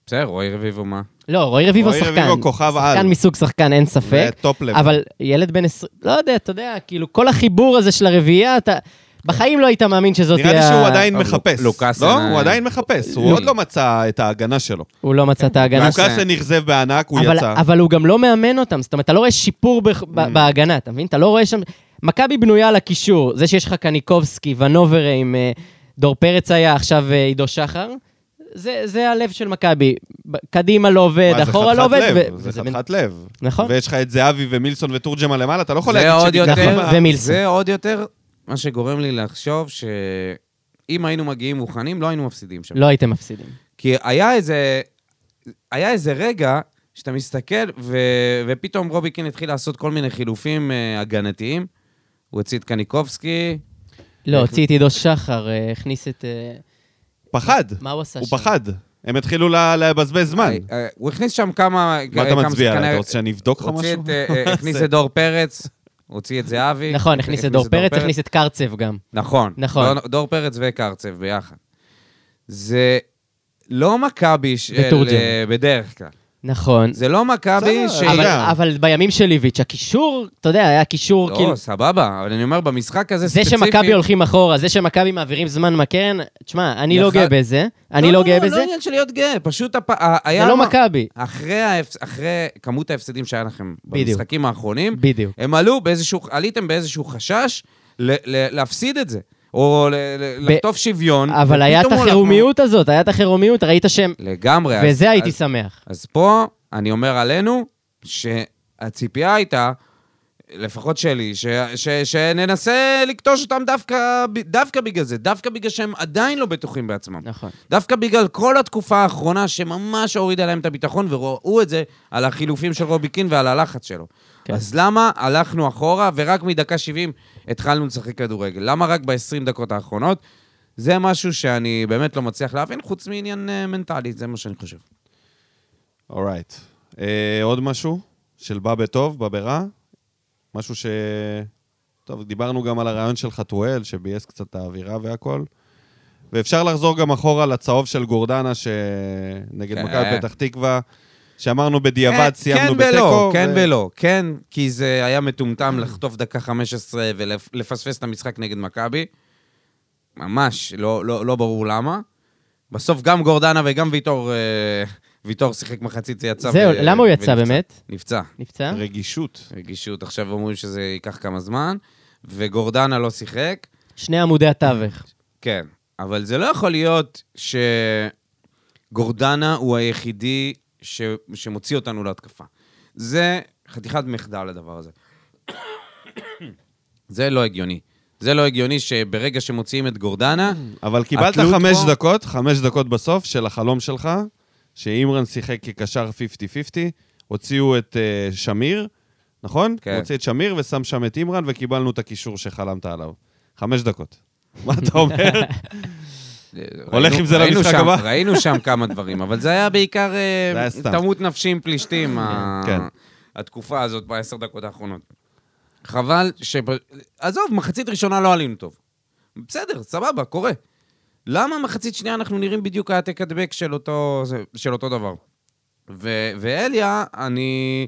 Speaker 3: בסדר, רועי רביבו מה?
Speaker 2: לא, רוי רביבו
Speaker 1: רועי
Speaker 2: שחקן.
Speaker 1: רביבו כוכב על.
Speaker 2: שחקן מסוג שחקן, אין ספק.
Speaker 1: וטופ לב.
Speaker 2: אבל ילד בן 20, לא יודע, אתה יודע, כאילו, כל החיבור הזה של הרביעייה, אתה... בחיים לא היית מאמין שזאת
Speaker 1: נראה
Speaker 2: תהיה...
Speaker 1: לי שהוא עדיין
Speaker 3: טוב,
Speaker 1: מחפש.
Speaker 3: לוקאסן
Speaker 1: לא?
Speaker 3: היה-
Speaker 1: הוא עדיין מחפש, הוא
Speaker 3: לוק-
Speaker 1: עוד לא מצא את ההגנה שלו.
Speaker 2: הוא לא מצא את ההגנה.
Speaker 3: לוקאסן.
Speaker 1: לוקאסן אכזב בענק, הוא
Speaker 2: אבל,
Speaker 1: יצא. Mm.
Speaker 2: אבל הוא גם לא מאמן אותם, זאת אומרת, אתה לא רואה שיפור בח... ב- בהגנה, אתה מבין? אתה לא רואה שם... מכבי בנויה על הקישור, זה שיש לך קניקובסקי, ונוברה עם אה, דור פרץ היה, עכשיו אה, עידו שחר, זה, זה הלב של מכבי. ב- קדימה לא עובד,
Speaker 1: מה, זה
Speaker 2: אחורה
Speaker 1: חתיכת
Speaker 2: לא עובד.
Speaker 1: לב,
Speaker 2: ו-
Speaker 1: זה
Speaker 2: וזה בן-
Speaker 1: חתיכת לב.
Speaker 2: נכון.
Speaker 1: ויש לך את זהבי ומילסון וטורג'מן למעלה, אתה לא יכול
Speaker 3: זה
Speaker 1: להגיד
Speaker 3: עוד יותר,
Speaker 1: שבגללם-
Speaker 2: נכון, ומילסון.
Speaker 3: זה עוד יותר מה שגורם לי לחשוב שאם היינו מגיעים מוכנים, לא היינו מפסידים שם.
Speaker 2: לא הייתם מפסידים.
Speaker 3: כי היה איזה, היה איזה רגע שאתה מסתכל, ו, ופתאום רובי קין התחיל לעשות כל מיני חילופים אה, הגנתיים. הוא הוציא את קניקובסקי,
Speaker 2: לא, הוציא את עידו שחר, אה, הכניס את... אה,
Speaker 1: פחד.
Speaker 2: מה הוא עשה
Speaker 1: הוא
Speaker 2: שם?
Speaker 1: פחד. הם התחילו ל- לבזבז זמן.
Speaker 3: אה, אה, הוא הכניס שם כמה... אה,
Speaker 1: מה אתה
Speaker 3: כמה
Speaker 1: מצביע
Speaker 3: שחקני-
Speaker 1: עליי? אתה רוצה שאני אבדוק לך
Speaker 3: הוציא
Speaker 1: משהו?
Speaker 3: את... אה, אה, הכניס את דור פרץ, הוציא את זהבי.
Speaker 2: נכון, הכניס את דור פרץ, הכניס את קרצב גם.
Speaker 3: נכון.
Speaker 2: נכון.
Speaker 3: דור, דור פרץ וקרצב ביחד. זה לא מכבי של...
Speaker 2: וטורג'מן.
Speaker 3: אה, בדרך כלל.
Speaker 2: נכון.
Speaker 3: זה לא מכבי
Speaker 1: בסדר,
Speaker 3: ש...
Speaker 2: אבל,
Speaker 1: יודע.
Speaker 2: אבל בימים של איביץ', הקישור, אתה יודע, היה קישור,
Speaker 3: לא,
Speaker 2: כאילו...
Speaker 3: סבבה, אבל אני אומר, במשחק הזה
Speaker 2: זה
Speaker 3: ספציפי...
Speaker 2: שמכבי הולכים אחורה, זה שמכבי מעבירים זמן מהקרן, תשמע, אני לא
Speaker 3: יכל-
Speaker 2: גאה בזה, אני לא גאה
Speaker 3: לא
Speaker 2: בזה,
Speaker 3: עניין של להיות גאה, פשוט הפ... ה- היה...
Speaker 2: זה לא
Speaker 3: מה-
Speaker 2: מכבי.
Speaker 3: אחרי, ההפס... אחרי כמות ההפסדים שהיה לכם
Speaker 2: בדיוק.
Speaker 3: במשחקים האחרונים,
Speaker 2: בדיוק.
Speaker 3: הם עלו באיזשהו... עליתם באיזשהו חשש ל... ל... להפסיד את זה, או ל... ל...
Speaker 2: ב-
Speaker 3: לחטוף שוויון.
Speaker 2: אבל היה את
Speaker 3: ופתאום הוא
Speaker 2: החירומיות הזאת, היה את החירומיות, ראית שהם...
Speaker 3: לקח- לגמרי. לא, אז-
Speaker 2: וזה הייתי
Speaker 3: אז-
Speaker 2: שמח.
Speaker 3: אז פה אני אומר עלינו שהציפייה הייתה אה, לפחות שלי, ש, ש, שננסה לכתוש אותם דווקא, ב- דווקא בגלל זה, דווקא בגלל שהם עדיין לא בטוחים בעצמם.
Speaker 2: נכון.
Speaker 3: דווקא בגלל כל התקופה האחרונה שממש הורידה להם את הביטחון, וראו את זה על החילופים של רובי קין ועל הלחץ שלו.
Speaker 2: כן.
Speaker 3: כן. אז למה הלכנו אחורה ורק מדקה 70 התחלנו לשחק כדורגל? למה רק ב-20 דקות האחרונות? זה משהו שאני באמת לא מצליח להבין, חוץ מעניין אה, מנטלי, זה מה שאני חושב.
Speaker 1: אורייט. אה, עוד משהו? של בא בטוב, בא ברע? משהו ש... טוב, דיברנו גם על הרעיון של חתואל, שביאס קצת את האווירה והכל. ואפשר לחזור גם אחורה לצהוב של גורדנה, שנגד
Speaker 3: כן.
Speaker 1: מכבי פתח תקווה, שאמרנו בדיעבד,
Speaker 3: כן,
Speaker 1: סיימנו
Speaker 3: כן ולא,
Speaker 1: בתיקו.
Speaker 3: כן
Speaker 1: ו-
Speaker 3: ולא, כן, כי זה היה מטומטם לחטוף דקה 15 ולפספס את המשחק נגד מכבי. ממש, לא, לא, לא ברור למה. בסוף גם גורדנה וגם ויטור, אה, ויטור שיחק מחצית, זה יצא.
Speaker 2: זהו,
Speaker 3: ו-
Speaker 2: למה הוא יצא
Speaker 3: ונפצע.
Speaker 2: באמת?
Speaker 3: אה, נפצע.
Speaker 2: נפצע?
Speaker 1: רגישות.
Speaker 3: רגישות, עכשיו אומרים שזה ייקח כמה זמן, וגורדנה לא שיחק.
Speaker 2: שני עמודי התווך.
Speaker 3: כן, אבל זה לא יכול להיות שגורדנה הוא היחידי ש... שמוציא אותנו להתקפה. זה חתיכת מחדל הדבר הזה. זה לא הגיוני. זה לא הגיוני שברגע שמוציאים את גורדנה,
Speaker 1: אבל קיבלת
Speaker 3: התלות
Speaker 1: חמש
Speaker 3: פה-
Speaker 1: דקות, חמש דקות בסוף של החלום שלך, שאימרן שיחק כקשר 50-50, הוציאו את אה, שמיר, נכון?
Speaker 3: כן.
Speaker 1: הוא הוציא את שמיר ושם שם את אימרן, וקיבלנו את הקישור שחלמת עליו. חמש דקות. מה אתה אומר? הולך
Speaker 3: ראינו-
Speaker 1: עם זה
Speaker 3: ראינו
Speaker 1: למשחק
Speaker 3: שם-
Speaker 1: הבא.
Speaker 3: ראינו שם כמה דברים, אבל זה היה בעיקר אה,
Speaker 1: זה היה סתם.
Speaker 3: תמות נפשי עם פלישתים, ה-
Speaker 1: כן.
Speaker 3: התקופה הזאת בעשר דקות האחרונות. חבל ש... עזוב, מחצית ראשונה לא עלינו טוב. בסדר, סבבה, קורה. למה מחצית שנייה אנחנו נראים בדיוק העתק הדבק של אותו, של אותו דבר? ו- ואליה, אני...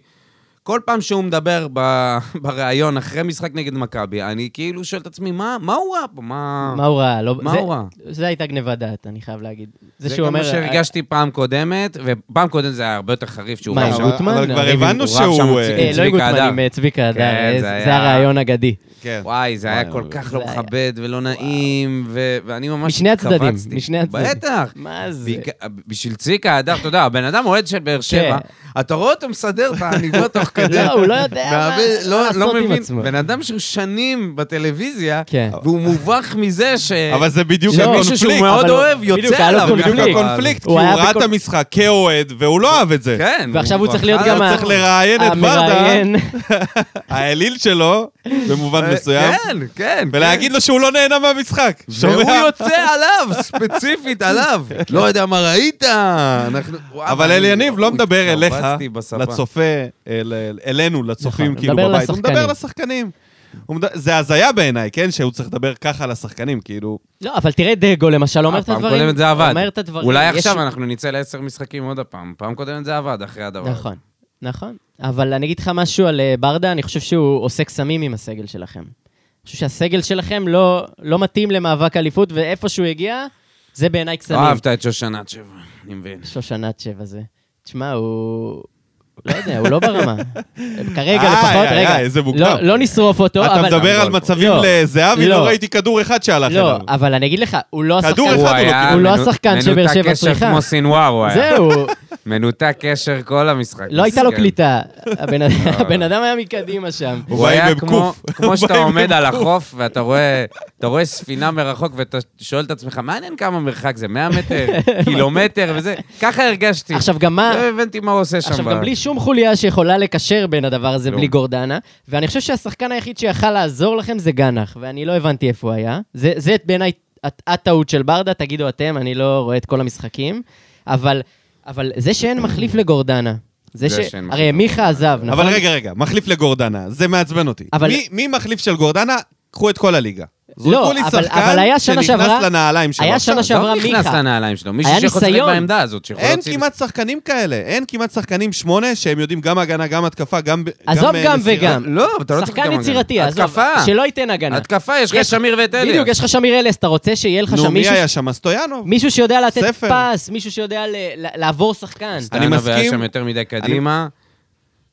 Speaker 3: כל פעם שהוא מדבר ב- בריאיון אחרי משחק נגד מכבי, אני כאילו שואל את עצמי, מה, מה הוא ראה פה? מה...
Speaker 2: מה הוא ראה? לא-
Speaker 3: אה. מה
Speaker 2: זה-
Speaker 3: הוא ראה?
Speaker 2: זה הייתה גניבת דעת, אני חייב להגיד. זה
Speaker 3: זה
Speaker 2: שהוא אומר... אה,
Speaker 3: זה גם מה שהרגשתי פעם קודמת, ופעם קודמת זה היה הרבה יותר חריף שהוא
Speaker 2: מה,
Speaker 3: רב
Speaker 2: עם
Speaker 1: אבל-
Speaker 3: שם.
Speaker 2: גוטמן?
Speaker 1: אבל כבר
Speaker 2: הריב עם-
Speaker 1: הבנו
Speaker 3: הוא רב שם
Speaker 1: שהוא...
Speaker 3: הצידה.
Speaker 1: אה,
Speaker 2: אה, לא עם
Speaker 3: צביקה
Speaker 2: גוטמן,
Speaker 3: הדר.
Speaker 2: עם אה, צביקה הדר.
Speaker 3: כן,
Speaker 2: אה,
Speaker 3: זה
Speaker 2: זה
Speaker 3: היה-
Speaker 2: הרעיון אגדי.
Speaker 1: כן.
Speaker 3: וואי, זה היה
Speaker 1: וואי,
Speaker 3: כל
Speaker 1: וואי.
Speaker 3: כך לא
Speaker 2: זה היה-
Speaker 3: מכבד ולא נעים, ו- ואני ממש
Speaker 2: משני הצדדים,
Speaker 3: קפצתי.
Speaker 2: משני הצדדים.
Speaker 3: בטח.
Speaker 2: מה זה?
Speaker 3: בעיקר- בשביל צביקה הדר, אתה יודע, הבן אדם אוהד של באר שבע, אתה רואה אותו מסדר את העניבות תוך כדי.
Speaker 2: כן. לא, הוא לא יודע מה-
Speaker 3: מאבד-
Speaker 2: מה
Speaker 3: לא-
Speaker 2: לעשות
Speaker 3: לא
Speaker 2: עם
Speaker 3: מבין,
Speaker 2: עצמו.
Speaker 3: בן אדם שהוא שנים בטלוויזיה,
Speaker 2: כן.
Speaker 3: והוא מובך מזה ש...
Speaker 1: אבל זה בדיוק
Speaker 2: לא,
Speaker 3: שמישהו שהוא
Speaker 1: הקונפליקט.
Speaker 3: מאוד
Speaker 2: אבל הוא-
Speaker 3: אוהב
Speaker 2: בדיוק,
Speaker 3: יוצא
Speaker 2: היה לו
Speaker 3: עליו.
Speaker 1: זה בדיוק
Speaker 2: קונפליקט.
Speaker 1: הקונפליקט, כי
Speaker 2: הוא
Speaker 1: הוא
Speaker 2: היה
Speaker 1: ראה את
Speaker 2: בקונ-
Speaker 1: המשחק כאוהד, והוא לא אהב את זה.
Speaker 3: כן.
Speaker 2: ועכשיו הוא צריך להיות
Speaker 3: בחר-
Speaker 2: גם
Speaker 1: הוא
Speaker 2: ה-
Speaker 1: צריך לראיין את ברדה,
Speaker 2: המראיין.
Speaker 1: האליל שלו, במובן מסוים,
Speaker 3: כן, כן.
Speaker 1: ולהגיד לו שהוא לא נהנה מהמשחק.
Speaker 3: והוא
Speaker 1: שומע?
Speaker 3: יוצא עליו, ספציפית עליו. לא יודע מה ראית. אנחנו... וואו,
Speaker 1: כן. אבל אל
Speaker 3: אני-
Speaker 1: יניב לא
Speaker 3: הוא-
Speaker 1: מדבר אליך,
Speaker 3: התכווצתי בספה.
Speaker 1: לצופה, אל- אל- אלינו, לצופים
Speaker 2: נכון,
Speaker 1: כאילו
Speaker 2: מדבר
Speaker 1: בבית. הוא מדבר
Speaker 2: לשחקנים.
Speaker 1: לשחקנים. הוא מד- זה הזיה בעיניי, כן? שהוא צריך לדבר ככה לשחקנים, כאילו...
Speaker 2: לא, אבל תראה, דגו למשל אומר את הדברים.
Speaker 3: אה, פעם קודמת זה עבד.
Speaker 2: אומר את הדברים.
Speaker 3: אולי
Speaker 2: יש-
Speaker 3: עכשיו אנחנו נצא לעשר משחקים עוד הפעם. פעם קודמת זה עבד, אחרי הדבר. הזה.
Speaker 2: נכון, נכון. אבל אני אגיד לך משהו על אה, ברדה, אני חושב שהוא עושה קסמים עם הסגל שלכם. אני חושב שהסגל שלכם לא, לא מתאים למאבק אליפות, ואיפה שהוא הגיע, זה בעיניי קסמים.
Speaker 3: לא אהבת את שושנת שבע, אני מבין.
Speaker 2: שושנת שבע זה. תשמע, הוא... לא יודע, הוא לא ברמה. כרגע
Speaker 1: איי,
Speaker 2: לפחות,
Speaker 1: איי,
Speaker 2: רגע.
Speaker 1: איי, איזה מוקדם.
Speaker 2: לא, לא נשרוף אותו,
Speaker 1: אתה
Speaker 2: אבל...
Speaker 1: מדבר על
Speaker 3: לא,
Speaker 1: מצבים
Speaker 2: לא,
Speaker 1: לזהבי,
Speaker 2: לא.
Speaker 1: לא ראיתי כדור אחד שהלך
Speaker 2: לא,
Speaker 1: אליו.
Speaker 2: אבל אני אגיד לך, הוא לא
Speaker 1: כדור
Speaker 2: השחקן...
Speaker 1: אחד. הוא לא
Speaker 3: היה
Speaker 2: הוא לא
Speaker 3: מנו-
Speaker 2: השחקן שבאר שבע
Speaker 3: מנותק קשר
Speaker 2: צריכה.
Speaker 3: כמו סינואר הוא היה.
Speaker 2: זהו,
Speaker 3: מנותק קשר כל המשחק. כן.
Speaker 2: לא הייתה לו
Speaker 3: מסכן.
Speaker 2: קליטה. הבן אדם- הבן אדם היה מקדימה שם.
Speaker 1: הוא
Speaker 3: הוא
Speaker 1: בא עם
Speaker 3: היה
Speaker 1: מ"ק.
Speaker 3: כמו,
Speaker 1: הוא בא
Speaker 3: כמו שאתה
Speaker 1: עם
Speaker 3: עומד
Speaker 1: מ"ק.
Speaker 3: על החוף ואתה רואה, אתה רואה ספינה מרחוק ואתה שואל את עצמך, מעניין כמה מרחק זה, 100 מטר, קילומטר וזה, ככה הרגשתי.
Speaker 2: עכשיו, גם מה...
Speaker 3: לא הבנתי מה הוא עושה שם.
Speaker 2: עכשיו,
Speaker 3: ב-
Speaker 2: גם בלי שום חוליה שיכולה לקשר בין הדבר הזה,
Speaker 3: לא.
Speaker 2: בלי גורדנה, ואני חושב שהשחקן היחיד שיכל לעזור לכם זה גנח, ואני לא הבנתי איפה הוא היה. זה, זה בעיניי הט- הטעות של ברדה, תגידו אתם, אני לא רואה את כל המשחקים, אבל, אבל זה שאין מחליף לגורדנה, זה ש...
Speaker 3: זה שאין
Speaker 2: הרי
Speaker 3: מחליף
Speaker 2: מיכה עזב, נכון?
Speaker 1: אבל רגע, רגע, מחליף לגורדנה, זה מעצבן אותי.
Speaker 2: אבל- לא,
Speaker 1: מי- מי מחליף של גורדנה? קחו את כל הליגה. זרקו לי
Speaker 2: אבל- אבל
Speaker 1: שחקן
Speaker 2: היה שנה שעברה-
Speaker 1: שנכנס לנעליים שלו.
Speaker 2: היה
Speaker 1: עכשיו,
Speaker 2: שנה שעברה
Speaker 3: עזוב, נכנס
Speaker 2: מיכה.
Speaker 3: לנעליים שלו, מישהו
Speaker 2: היה
Speaker 3: שיכול לשחק
Speaker 2: ניסיון.
Speaker 3: בעמדה הזאת, שיכול
Speaker 1: אין
Speaker 3: להוציא-
Speaker 1: כמעט שחקנים כאלה, אין כמעט שחקנים שמונה שהם יודעים גם הגנה, גם התקפה, גם... ב-
Speaker 2: עזוב
Speaker 1: אה,
Speaker 2: גם
Speaker 1: מסירה.
Speaker 2: וגם.
Speaker 3: לא, אתה לא צריך
Speaker 2: שחקן
Speaker 3: גם הגנה.
Speaker 2: יצירתי, עזוב,
Speaker 3: התקפה.
Speaker 2: שלא ייתן הגנה.
Speaker 3: התקפה, יש לך
Speaker 2: יש-
Speaker 3: שמיר ואת אליאס.
Speaker 2: בדיוק, יש לך שמיר אליאס, אתה רוצה שיהיה לך
Speaker 1: נו,
Speaker 2: שם
Speaker 1: מי
Speaker 2: מישהו...
Speaker 1: היה שם? סטויאנוב?
Speaker 2: מישהו שיודע לתת
Speaker 1: ספר.
Speaker 2: פס, מישהו שיודע ל- ל- לעבור שחקן.
Speaker 3: אני
Speaker 1: אני
Speaker 3: מסכים. היה
Speaker 1: מסכים.
Speaker 3: שם יותר מדי קדימה.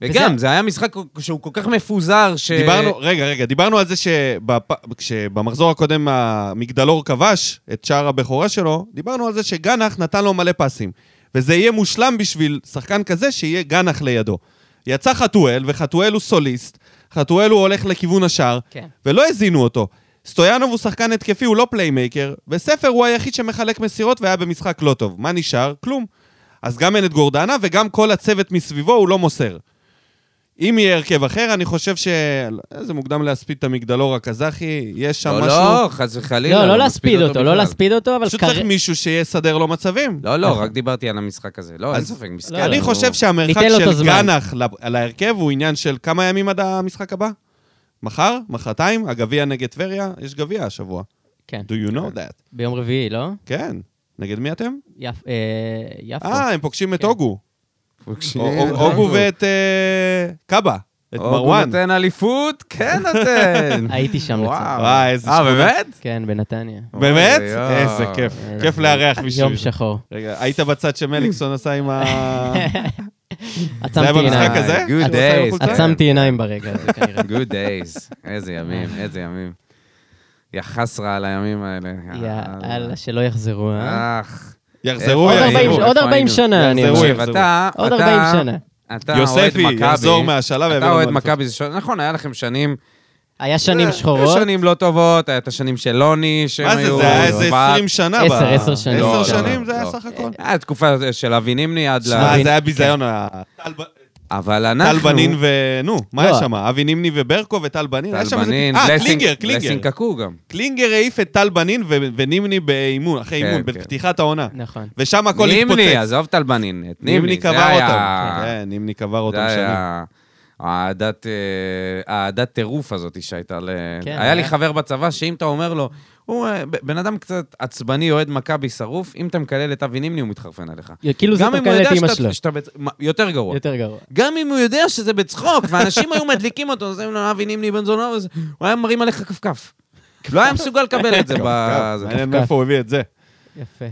Speaker 3: וגם,
Speaker 2: וזה-
Speaker 3: זה היה משחק שהוא כל כך מפוזר, ש...
Speaker 1: דיברנו, רגע, רגע, דיברנו על זה שבפ- כשבמחזור הקודם המגדלור כבש את שער הבכורה שלו, דיברנו על זה שגנח נתן לו מלא פסים. וזה יהיה מושלם בשביל שחקן כזה שיהיה גנח לידו. יצא חתואל, וחתואל הוא סוליסט. חתואלו הולך לכיוון השער,
Speaker 2: כן.
Speaker 1: ולא הזינו אותו. סטויאנוב הוא שחקן התקפי, הוא לא פליימייקר, וספר הוא היחיד שמחלק מסירות והיה במשחק לא טוב. מה נשאר? כלום. אז גם אין את גורדנה וגם כל הצוות מסביבו הוא לא מוסר. אם יהיה הרכב אחר, אני חושב ש... אה, זה מוקדם להספיד את המגדלור הקזחי, יש שם
Speaker 3: לא,
Speaker 1: משהו...
Speaker 3: לא, חס וחלילה.
Speaker 2: לא, לא
Speaker 3: מספיד
Speaker 2: להספיד אותו, לא
Speaker 3: בכלל.
Speaker 2: להספיד אותו, אבל
Speaker 1: פשוט
Speaker 2: כר-
Speaker 1: צריך מישהו שיסדר לו מצבים.
Speaker 3: לא, לא, רק דיברתי על המשחק הזה. לא, אין
Speaker 1: אז-
Speaker 3: ספק, מסכן.
Speaker 1: אני
Speaker 3: הוא-
Speaker 1: חושב
Speaker 2: ניתן
Speaker 1: שהמרחק
Speaker 2: לו את
Speaker 1: של
Speaker 2: הזמן.
Speaker 1: גנח לה- להרכב הוא עניין של כמה ימים עד המשחק הבא? מחר? מחרתיים? הגביע נגד טבריה? יש גביע השבוע.
Speaker 2: כן,
Speaker 1: Do you know that?
Speaker 2: ביום רביעי, לא?
Speaker 1: כן. נגד מי אתם?
Speaker 2: יפ- אה, יפו.
Speaker 1: אה, הם פוגשים את
Speaker 2: כן.
Speaker 1: אוגו.
Speaker 3: תקשיב,
Speaker 1: או- או- אוגו ואת אה, קאבה. את
Speaker 3: כן, אוגו
Speaker 1: מרואן.
Speaker 3: נותן אליפות? כן נותן.
Speaker 2: הייתי שם
Speaker 3: וואו.
Speaker 2: לצערי.
Speaker 1: וואי, איזה
Speaker 3: אה,
Speaker 1: שכונה.
Speaker 3: באמת?
Speaker 2: כן, בנתניה.
Speaker 1: באמת?
Speaker 3: אוי, יואו.
Speaker 1: איזה כיף.
Speaker 2: איזה
Speaker 1: כיף לארח מישהו.
Speaker 2: יום שחור.
Speaker 1: רגע, היית בצד שמליקסון עשה עם ה... זה היה
Speaker 2: עצמתי
Speaker 1: במשחק
Speaker 2: עיניים.
Speaker 1: הזה?
Speaker 3: Good
Speaker 1: שהוא עשה עם
Speaker 3: days.
Speaker 1: החולצה?
Speaker 2: עצמתי עיניים ברגע הזה כנראה.
Speaker 3: Good days. איזה ימים, איזה ימים. יא חסרה על הימים האלה.
Speaker 2: יאללה, שלא יחזרו, אה?
Speaker 3: אך.
Speaker 1: יחזרו,
Speaker 2: עוד
Speaker 3: איפה
Speaker 2: 40
Speaker 3: היינו?
Speaker 1: יחזרו.
Speaker 2: עוד 40
Speaker 3: איפה
Speaker 2: שנה,
Speaker 3: היינו?
Speaker 1: אני אומר.
Speaker 3: תקשיב, אתה...
Speaker 2: עוד
Speaker 3: אתה-
Speaker 2: 40 שנה.
Speaker 3: אתה אוהד
Speaker 1: יוספי
Speaker 3: מכבי.
Speaker 1: יחזור מהשאלה
Speaker 3: אתה
Speaker 1: ויביא לנו
Speaker 3: אוהד
Speaker 1: אליפות.
Speaker 3: מכבי, זה ש- נכון, היה לכם שנים...
Speaker 2: היה שנים שחורות.
Speaker 3: היו שנים לא טובות, היה את השנים של לוני, שהם
Speaker 1: מה זה,
Speaker 3: היו...
Speaker 1: זה היה איזה
Speaker 3: בת-
Speaker 1: 20 שנה.
Speaker 2: עשר,
Speaker 1: ב-
Speaker 2: עשר שנים.
Speaker 1: עשר
Speaker 2: לא, כן.
Speaker 1: שנים
Speaker 3: לא,
Speaker 1: זה היה
Speaker 3: לא.
Speaker 1: סך הכל.
Speaker 3: היה תקופה של אבי נימני עד ל...
Speaker 1: שמע,
Speaker 2: אבי-
Speaker 1: זה היה ביזיון. ה-
Speaker 3: אבל אנחנו...
Speaker 1: טל בנין ו... נו, מה
Speaker 2: לא.
Speaker 1: היה שם? אבי נימני וברקו וטל בנין? היה
Speaker 3: טל
Speaker 1: שם איזה-
Speaker 3: בנין,
Speaker 1: אה,
Speaker 3: בלסינג-
Speaker 1: קלינגר, קלינגר.
Speaker 3: בלסינג קקו גם.
Speaker 1: קלינגר העיף את טל בנין ו- ונימני באימון, אחרי
Speaker 3: כן,
Speaker 1: אימון,
Speaker 3: כן.
Speaker 1: בפתיחת העונה.
Speaker 2: נכון.
Speaker 1: ושם הכל התפוצץ.
Speaker 3: נימני, עזוב טל בנין, את נימני,
Speaker 1: נימני
Speaker 3: זה
Speaker 1: קבר אותם.
Speaker 3: היה...
Speaker 1: כן, נימני קבר
Speaker 3: זה
Speaker 1: אותם שנים.
Speaker 3: היה... האהדת, אה, האהדת טירוף הזאת שהייתה ל...
Speaker 2: כן,
Speaker 3: היה לי
Speaker 2: היה-
Speaker 3: חבר בצבא, שאם אתה אומר לו, הוא אה, ב- בן אדם קצת עצבני, אוהד מכבי שרוף, אם אתה מקלל את אבי נימני, הוא מתחרפן עליך.
Speaker 2: כאילו זה
Speaker 3: גם אם הוא
Speaker 2: תוקן את
Speaker 3: יודע
Speaker 2: אימא
Speaker 3: שאתה-
Speaker 2: שלו.
Speaker 3: שאתה... בצ- מה, יותר גרוע.
Speaker 2: יותר גרוע.
Speaker 3: גם אם הוא יודע שזה בצחוק, ואנשים היו מדליקים אותו, אז הם לא אבי נימני בן זונה, אז הוא היה מרים עליך כפכף. לא היה מסוגל לקבל את זה. ב- זה.
Speaker 1: מעניין מאיפה הוא הביא את זה.
Speaker 2: יפה.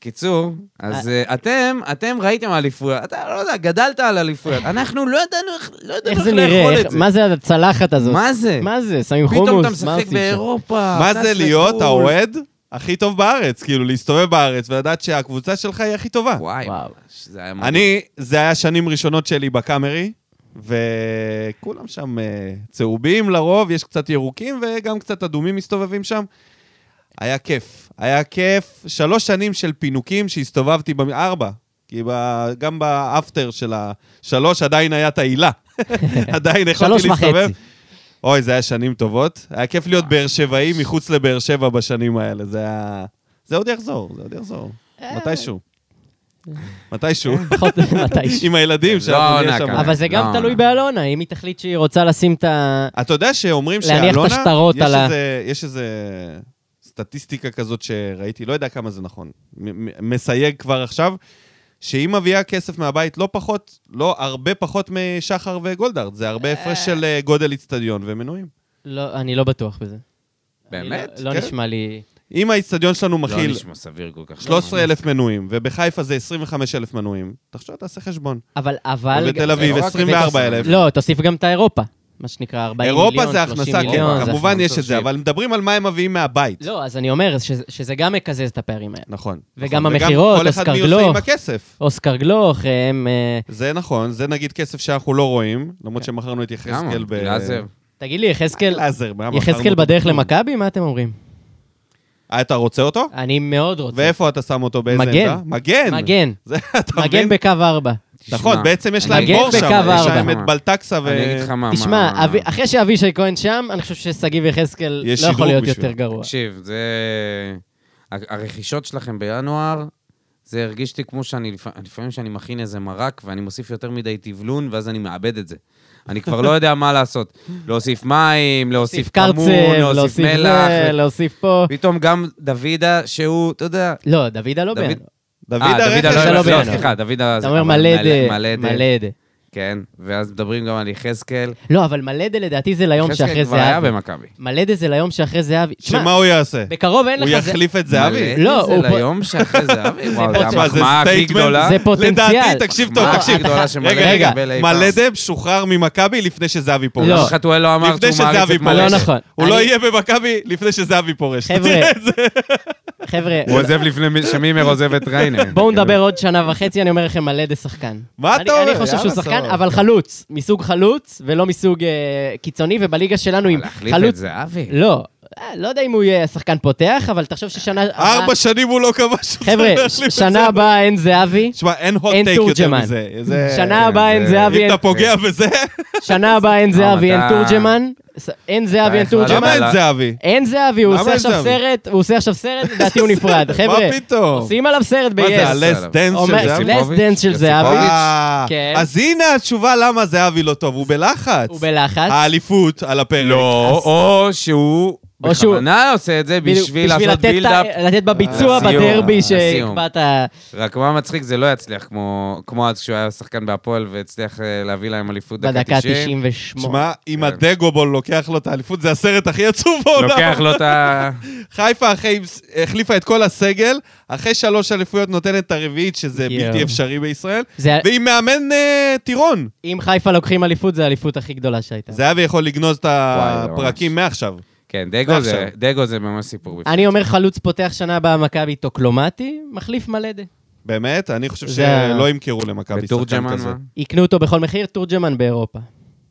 Speaker 3: קיצור, אז אה, אתם, אתם ראיתם אליפויות, אתה לא יודע, גדלת על אליפויות. אנחנו לא ידענו איך, לא ידענו
Speaker 2: איך
Speaker 3: איך
Speaker 2: זה נראה?
Speaker 3: לאכול
Speaker 2: איך-
Speaker 3: את זה.
Speaker 2: מה זה הצלחת הזאת?
Speaker 3: מה זה?
Speaker 2: מה זה? שמים חומוס?
Speaker 3: פתאום אתה
Speaker 2: מה
Speaker 3: משחק
Speaker 2: עושים שם?
Speaker 3: באירופה.
Speaker 1: מה
Speaker 3: טס
Speaker 1: זה להיות
Speaker 3: לחו"ל.
Speaker 1: האוהד הכי טוב בארץ? כאילו, להסתובב בארץ ולדעת שהקבוצה שלך היא הכי טובה.
Speaker 3: וואי,
Speaker 2: וואו.
Speaker 3: זה היה מדהים.
Speaker 1: אני, זה היה שנים ראשונות שלי בקאמרי, וכולם שם אה, צהובים לרוב, יש קצת ירוקים וגם קצת אדומים מסתובבים שם. היה כיף, היה כיף. שלוש שנים של פינוקים שהסתובבתי, במ... ארבע, כי ב... גם באפטר של השלוש עדיין היה את ההילה. עדיין
Speaker 2: שלוש
Speaker 1: יכולתי להסתובב.
Speaker 2: וחצי.
Speaker 1: אוי, זה היה שנים טובות. היה כיף להיות באר שבעי מחוץ לבאר שבע בשנים האלה. זה היה... זה עוד יחזור, זה עוד יחזור. מתישהו. מתישהו.
Speaker 2: פחות מתישהו.
Speaker 1: עם הילדים
Speaker 3: לא
Speaker 1: שאנחנו נהיה
Speaker 3: העונה
Speaker 1: שם.
Speaker 3: כמה.
Speaker 2: אבל זה גם
Speaker 3: לא.
Speaker 2: תלוי באלונה, אם היא תחליט שהיא רוצה לשים את ה...
Speaker 1: אתה יודע שאומרים
Speaker 2: להניח את
Speaker 1: שאלונה,
Speaker 2: השטרות
Speaker 1: יש
Speaker 2: על ה-
Speaker 1: איזה- יש איזה סטטיסטיקה כזאת שראיתי, לא יודע כמה זה נכון, מ- מ- מסייג כבר עכשיו, שהיא מביאה כסף מהבית לא פחות, לא הרבה פחות משחר וגולדהרד, זה הרבה הפרש של אה, גודל איצטדיון ומנויים.
Speaker 2: לא, אני לא בטוח בזה.
Speaker 3: באמת?
Speaker 2: אני לא, לא
Speaker 1: כן.
Speaker 2: נשמע לי...
Speaker 1: אם האיצטדיון שלנו
Speaker 3: לא
Speaker 1: מכיל
Speaker 3: נשמע לא סביר כל כך.
Speaker 1: 13,000 מנויים, ובחיפה זה 25,000 מנויים, תחשוב, תעשה חשבון.
Speaker 2: אבל, אבל...
Speaker 1: ובתל אביב
Speaker 3: לא רק
Speaker 1: 24,000.
Speaker 2: לא, תוסיף גם את האירופה. מה שנקרא 40 מיליון, 30
Speaker 1: אירופה
Speaker 2: מיליון.
Speaker 1: זה הכנסה, כן,
Speaker 2: זה
Speaker 1: כמובן
Speaker 3: הכנסה.
Speaker 1: יש את זה, אבל מדברים על מה הם מביאים מהבית.
Speaker 2: לא, אז אני אומר שזה, שזה גם מקזז את הפערים האלה.
Speaker 1: נכון.
Speaker 2: וגם
Speaker 1: נכון.
Speaker 2: המכירות,
Speaker 1: כל אחד
Speaker 2: אוסקר
Speaker 1: מי עושה
Speaker 2: גלוך.
Speaker 1: עם הכסף.
Speaker 2: אוסקר גלוך, הם... אה,
Speaker 1: זה נכון, זה נגיד כסף שאנחנו לא רואים,
Speaker 3: כן.
Speaker 1: למרות שמכרנו את
Speaker 3: כמה?
Speaker 1: יחזקאל ב...
Speaker 3: גלאזר.
Speaker 2: תגיד לי, יחזקאל...
Speaker 1: גלאזר, מה, מכרנו
Speaker 2: יחזקאל
Speaker 1: אותו
Speaker 2: בדרך
Speaker 1: בכלום.
Speaker 2: למכבי? מה אתם אומרים?
Speaker 1: אה, אתה רוצה אותו?
Speaker 2: אני מאוד רוצה.
Speaker 1: ואיפה אתה שם אותו? באיזה
Speaker 2: מגן.
Speaker 1: עמדה? מגן.
Speaker 2: מגן.
Speaker 1: זה, אתה
Speaker 2: מגן
Speaker 1: מבין?
Speaker 2: בקו 4.
Speaker 1: נכון, בעצם יש
Speaker 3: אני
Speaker 1: להם
Speaker 2: מגן
Speaker 1: בור שם.
Speaker 2: בקו
Speaker 1: יש
Speaker 2: ארבע.
Speaker 1: להם את בלטקסה ו...
Speaker 3: אני אגיד לך מה,
Speaker 2: תשמע,
Speaker 3: מה-
Speaker 2: אבי- אחרי שאבישי כהן שם, אני חושב ששגיב יחזקאל
Speaker 1: יש
Speaker 2: לא יכול
Speaker 1: שדרוג
Speaker 2: להיות
Speaker 1: בשבילו.
Speaker 2: יותר גרוע.
Speaker 3: תקשיב, זה... ה- הרכישות שלכם בינואר, זה הרגיש לי כמו שאני, לפ- לפעמים שאני מכין איזה מרק ואני מוסיף יותר מדי טבלון, ואז אני מאבד את זה. אני כבר לא יודע מה לעשות. להוסיף מים, להוסיף
Speaker 2: להוסיף
Speaker 3: כמון,
Speaker 2: קרצב,
Speaker 3: להוסיף
Speaker 2: להוסיף
Speaker 3: מלח.
Speaker 2: זה, לא-
Speaker 3: ו-
Speaker 2: להוסיף פה.
Speaker 3: פתאום גם דוידה, שהוא, אתה יודע...
Speaker 2: לא, דוידה לא
Speaker 3: דוד-
Speaker 2: בינואר.
Speaker 1: דוד
Speaker 3: אה,
Speaker 1: הרכב
Speaker 2: לא-
Speaker 1: שלהם.
Speaker 2: לא
Speaker 3: לא,
Speaker 2: בינואר.
Speaker 3: סליחה, דוידה...
Speaker 2: אתה
Speaker 3: זה-
Speaker 2: אומר
Speaker 3: אבל
Speaker 2: מלדה,
Speaker 3: מלדה,
Speaker 2: מלדה.
Speaker 3: כן, ואז מדברים גם על יחזקאל.
Speaker 2: לא, אבל מלדה לדעתי זה ליום
Speaker 3: יחזקאל
Speaker 2: שאחרי
Speaker 3: כבר היה
Speaker 2: זהבי.
Speaker 3: במכבי.
Speaker 2: מלדה זה ליום שאחרי זהבי.
Speaker 1: שמה
Speaker 2: תשמע,
Speaker 1: הוא יעשה?
Speaker 2: בקרוב אין
Speaker 1: הוא
Speaker 2: לך זה.
Speaker 1: יחליף את זהבי?
Speaker 3: מלדה
Speaker 2: לא, הוא
Speaker 3: זה
Speaker 2: פה-
Speaker 3: ליום שאחרי זהבי, וואו, זה
Speaker 1: תשמע, זה
Speaker 3: המחמאה הכי
Speaker 1: סטייטמנט.
Speaker 3: גדולה.
Speaker 2: לא, זה פוטנציאל.
Speaker 1: לדעתי, תקשיב טוב,
Speaker 3: מה
Speaker 1: תקשיב.
Speaker 3: הכי גדולה שמלא
Speaker 1: רגע, רגע,
Speaker 3: יקבל אי פעם?
Speaker 1: מלדה שוחרר ממכבי לפני שזהבי פורש.
Speaker 2: לא.
Speaker 3: למה חתואל לא אמר
Speaker 1: לפני
Speaker 3: שהוא מעריץ
Speaker 1: שזהבי
Speaker 3: את
Speaker 1: פורש.
Speaker 2: לא
Speaker 3: מלא?
Speaker 2: נכון.
Speaker 1: הוא לא
Speaker 2: אני-
Speaker 1: יהיה במכבי לפני שזהבי פורש.
Speaker 2: חבר'ה,
Speaker 1: תראה את זה.
Speaker 2: חבר'ה,
Speaker 3: הוא עוזב לפני מי- שמימר עוזב את ריינה.
Speaker 2: בואו נדבר עוד שנה וחצי, אני אומר לכם, מלא דה שחקן.
Speaker 1: מה
Speaker 2: אני-
Speaker 1: אתה אומר?
Speaker 2: אני חושב שהוא
Speaker 1: יאללה,
Speaker 2: שחקן,
Speaker 1: סבבה.
Speaker 2: אבל חלוץ. מסוג חלוץ, ולא מסוג אה, קיצוני, ובליגה שלנו עם
Speaker 3: להחליף את
Speaker 2: חלוץ...
Speaker 3: זהבי.
Speaker 2: לא, אה, לא יודע אם הוא יהיה שחקן פותח, אבל תחשוב ששנה... הבאה-
Speaker 1: ארבע שנים הוא לא כבש.
Speaker 2: חבר'ה, ש- שנה הבאה אין זהבי,
Speaker 1: שמע, אין hot
Speaker 2: אין
Speaker 1: take יותר
Speaker 2: תורג'מן.
Speaker 1: מזה. זה-
Speaker 2: שנה הבאה אין
Speaker 3: זה-
Speaker 2: זהבי,
Speaker 1: אם
Speaker 2: אין-
Speaker 1: אתה פוגע בזה,
Speaker 3: לא,
Speaker 2: שנה הבאה אין זהבי, אין
Speaker 3: אתה-
Speaker 2: תורג'מן. ס- אין זהבי, אין
Speaker 3: אתה החלטת.
Speaker 2: תורג'מן.
Speaker 1: אה, למה אין
Speaker 3: אבל-
Speaker 1: זהבי?
Speaker 2: אין זהבי, הוא
Speaker 1: למה
Speaker 2: עושה
Speaker 1: אין
Speaker 2: עכשיו
Speaker 1: זהבי?
Speaker 2: סרט, הוא עושה עכשיו סרט, לדעתי הוא נפרד. חבר'ה,
Speaker 1: מה פתאום?
Speaker 2: עושים עליו סרט
Speaker 1: מה זה,
Speaker 2: ב-yes.
Speaker 1: הלס דנס
Speaker 2: אומר-
Speaker 1: של זהבי?
Speaker 2: לס דנס של זהבי.
Speaker 1: אה,
Speaker 2: כן.
Speaker 1: אז הנה התשובה למה זהבי לא טוב, הוא בלחץ.
Speaker 2: הוא בלחץ.
Speaker 1: האליפות על הפרק.
Speaker 3: לא, או שהוא
Speaker 2: או שהוא-
Speaker 3: בכוונה עושה את זה
Speaker 2: בדיוק,
Speaker 3: בשביל לעשות
Speaker 2: לתת את ה-
Speaker 3: בילדאפ.
Speaker 2: לתת
Speaker 1: אה,
Speaker 2: בביצוע
Speaker 3: לסיום,
Speaker 2: בדרבי
Speaker 3: לסיום.
Speaker 2: שהקבעת...
Speaker 3: רק מה מצחיק, זה לא יצליח כמו כמו אז כשהוא היה שחקן בהפועל והצליח אה, להביא להם אליפות
Speaker 2: בדקה
Speaker 3: דקה 90.
Speaker 2: 98.
Speaker 1: שמע, אם
Speaker 3: כן.
Speaker 1: הדגובול לוקח לו את האליפות, זה הסרט הכי עצוב בעולם.
Speaker 3: לוקח לו את ה...
Speaker 1: חיפה אחרי, החליפה את כל הסגל, אחרי שלוש אליפויות נותנת את הרביעית, שזה
Speaker 2: יואו.
Speaker 1: בלתי אפשרי בישראל,
Speaker 2: זה-
Speaker 1: והיא מאמן אה, טירון.
Speaker 2: אם חיפה לוקחים אליפות, זו האליפות הכי גדולה שהייתה.
Speaker 1: זהבי יכול לגנוז את
Speaker 3: וואי, זה ממש.
Speaker 1: הפרקים מעכשיו.
Speaker 3: כן, דגו זה-
Speaker 1: ועכשיו.
Speaker 3: דגו זה ממש סיפור בפני.
Speaker 2: אני אומר חלוץ פותח שנה הבאה מכבי טוקלומטי, מחליף מלדה.
Speaker 1: באמת? אני חושב
Speaker 2: זה-
Speaker 1: שלא ימכרו למכבי שחקן
Speaker 3: ותורג'מן
Speaker 1: כזה.
Speaker 2: אה,
Speaker 3: מה?
Speaker 2: יקנו אותו בכל מחיר, תורג'מן באירופה.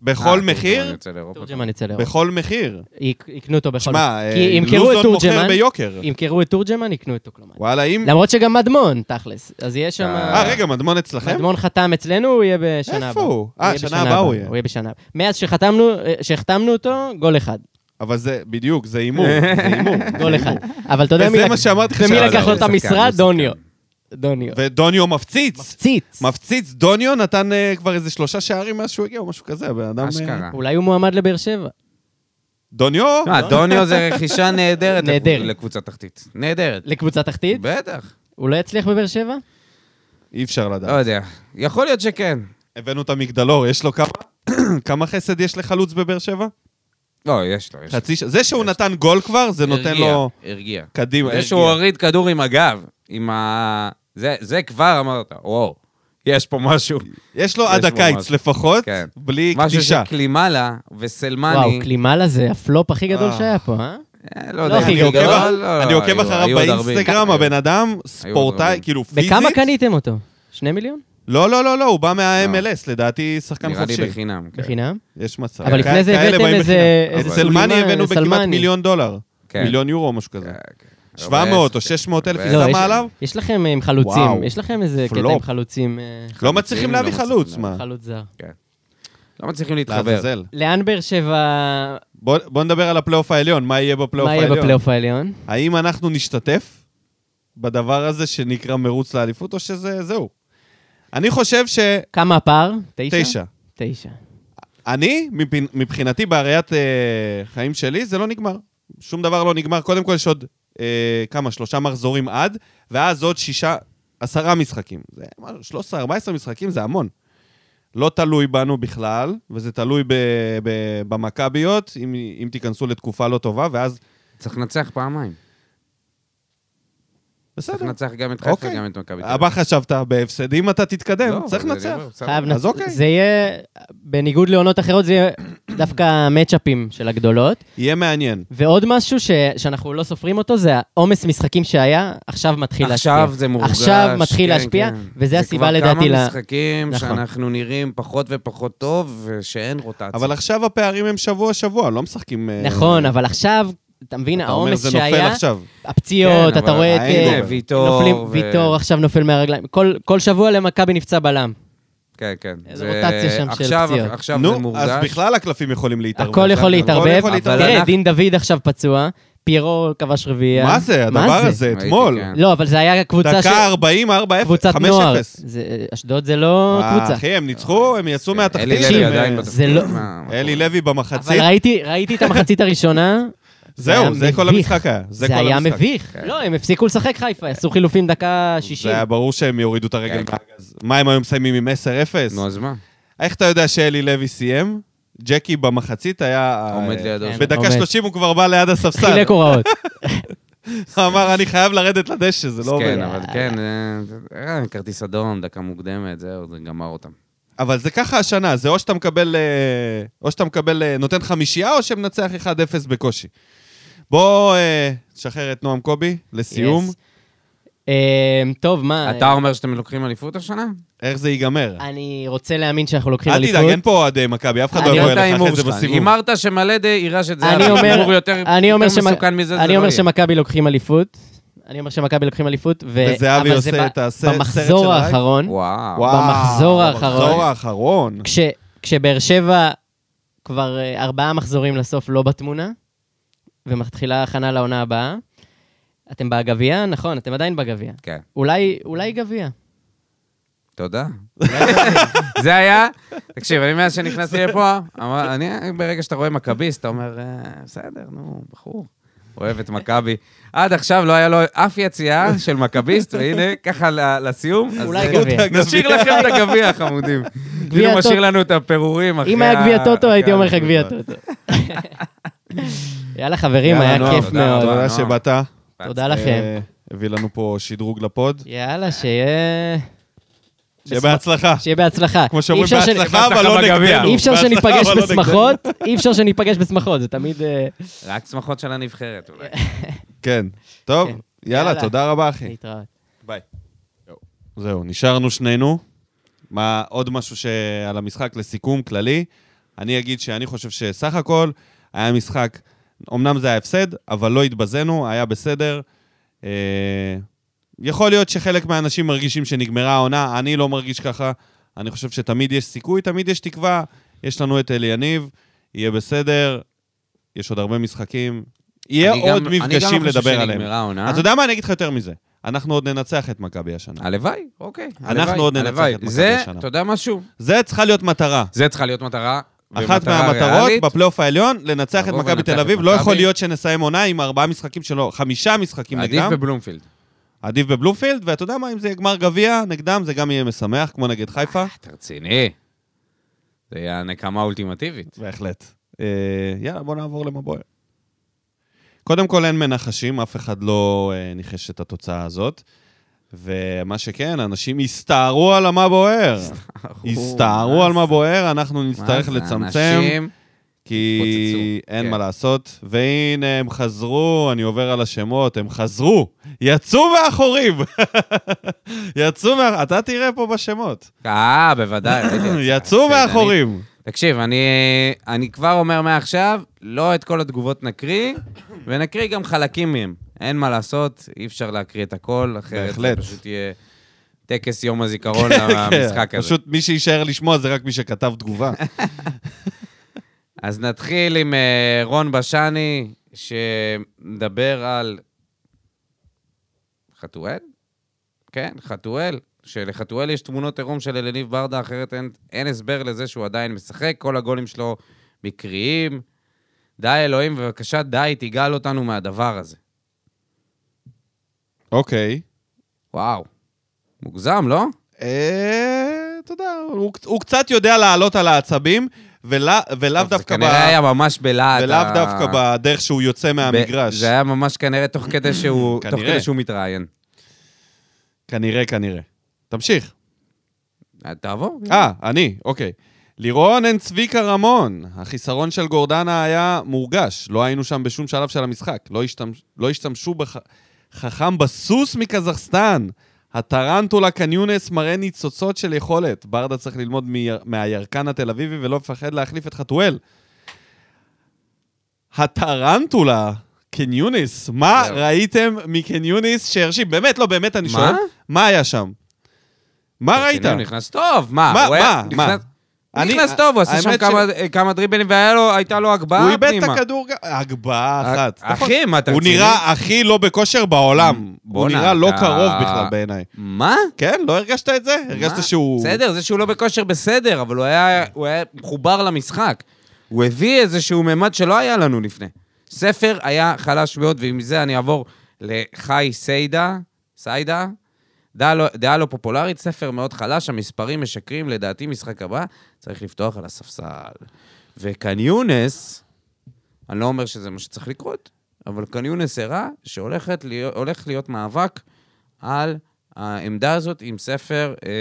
Speaker 1: בכל
Speaker 3: אה, תורג'מן
Speaker 1: מחיר?
Speaker 3: יוצא לאירופה.
Speaker 2: תורג'מן יצא לאירופה.
Speaker 1: בכל מחיר.
Speaker 2: יק- יקנו אותו בכל
Speaker 1: שמע,
Speaker 2: מחיר.
Speaker 1: אה,
Speaker 2: כי ימכרו את
Speaker 1: לוזון מוכר
Speaker 2: תורג'מן,
Speaker 1: ביוקר.
Speaker 2: ימכרו את תורג'מן, יקנו את טוקלומטי.
Speaker 1: וואלה, אם...
Speaker 2: למרות שגם מדמון, תכלס. אז יהיה שם...
Speaker 3: אה,
Speaker 1: אה, רגע, מדמון אצלכם?
Speaker 2: מדמון חתם אצלנו, הוא יהיה בשנה הבאה.
Speaker 1: איפה הוא? אה,
Speaker 2: יהיה
Speaker 1: שנה
Speaker 2: בשנה
Speaker 1: הבאה הוא יהיה.
Speaker 2: הוא יהיה בשנה הבאה. מאז שחתמנו, שהחתמנו אותו, גול אחד.
Speaker 1: אבל זה, בדיוק, זה הימור. זה הימור.
Speaker 2: גול אחד. אבל אתה יודע מי
Speaker 1: וזה
Speaker 2: לק-
Speaker 1: מה שאמרתי לך.
Speaker 2: ומי
Speaker 1: שעלה.
Speaker 3: לא,
Speaker 2: לקח לו
Speaker 3: הוא
Speaker 2: את
Speaker 3: שחקן, הוא
Speaker 2: המשרד?
Speaker 3: שחקן.
Speaker 2: דוניו. דוניו.
Speaker 1: ודוניו מפציץ.
Speaker 2: ציץ.
Speaker 1: מפציץ, דוניו נתן אה, כבר איזה שלושה שערים מאז שהוא הגיע, או משהו כזה, הבן אדם... אה,
Speaker 3: אשכרה.
Speaker 2: אולי הוא מועמד לבאר שבע.
Speaker 1: דוניו? לא,
Speaker 3: תשמע, דוניו זה רכישה נהדרת
Speaker 2: נהדרת.
Speaker 3: לקבוצה תחתית. נהדרת.
Speaker 2: לקבוצה תחתית?
Speaker 3: בטח.
Speaker 2: הוא לא יצליח בבאר שבע?
Speaker 1: אי אפשר
Speaker 3: לא
Speaker 1: לדעת.
Speaker 3: יודע. יכול להיות שכן.
Speaker 1: הבאנו את המגדלור, יש לו כמה... כמה חסד יש לחלוץ בבאר שבע?
Speaker 3: לא, יש לו, יש לו.
Speaker 1: חצי ש... זה שהוא נתן גול כבר, זה נותן
Speaker 3: הרגיע,
Speaker 1: לו
Speaker 3: הרגיע.
Speaker 1: קדימה.
Speaker 3: זה שהוא הוריד כדור עם הגב, עם ה... זה- זה כבר אמרת, וואו, יש פה משהו.
Speaker 1: יש לו עד
Speaker 3: יש בו
Speaker 1: הקיץ
Speaker 3: משהו.
Speaker 1: לפחות,
Speaker 3: כן.
Speaker 1: בלי
Speaker 3: משהו
Speaker 1: קדישה.
Speaker 3: שקלימלה וסלמני...
Speaker 2: וואו, קלימלה זה הפלופ הכי גדול
Speaker 1: אה.
Speaker 2: שהיה פה, אה?
Speaker 3: אה, לא
Speaker 2: לא,
Speaker 3: יודע,
Speaker 2: הכי
Speaker 1: אני
Speaker 3: גדול,
Speaker 1: עוקב אח-
Speaker 3: לא,
Speaker 1: אני
Speaker 3: לא,
Speaker 1: עוקב
Speaker 3: היו-
Speaker 1: אחריו
Speaker 3: היו עוד הרבה.
Speaker 1: באינסטגרם, הבן אדם ספורטאי,
Speaker 3: הרבה.
Speaker 1: כאילו פיזית.
Speaker 2: בכמה קניתם אותו? שני מיליון?
Speaker 1: לא, לא, לא, לא, הוא בא מה-MLS, לדעתי שחקן
Speaker 3: נראה לי
Speaker 1: חופשי.
Speaker 3: בחינם, כן.
Speaker 2: בחינם?
Speaker 1: יש מצב.
Speaker 2: אבל לפני זה
Speaker 1: כאלה
Speaker 2: הבאתם
Speaker 1: באים
Speaker 2: איזה-
Speaker 1: בחינם.
Speaker 2: איזה
Speaker 1: את סלמני
Speaker 2: סולימאן,
Speaker 1: הבאנו בכמעט
Speaker 2: סלמני. מיליון
Speaker 1: מיליון דולר.
Speaker 3: כן.
Speaker 1: מיליון יורו או משהו כזה.
Speaker 3: כן, כן.
Speaker 1: 700 או 600 אלף,
Speaker 3: לא,
Speaker 1: איזה
Speaker 2: יש-
Speaker 1: מה עליו?
Speaker 2: יש לכם אה, עם חלוצים,
Speaker 1: וואו,
Speaker 2: יש לכם איזה קטע עם
Speaker 1: פלופ. אה.
Speaker 2: חלוצים, אה,
Speaker 1: לא מצליחים
Speaker 3: לא
Speaker 1: להביא
Speaker 3: מצליחים
Speaker 1: חלוץ,
Speaker 3: להביא.
Speaker 1: מה?
Speaker 2: חלוץ זר.
Speaker 3: לא מצליחים להתחבר.
Speaker 1: לעזאזל.
Speaker 2: לאן באר שבע,
Speaker 1: בוא בוא נדבר על הפלייאוף העליון, מה יהיה בפלייאוף
Speaker 2: מה יהיה
Speaker 1: העליון.
Speaker 2: בפלייאוף העליון?
Speaker 1: האם אנחנו נשתתף בדבר הזה שנקרא מרוץ לאליפות, או שזה זהו? אני חושב ש...
Speaker 2: כמה הפער? תשע?
Speaker 1: תשע.
Speaker 2: תשע.
Speaker 1: אני, מבחינ- מבחינתי, בראיית אה, חיים שלי, זה לא נגמר. שום דבר לא נגמר. קודם כל, יש עוד אה, כמה, שלושה מחזורים עד, ואז עוד שישה, עשרה משחקים. זה 13-14 משחקים, זה המון. לא תלוי בנו בכלל, וזה תלוי ב- ב- במכביות, אם, אם תיכנסו לתקופה לא טובה, ואז...
Speaker 3: צריך לנצח פעמיים. צריך
Speaker 1: בסדר.
Speaker 3: לנצח גם את חיפה,
Speaker 1: אוקיי.
Speaker 3: גם את מכבי. תל אביב.
Speaker 1: מה חשבת? בהפסדים אתה תתקדם,
Speaker 3: לא,
Speaker 1: צריך
Speaker 3: אבל
Speaker 1: לנצח.
Speaker 3: אני אומר, בסדר.
Speaker 2: חייב
Speaker 1: אז
Speaker 2: לנצ...
Speaker 1: אוקיי.
Speaker 2: זה יהיה, בניגוד לעונות אחרות, זה יהיה דווקא מצ'אפים של הגדולות.
Speaker 1: יהיה מעניין.
Speaker 2: ועוד משהו ש... שאנחנו לא סופרים אותו, זה העומס משחקים שהיה, עכשיו מתחיל להשפיע.
Speaker 3: עכשיו זה מורגש.
Speaker 2: עכשיו מתחיל
Speaker 3: כן,
Speaker 2: להשפיע,
Speaker 3: כן.
Speaker 2: וזה הסיבה
Speaker 3: זה
Speaker 2: לדעתי
Speaker 3: כבר
Speaker 2: ל...
Speaker 3: כמה משחקים
Speaker 2: נכון.
Speaker 3: שאנחנו נראים פחות ופחות טוב, ושאין רוטציה.
Speaker 1: אבל עכשיו הפערים הם שבוע-שבוע, לא משחקים... אה,
Speaker 2: נכון, אבל עכשיו, אתה מבין,
Speaker 1: אתה אומר,
Speaker 2: העומס
Speaker 1: זה נופל
Speaker 2: שהיה,
Speaker 1: עכשיו.
Speaker 2: הפציעות, אתה
Speaker 3: כן, אבל
Speaker 2: רואה את...
Speaker 1: האנגובר.
Speaker 2: אה,
Speaker 3: הנה,
Speaker 1: גובר.
Speaker 3: ויטור.
Speaker 2: נופלים,
Speaker 3: ו-
Speaker 2: ויטור עכשיו נופל מהרגליים. כל, כל שבוע למכבי נפצע בלם.
Speaker 3: כן, כן.
Speaker 2: איזה
Speaker 3: זה-
Speaker 2: רוטציה שם של
Speaker 3: עכשיו-
Speaker 2: פציעות.
Speaker 3: עכשיו זה
Speaker 1: נו,
Speaker 3: מורגש.
Speaker 1: אז בכלל הקלפים יכולים להתערבב.
Speaker 2: הכל יכול להתערבב.
Speaker 1: יכול להתערבב.
Speaker 2: תראה,
Speaker 3: אבל
Speaker 2: דין דוד עכשיו פצוע, פיירו כבש רביעייה.
Speaker 1: מה זה הדבר הזה?
Speaker 3: ראיתי,
Speaker 1: אתמול.
Speaker 3: כן.
Speaker 2: לא, אבל זה היה אה, קבוצה
Speaker 1: דקה 40, 4, 0, 5, 0.
Speaker 2: קבוצת נוער. זה- אשדוד זה לא קבוצה.
Speaker 1: אחי, הם ניצחו, הם יצאו מהתחתית.
Speaker 3: כן, אלי
Speaker 2: תקשיב,
Speaker 3: לוי עדיין
Speaker 1: הם-
Speaker 2: בתחתית.
Speaker 3: בתפקיד.
Speaker 2: זה לא-
Speaker 3: מה- מה
Speaker 1: אלי
Speaker 3: קורה?
Speaker 1: לוי
Speaker 2: אבל
Speaker 1: במחצית,
Speaker 2: ראיתי, ראיתי את המחצית הראשונה. היה
Speaker 1: זהו, זה כל
Speaker 2: מביך.
Speaker 1: המשחק היה.
Speaker 2: זה,
Speaker 1: כל
Speaker 2: היה
Speaker 1: המשחק.
Speaker 2: מביך.
Speaker 3: כן.
Speaker 2: לא, הם הפסיקו לשחק חיפה, עשו חילופים דקה 60.
Speaker 1: זה היה ברור שהם יורידו את הרגל
Speaker 3: כן.
Speaker 1: מהגז. מה, הם היו מסיימים עם 10-0?
Speaker 3: נו, אז מה?
Speaker 1: איך אתה יודע שאלי לוי סיים? ג'קי במחצית היה...
Speaker 3: עומד
Speaker 1: אה,
Speaker 3: לידו.
Speaker 2: כן.
Speaker 3: שם.
Speaker 1: בדקה
Speaker 2: עומד.
Speaker 1: 30 הוא כבר בא ליד הספסל.
Speaker 2: חילק הוראות.
Speaker 1: אמר, אני חייב לרדת לדשא, זה לא
Speaker 3: כן,
Speaker 1: עובד.
Speaker 3: אבל כן, אה, אה, כרטיס אדום, דקה מוקדמת, זהו, זה גמר אותם.
Speaker 1: אבל זה ככה השנה, זה או שאתה מקבל, אה, או שאתה מקבל, אה, נותן חמישייה, או שמנצח 1-0 בקושי. בוא אה, תשחרר את נועם קובי, לסיום.
Speaker 2: Yes. אמ, טוב, מה,
Speaker 3: אתה אומר שאתם לוקחים אליפות השנה?
Speaker 1: איך זה ייגמר?
Speaker 2: אני רוצה להאמין שאנחנו לוקחים
Speaker 1: אל
Speaker 2: אליפות.
Speaker 1: תדאג, אין פה אוהדי מכבי, אף אחד לא
Speaker 2: אני
Speaker 1: יבוא
Speaker 3: להיות
Speaker 1: אליך
Speaker 3: ההימור
Speaker 1: אחרי זה
Speaker 3: שלך.
Speaker 1: בסיבוב.
Speaker 3: הימרת שמלדה יירש את זה,
Speaker 2: אני
Speaker 3: אבל
Speaker 2: אומר-
Speaker 3: הימור יותר
Speaker 2: אני אומר
Speaker 3: יותר
Speaker 2: שמ-
Speaker 3: מסוכן מזה, זה לא
Speaker 2: אני אומר
Speaker 3: יהיה.
Speaker 2: שמכבי לוקחים אליפות. אני אומר שמכבי לוקחים אליפות. ו-
Speaker 1: וזהבי
Speaker 2: אבל
Speaker 1: עושה
Speaker 2: זה ב-
Speaker 1: את הסרט של
Speaker 2: במחזור
Speaker 1: רייק?
Speaker 2: האחרון,
Speaker 3: וואו.
Speaker 1: וואו,
Speaker 2: במחזור
Speaker 1: במחזור
Speaker 2: האחרון.
Speaker 1: האחרון.
Speaker 2: כש- כשבאר שבע כבר אה, ארבעה מחזורים לסוף לא בתמונה, ומתחילה הכנה לעונה הבאה, אתם בגביע? נכון, אתם עדיין בגביע.
Speaker 3: כן,
Speaker 2: אולי אולי גביע.
Speaker 3: תודה. זה היה, תקשיב, אני מאז שנכנסתי לפה, אמר- אני, ברגע שאתה רואה מכביסט, אתה אומר, "אה, בסדר, נו, בחור, אוהב את מכבי. עד עכשיו לא היה לו אף יציאה של מכביסט, והנה, ככה ל- לסיום. אז,
Speaker 2: אולי
Speaker 3: אה,
Speaker 2: גביע.
Speaker 3: נשאיר לכם את הגביע, חמודים. כאילו
Speaker 2: טוטו.
Speaker 3: משאיר לנו את הפירורים אחרי
Speaker 2: אם היה גביע
Speaker 3: ה-
Speaker 2: טוטו, הייתי
Speaker 3: אחרי
Speaker 2: אומר לך
Speaker 3: האליפות.
Speaker 2: גביע טוטו. יאללה, חברים,
Speaker 3: יאללה,
Speaker 2: היה
Speaker 3: נועם,
Speaker 2: כיף
Speaker 3: תודה
Speaker 2: מאוד.
Speaker 3: רבה.
Speaker 1: תודה
Speaker 3: נועם.
Speaker 1: שבאת.
Speaker 2: תודה לכם.
Speaker 1: אה, הביא לנו פה שדרוג לפוד.
Speaker 2: יאללה, שיהיה...
Speaker 1: שיהיה בהצלחה.
Speaker 2: שיהיה בהצלחה.
Speaker 1: כמו שאומרים,
Speaker 2: אי אפשר שנ-
Speaker 1: בהצלחה, אבל
Speaker 3: בהצלחה
Speaker 1: לא
Speaker 3: בגביע.
Speaker 1: נגדנו.
Speaker 2: אי אפשר
Speaker 1: בהצלחה,
Speaker 2: שניפגש
Speaker 1: אבל לא נגדנו.
Speaker 2: בשמחות, אי אפשר שניפגש בשמחות, זה תמיד... אה,
Speaker 3: רק צמחות של הנבחרת, אולי.
Speaker 1: כן. טוב,
Speaker 2: כן.
Speaker 1: יאללה,
Speaker 2: יאללה.
Speaker 1: תודה רבה, אחי.
Speaker 2: להתראות.
Speaker 1: ביי. זהו, נשארנו שנינו. מה, עוד משהו ש... על המשחק לסיכום כללי? אני אגיד שאני חושב שסך הכל היה משחק, אמנם זה היה הפסד, אבל לא התבזינו, היה בסדר. אה, יכול להיות שחלק מהאנשים מרגישים שנגמרה העונה, אני לא מרגיש ככה. אני חושב שתמיד יש סיכוי, תמיד יש תקווה. יש לנו את אלי יניב, יהיה בסדר, יש עוד הרבה משחקים. יהיה
Speaker 3: אני גם-
Speaker 1: עוד מפגשים לדבר
Speaker 3: אני גם לא חושב
Speaker 1: עליהם.
Speaker 3: שנגמרה העונה.
Speaker 1: אתה יודע מה? אני אגיד לך יותר מזה. אנחנו עוד ננצח את מכבי השנה.
Speaker 3: הלוואי, אוקיי.
Speaker 1: אנחנו
Speaker 3: הלוואי,
Speaker 1: עוד ננצח
Speaker 3: הלוואי.
Speaker 1: את מכבי
Speaker 3: זה,
Speaker 1: השנה.
Speaker 3: אתה יודע משהו?
Speaker 1: זה צריכה להיות מטרה.
Speaker 3: זה צריכה להיות מטרה.
Speaker 1: אחת
Speaker 3: ומטרה
Speaker 1: מהמטרות
Speaker 3: ריאלית.
Speaker 1: בפלייאוף העליון, לנצח את
Speaker 3: לבוא
Speaker 1: מכבי
Speaker 3: ולנצח
Speaker 1: תל
Speaker 3: את
Speaker 1: אביב. לא
Speaker 3: מכבי.
Speaker 1: יכול להיות שנסיים עונה עם ארבעה משחקים שלו, חמישה משחקים
Speaker 3: עדיף
Speaker 1: נגדם.
Speaker 3: בבלומפילד.
Speaker 1: עדיף בבלומפילד, ואתה יודע מה, אם זה יהיה גמר גביע נגדם, זה גם יהיה משמח, כמו נגד חיפה.
Speaker 3: אתה רציני. זה יהיה הנקמה האולטימטיבית.
Speaker 1: בהחלט. אה, יאללה, בוא נעבור למבואר. קודם כל, אין מנחשים, אף אחד לא אה, ניחש את התוצאה הזאת. ומה שכן, אנשים הסתערו על מה בוער. הסתערו על מה בוער, אנחנו נצטרך
Speaker 3: מה זה,
Speaker 1: לצמצם.
Speaker 3: אנשים-
Speaker 1: כי
Speaker 3: התפוצצו.
Speaker 1: אין
Speaker 3: כן.
Speaker 1: מה לעשות. והנה, הם חזרו, אני עובר על השמות, הם חזרו, יצאו מהחורים. יצאו מה... אתה תראה פה בשמות.
Speaker 3: אה, בוודאי. ראיתי את זה.
Speaker 1: יצאו
Speaker 3: בסדר, אני-
Speaker 1: מהחורים.
Speaker 3: תקשיב, אני, אני כבר אומר מעכשיו, לא את כל התגובות נקריא, ונקריא גם חלקים מהם. אין מה לעשות, אי אפשר להקריא את הכל, אחרת
Speaker 1: בהחלט. כן,
Speaker 3: זה פשוט יהיה טקס יום הזיכרון למשחק הזה.
Speaker 1: פשוט מי שיישאר לשמוע זה רק מי שכתב תגובה.
Speaker 3: אז נתחיל עם אה, רון בשני, שמדבר על חתואל? כן, חתואל. שלחתואל יש תמונות עירום של אלניב ברדה, אחרת אין, אין הסבר לזה שהוא עדיין משחק, כל הגולים שלו מקריים. די, אלוהים, בבקשה, די, תיגאל אותנו מהדבר הזה.
Speaker 1: אוקיי.
Speaker 3: וואו. מוגזם, לא?
Speaker 1: אה, אתה יודע, הוא- הוא קצת יודע לעלות על העצבים, ולא- ולאו
Speaker 3: טוב,
Speaker 1: דווקא
Speaker 3: זה
Speaker 1: ב-
Speaker 3: כנראה היה ממש בלהט.
Speaker 1: ולאו
Speaker 3: ה-
Speaker 1: דווקא בדרך שהוא יוצא מהמגרש.
Speaker 3: זה היה ממש כנראה תוך כדי שהוא, תוך
Speaker 1: כנראה.
Speaker 3: כדי שהוא מתראיין.
Speaker 1: כנראה, כנראה. תמשיך.
Speaker 3: אה, תעבור.
Speaker 1: אה, אני, אוקיי. לירון אין צביקה רמון. החיסרון של גורדנה היה מורגש. לא היינו שם בשום שלב של המשחק. לא, השתמש... לא השתמשו בחכם בסוס מקזחסטן. הטרנטולה קניונס מראה ניצוצות של יכולת. ברדה צריך ללמוד מי... מהירקן התל אביבי ולא מפחד להחליף את חתואל. הטרנטולה קניוניס, מה
Speaker 3: זהו.
Speaker 1: ראיתם מקניוניס שהרשים? באמת, לא, באמת, אני
Speaker 3: מה?
Speaker 1: שואל. מה היה שם? מה אה, ראית?
Speaker 3: כן, הוא נכנס טוב, מה?
Speaker 1: מה,
Speaker 3: הוא היה-
Speaker 1: מה,
Speaker 3: נכנס- הוא
Speaker 1: אני-
Speaker 3: נכנס טוב, הוא עשה שם
Speaker 1: האמת
Speaker 3: כמה- כמה דריבלים והייתה לו הגבהה
Speaker 1: הוא
Speaker 3: פנימה. אה,
Speaker 1: איבד את הכדור, גם- הגבהה אחת. נכון.
Speaker 3: אחי, מה, אתה
Speaker 1: הוא
Speaker 3: רציני?
Speaker 1: נראה הכי לא בכושר בעולם. הוא
Speaker 3: בואנה,
Speaker 1: נראה לא
Speaker 3: אתה-
Speaker 1: קרוב בכלל בעיניי.
Speaker 3: מה?
Speaker 1: כן, לא הרגשת את זה?
Speaker 3: מה?
Speaker 1: הרגשת שהוא...
Speaker 3: בסדר, זה שהוא לא בכושר בסדר, אבל הוא היה- הוא היה מחובר למשחק. הוא הביא איזשהו ממד שלא היה לנו לפני. ספר היה חלש מאוד, ועם זה אני אעבור לחי סיידה, סיידה. דעה לא- דעה לא פופולרית, ספר מאוד חלש, המספרים משקרים, לדעתי משחק הבא, צריך לפתוח על הספסל. וקניונס, אני לא אומר שזה מה שצריך לקרות, אבל קניונס הראה שהולך להיות, להיות מאבק על העמדה הזאת, אם ספר אה,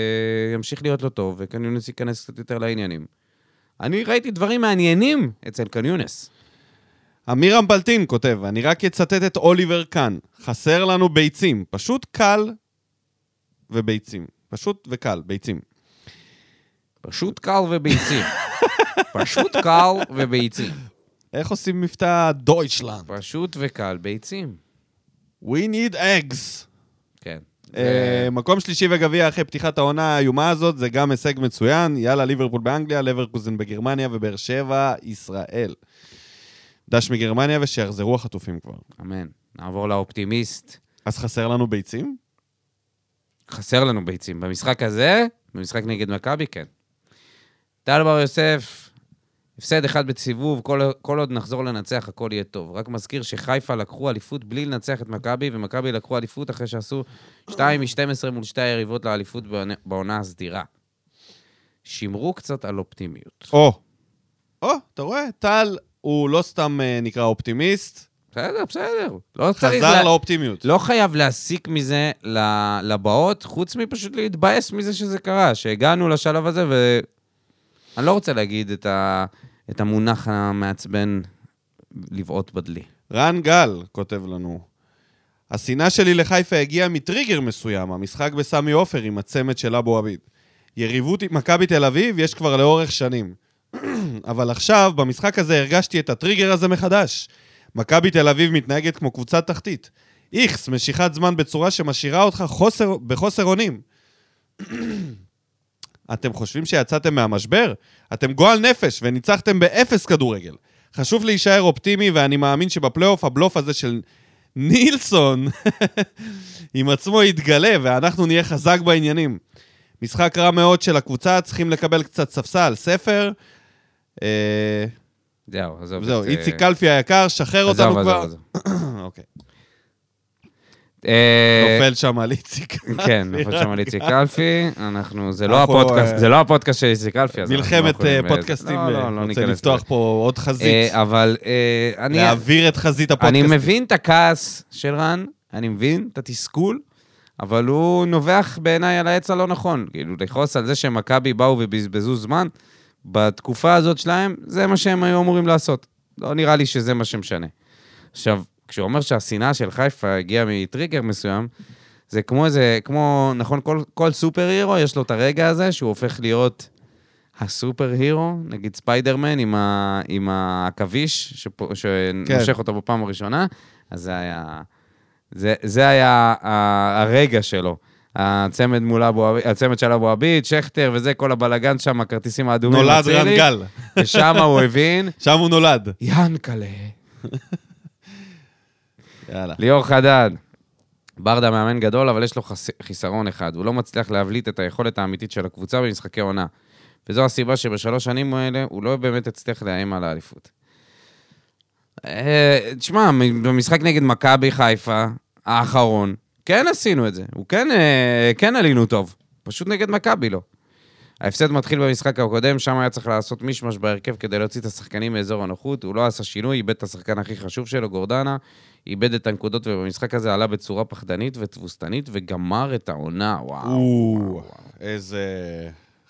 Speaker 3: ימשיך להיות לא טוב, וקניונס ייכנס קצת יותר לעניינים. אני ראיתי דברים מעניינים אצל קניונס.
Speaker 1: אמירם בלטין כותב, אני רק אצטט את אוליבר קאן, חסר לנו ביצים, פשוט קל וביצים. פשוט וקל, ביצים.
Speaker 3: פשוט קל וביצים. פשוט קל וביצים.
Speaker 1: איך עושים מבטא דויטשלנד?
Speaker 3: פשוט וקל ביצים.
Speaker 1: We need eggs.
Speaker 3: כן.
Speaker 1: אה, מקום שלישי בגביע אחרי פתיחת העונה האיומה הזאת, זה גם הישג מצוין. יאללה, ליברפול באנגליה, לברקוזן בגרמניה ובאר שבע, ישראל. דש מגרמניה ושיחזרו החטופים כבר.
Speaker 3: אמן. נעבור לאופטימיסט.
Speaker 1: אז חסר לנו ביצים?
Speaker 3: חסר לנו ביצים. במשחק הזה, במשחק נגד מכבי, כן. טל בר יוסף, הפסד אחד בסיבוב, כל, כל עוד נחזור לנצח, הכל יהיה טוב. רק מזכיר שחיפה לקחו אליפות בלי לנצח את מכבי, ומכבי לקחו אליפות אחרי שעשו 2 מ-12 מול שתי היריבות לאליפות בעונה- בעונה הסדירה. שמרו קצת על אופטימיות.
Speaker 1: או. או, אתה רואה? טל הוא לא סתם אה, נקרא אופטימיסט,
Speaker 3: בסדר, בסדר. לא צריך...
Speaker 1: חזר
Speaker 3: לה-
Speaker 1: לאופטימיות.
Speaker 3: לא חייב להסיק מזה ל- לבאות, חוץ מפשוט להתבאס מזה שזה קרה, שהגענו לשלב הזה, ואני לא רוצה להגיד את, ה... את המונח המעצבן לבעוט בדלי.
Speaker 1: רן גל כותב לנו, השנאה שלי לחיפה הגיעה מטריגר מסוים, המשחק בסמי עופר עם הצמד של אבו עביד. יריבות עם מכבי תל אביב יש כבר לאורך שנים. אבל עכשיו, במשחק הזה הרגשתי את הטריגר הזה מחדש. מכבי תל אביב מתנהגת כמו קבוצת תחתית. איכס, משיכת זמן בצורה שמשאירה אותך חוסר, בחוסר אונים. אתם חושבים שיצאתם מהמשבר? אתם גועל נפש וניצחתם באפס כדורגל. חשוב להישאר אופטימי, ואני מאמין שבפלייאוף הבלוף הזה של נילסון עם עצמו יתגלה, ואנחנו נהיה חזק בעניינים. משחק רע מאוד של הקבוצה, צריכים לקבל קצת ספסל, ספר. אה,
Speaker 3: זהו, עזוב.
Speaker 1: זהו,
Speaker 3: את,
Speaker 1: איציק
Speaker 3: אה,
Speaker 1: קלפי היקר, שחרר אותנו
Speaker 3: עזוב, עזוב,
Speaker 1: כבר.
Speaker 3: עזוב.
Speaker 1: אוקיי.
Speaker 3: אה,
Speaker 1: נופל שם על איציק.
Speaker 3: כן, נופל שם על איציק קלפי, אנחנו, זה לא
Speaker 1: אנחנו,
Speaker 3: הפודקאסט,
Speaker 1: אה,
Speaker 3: זה לא הפודקאסט של איציק קלפי, אז אנחנו לא
Speaker 1: מלחמת
Speaker 3: יכולים,
Speaker 1: אה,
Speaker 3: אה,
Speaker 1: פודקאסטים,
Speaker 3: לא, לא,
Speaker 1: אה,
Speaker 3: לא
Speaker 1: רוצה
Speaker 3: ניכנס
Speaker 1: לפתוח
Speaker 3: לזה.
Speaker 1: פה עוד חזית,
Speaker 3: אה, אבל אה, אני...
Speaker 1: להעביר את חזית
Speaker 3: אני
Speaker 1: הפודקאסטים.
Speaker 3: מבין את הכעס של רן, אני מבין את התסכול, אבל הוא נובח בעיניי על העץ הלא נכון. כאילו, לכעוס על זה שמכבי באו ובזבזו זמן, בתקופה הזאת שלהם, זה מה שהם היו אמורים לעשות. לא נראה לי שזה מה שמשנה. עכשיו, כשהוא אומר שהשנאה של חיפה הגיעה מטריגר מסוים, זה כמו איזה, כמו, נכון, כל, כל סופר הירו יש לו את הרגע הזה שהוא הופך להיות הסופר הירו, נגיד ספיידרמן עם, ה, עם העכביש, שפו- שנושך
Speaker 1: כן.
Speaker 3: אותו בפעם הראשונה, אז זה היה, זה, זה היה ה, הרגע שלו. הצמד מול אבו עביד, הצמד של אבו עביד, שכטר וזה, כל הבלגן שם, הכרטיסים האדומים.
Speaker 1: נולד
Speaker 3: אצילי,
Speaker 1: רן גל,
Speaker 3: ושם הוא הבין,
Speaker 1: שם הוא נולד.
Speaker 3: ינקלה.
Speaker 1: יאללה.
Speaker 3: ליאור חדד. ברדה מאמן גדול, אבל יש לו חס... חיסרון אחד. הוא לא מצליח להבליט את היכולת האמיתית של הקבוצה במשחקי עונה. וזו הסיבה שבשלוש שנים האלה הוא לא באמת הצליח לאיים על האליפות. אה, תשמע, מ- במשחק נגד מכבי חיפה, האחרון, כן עשינו את זה. הוא כן, אה, כן עלינו טוב. פשוט נגד מכבי לא. ההפסד מתחיל במשחק הקודם, שם היה צריך לעשות מישמש בהרכב כדי להוציא את השחקנים מאזור הנוחות. הוא לא עשה שינוי, איבד את השחקן הכי חשוב שלו, גורדנה, איבד את הנקודות, ובמשחק הזה עלה בצורה פחדנית ותבוסתנית, וגמר את העונה, וואו.
Speaker 1: או, איזה...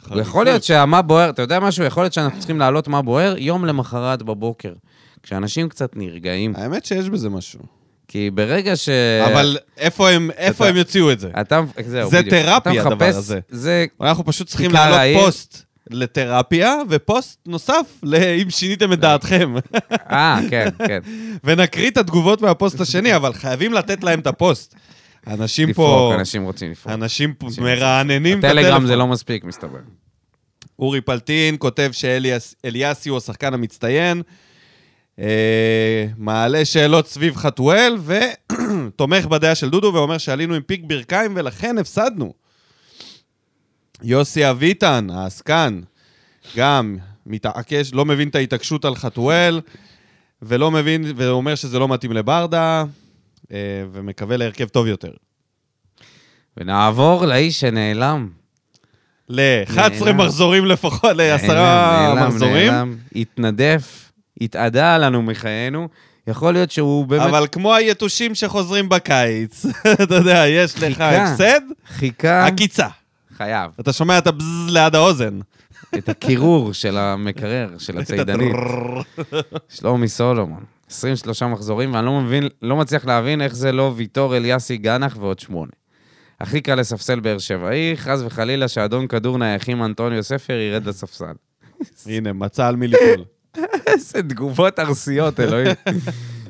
Speaker 3: הוא יכול להיות שהמה בוער, אתה יודע משהו? יכול להיות שאנחנו צריכים להעלות מה בוער יום למחרת בבוקר, כשאנשים קצת נרגעים.
Speaker 1: האמת שיש בזה משהו.
Speaker 3: כי ברגע ש...
Speaker 1: אבל אה, איפה הם, איפה
Speaker 3: אתה-
Speaker 1: הם יוציאו את זה?
Speaker 3: אתה... זהו,
Speaker 1: זה
Speaker 3: בדיוק.
Speaker 1: תרפיה,
Speaker 3: אתה
Speaker 1: הדבר
Speaker 3: מחפש-
Speaker 1: הזה.
Speaker 3: זה
Speaker 1: אנחנו פשוט צריכים
Speaker 3: תקרא לעיר.
Speaker 1: לעלות פוסט לתרפיה, ופוסט נוסף לאם שיניתם את דעתכם.
Speaker 3: אה, כן, כן.
Speaker 1: ונקריא את התגובות מהפוסט השני, אבל חייבים לתת להם את הפוסט. אנשים פה...
Speaker 3: לפרוק, אנשים רוצים לפרוק.
Speaker 1: אנשים פה מרעננים את
Speaker 3: טלגרם
Speaker 1: הטלפון.
Speaker 3: זה לא מספיק, מסתבר.
Speaker 1: אורי פלטין כותב שאליאסי הוא השחקן המצטיין, אה, מעלה שאלות סביב חתואל, ותומך בדעה של דודו ואומר שעלינו עם פיק ברכיים ולכן הפסדנו. יוסי אביטן, העסקן, גם מתעקש, לא מבין את ההתעקשות על חתואל, ולא מבין, ואומר שזה לא מתאים לברדה, אה, ומקווה להרכב טוב יותר.
Speaker 3: ונעבור לאיש שנעלם.
Speaker 1: ל-11
Speaker 3: נעלם.
Speaker 1: מחזורים לפחות,
Speaker 3: נעלם,
Speaker 1: לעשרה
Speaker 3: נעלם,
Speaker 1: מחזורים.
Speaker 3: נעלם, התנדף, התאדה לנו מחיינו. יכול להיות שהוא באמת
Speaker 1: אבל כמו היתושים שחוזרים בקיץ, אתה יודע, יש לך
Speaker 3: חיכה.
Speaker 1: הפסד,
Speaker 3: חיכה,
Speaker 1: עקיצה.
Speaker 3: חייב,
Speaker 1: אתה שומע את הבזז ליד האוזן.
Speaker 3: את הקירור של המקרר, של
Speaker 1: את
Speaker 3: הצידנית.
Speaker 1: הטרררר.
Speaker 3: שלומי סולומון. 23 מחזורים, ואני לא מבין, לא מצליח להבין איך זה לא ויטור אליאסי גנח ועוד שמונה. הכי קל לספסל באר שבעי, חס וחלילה שאדון כדור נייחים אנטוניו ספר ירד לספסל.
Speaker 1: הנה, מצא על מי ליפול.
Speaker 3: איזה תגובות ארסיות, אלוהים.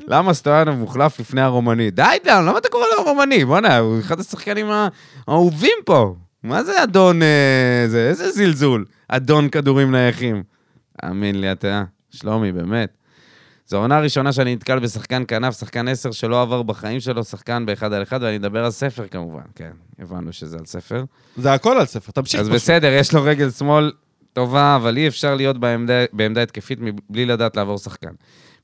Speaker 3: למה סטויאנוב מוחלף לפני הרומני? די, דן, למה אתה קורא לו הרומני? בוא'נה, הוא אחד השחקנים הא- האהובים פה. מה זה אדון... אה, זה, איזה זלזול. אדון כדורים נייחים. תאמין לי, אתה... שלומי, באמת. זו העונה הראשונה שאני נתקל בשחקן כנף, שחקן עשר שלא עבר בחיים שלו, שחקן באחד על אחד, ואני מדבר על ספר כמובן. כן, הבנו שזה על ספר.
Speaker 1: זה הכל על ספר, תמשיך.
Speaker 3: אז
Speaker 1: פשוט.
Speaker 3: בסדר, יש לו רגל שמאל טובה, אבל אי אפשר להיות בעמדה, בעמדה התקפית מבלי לדעת לעבור שחקן.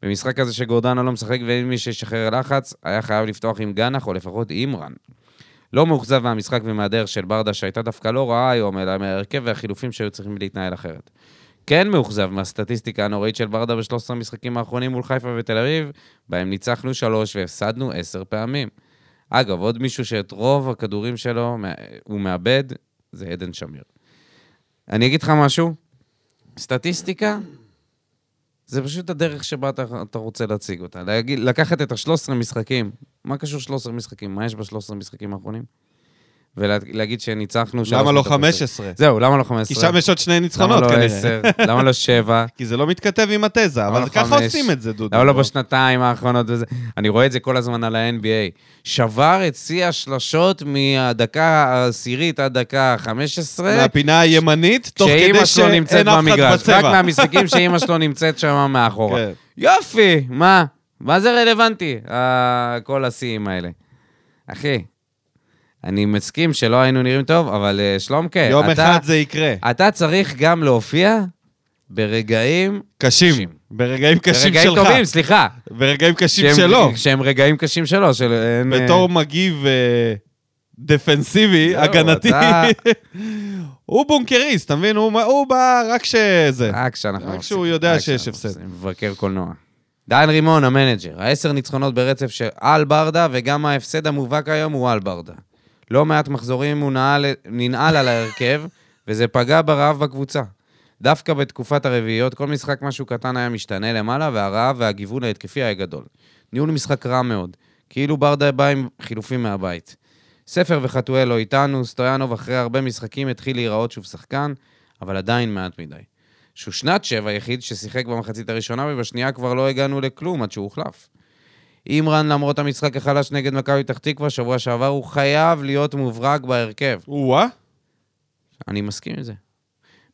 Speaker 3: במשחק הזה שגורדנה לא משחק ואין מי שישחרר לחץ, היה חייב לפתוח עם גנח או לפחות אימרן. לא מאוכזב מהמשחק ומהדרך של ברדה, שהייתה דווקא לא רעה היום, אלא מההרכב והחילופים שהיו צריכים להתנהל אחרת. כן מאוכזב מהסטטיסטיקה הנוראית של ברדה ב-13 המשחקים האחרונים מול חיפה ותל אביב, בהם ניצחנו שלוש והפסדנו עשר פעמים. אגב, עוד מישהו שאת רוב הכדורים שלו מה- הוא מאבד, זה עדן שמיר. אני אגיד לך משהו, סטטיסטיקה, זה פשוט הדרך שבה אתה, אתה רוצה להציג אותה. להגיד, לקחת את ה-13 משחקים, מה קשור 13 משחקים? מה יש ב-13 משחקים האחרונים? ולהגיד שניצחנו... שלוש
Speaker 1: למה לא
Speaker 3: מתוך עשר.
Speaker 1: 15?
Speaker 3: זהו, למה לא 15?
Speaker 1: כי שם יש עוד שני
Speaker 3: למה
Speaker 1: ניצחונות
Speaker 3: לא
Speaker 1: כנראה.
Speaker 3: 10? למה לא 7?
Speaker 1: כי זה לא מתכתב עם התזה,
Speaker 3: למה
Speaker 1: אבל
Speaker 3: לא
Speaker 1: ככה
Speaker 3: חמש?
Speaker 1: עושים את זה, דודו.
Speaker 3: למה לא
Speaker 1: בוא.
Speaker 3: בשנתיים האחרונות וזה? אני רואה את זה כל הזמן על ה-NBA. שבר את שיא השלשות מהדקה העשירית עד דקה ה-15.
Speaker 1: מהפינה הימנית, תוך
Speaker 3: כשאימא
Speaker 1: כדי
Speaker 3: שלו נמצאת
Speaker 1: שאין אף אחד
Speaker 3: במגרש, רק
Speaker 1: בצבע.
Speaker 3: מהמשחקים שאימא שלו נמצאת שם מאחורה.
Speaker 1: כן.
Speaker 3: יופי, מה? מה זה רלוונטי, ה- כל השיאים האלה? אחי, אני מסכים שלא היינו נראים טוב, אבל אה, שלומקה,
Speaker 1: יום
Speaker 3: אתה-
Speaker 1: אחד זה יקרה.
Speaker 3: אתה צריך גם להופיע ברגעים...
Speaker 1: קשים.
Speaker 3: קשים.
Speaker 1: ברגעים קשים
Speaker 3: ברגעים
Speaker 1: שלך.
Speaker 3: טובים, סליחה.
Speaker 1: ברגעים קשים
Speaker 3: שהם-
Speaker 1: שלו.
Speaker 3: שהם רגעים קשים שלו, של... אין, אה,
Speaker 1: בתור מגיב אה, דפנסיבי,
Speaker 3: זהו,
Speaker 1: הגנתי.
Speaker 3: אתה-
Speaker 1: הוא בונקריסט, אתה מבין? הוא הוא בא רק שזה.
Speaker 3: רק כשאנחנו...
Speaker 1: רק
Speaker 3: מפסידים,
Speaker 1: כשהוא יודע
Speaker 3: רק
Speaker 1: שיש
Speaker 3: כשאנחנו
Speaker 1: הפסד.
Speaker 3: מפסידים, מבקר קולנוע. דן רימון, המנג'ר, העשר ניצחונות ברצף של על ברדה, וגם ההפסד המובהק היום הוא על ברדה. לא מעט מחזורים הוא נעל, ננעל על ההרכב, וזה פגע ברעב בקבוצה. דווקא בתקופת הרביעיות, כל משחק משהו קטן היה משתנה למעלה, והרעב והגיוון ההתקפי היה גדול. ניהול משחק רע מאוד. כאילו ברדה בא עם חילופים מהבית. ספר וחתואל לא איתנו, סטויאנוב אחרי הרבה משחקים התחיל להיראות שוב שחקן, אבל עדיין מעט מדי. שושנת שבע היחיד ששיחק במחצית הראשונה, ובשנייה כבר לא הגענו לכלום עד שהוא הוחלף. אימרן, למרות המשחק החלש נגד מכבי פתח תקווה, שבוע שעבר, הוא חייב להיות מוברק בהרכב.
Speaker 1: או-אה.
Speaker 3: אני מסכים עם זה.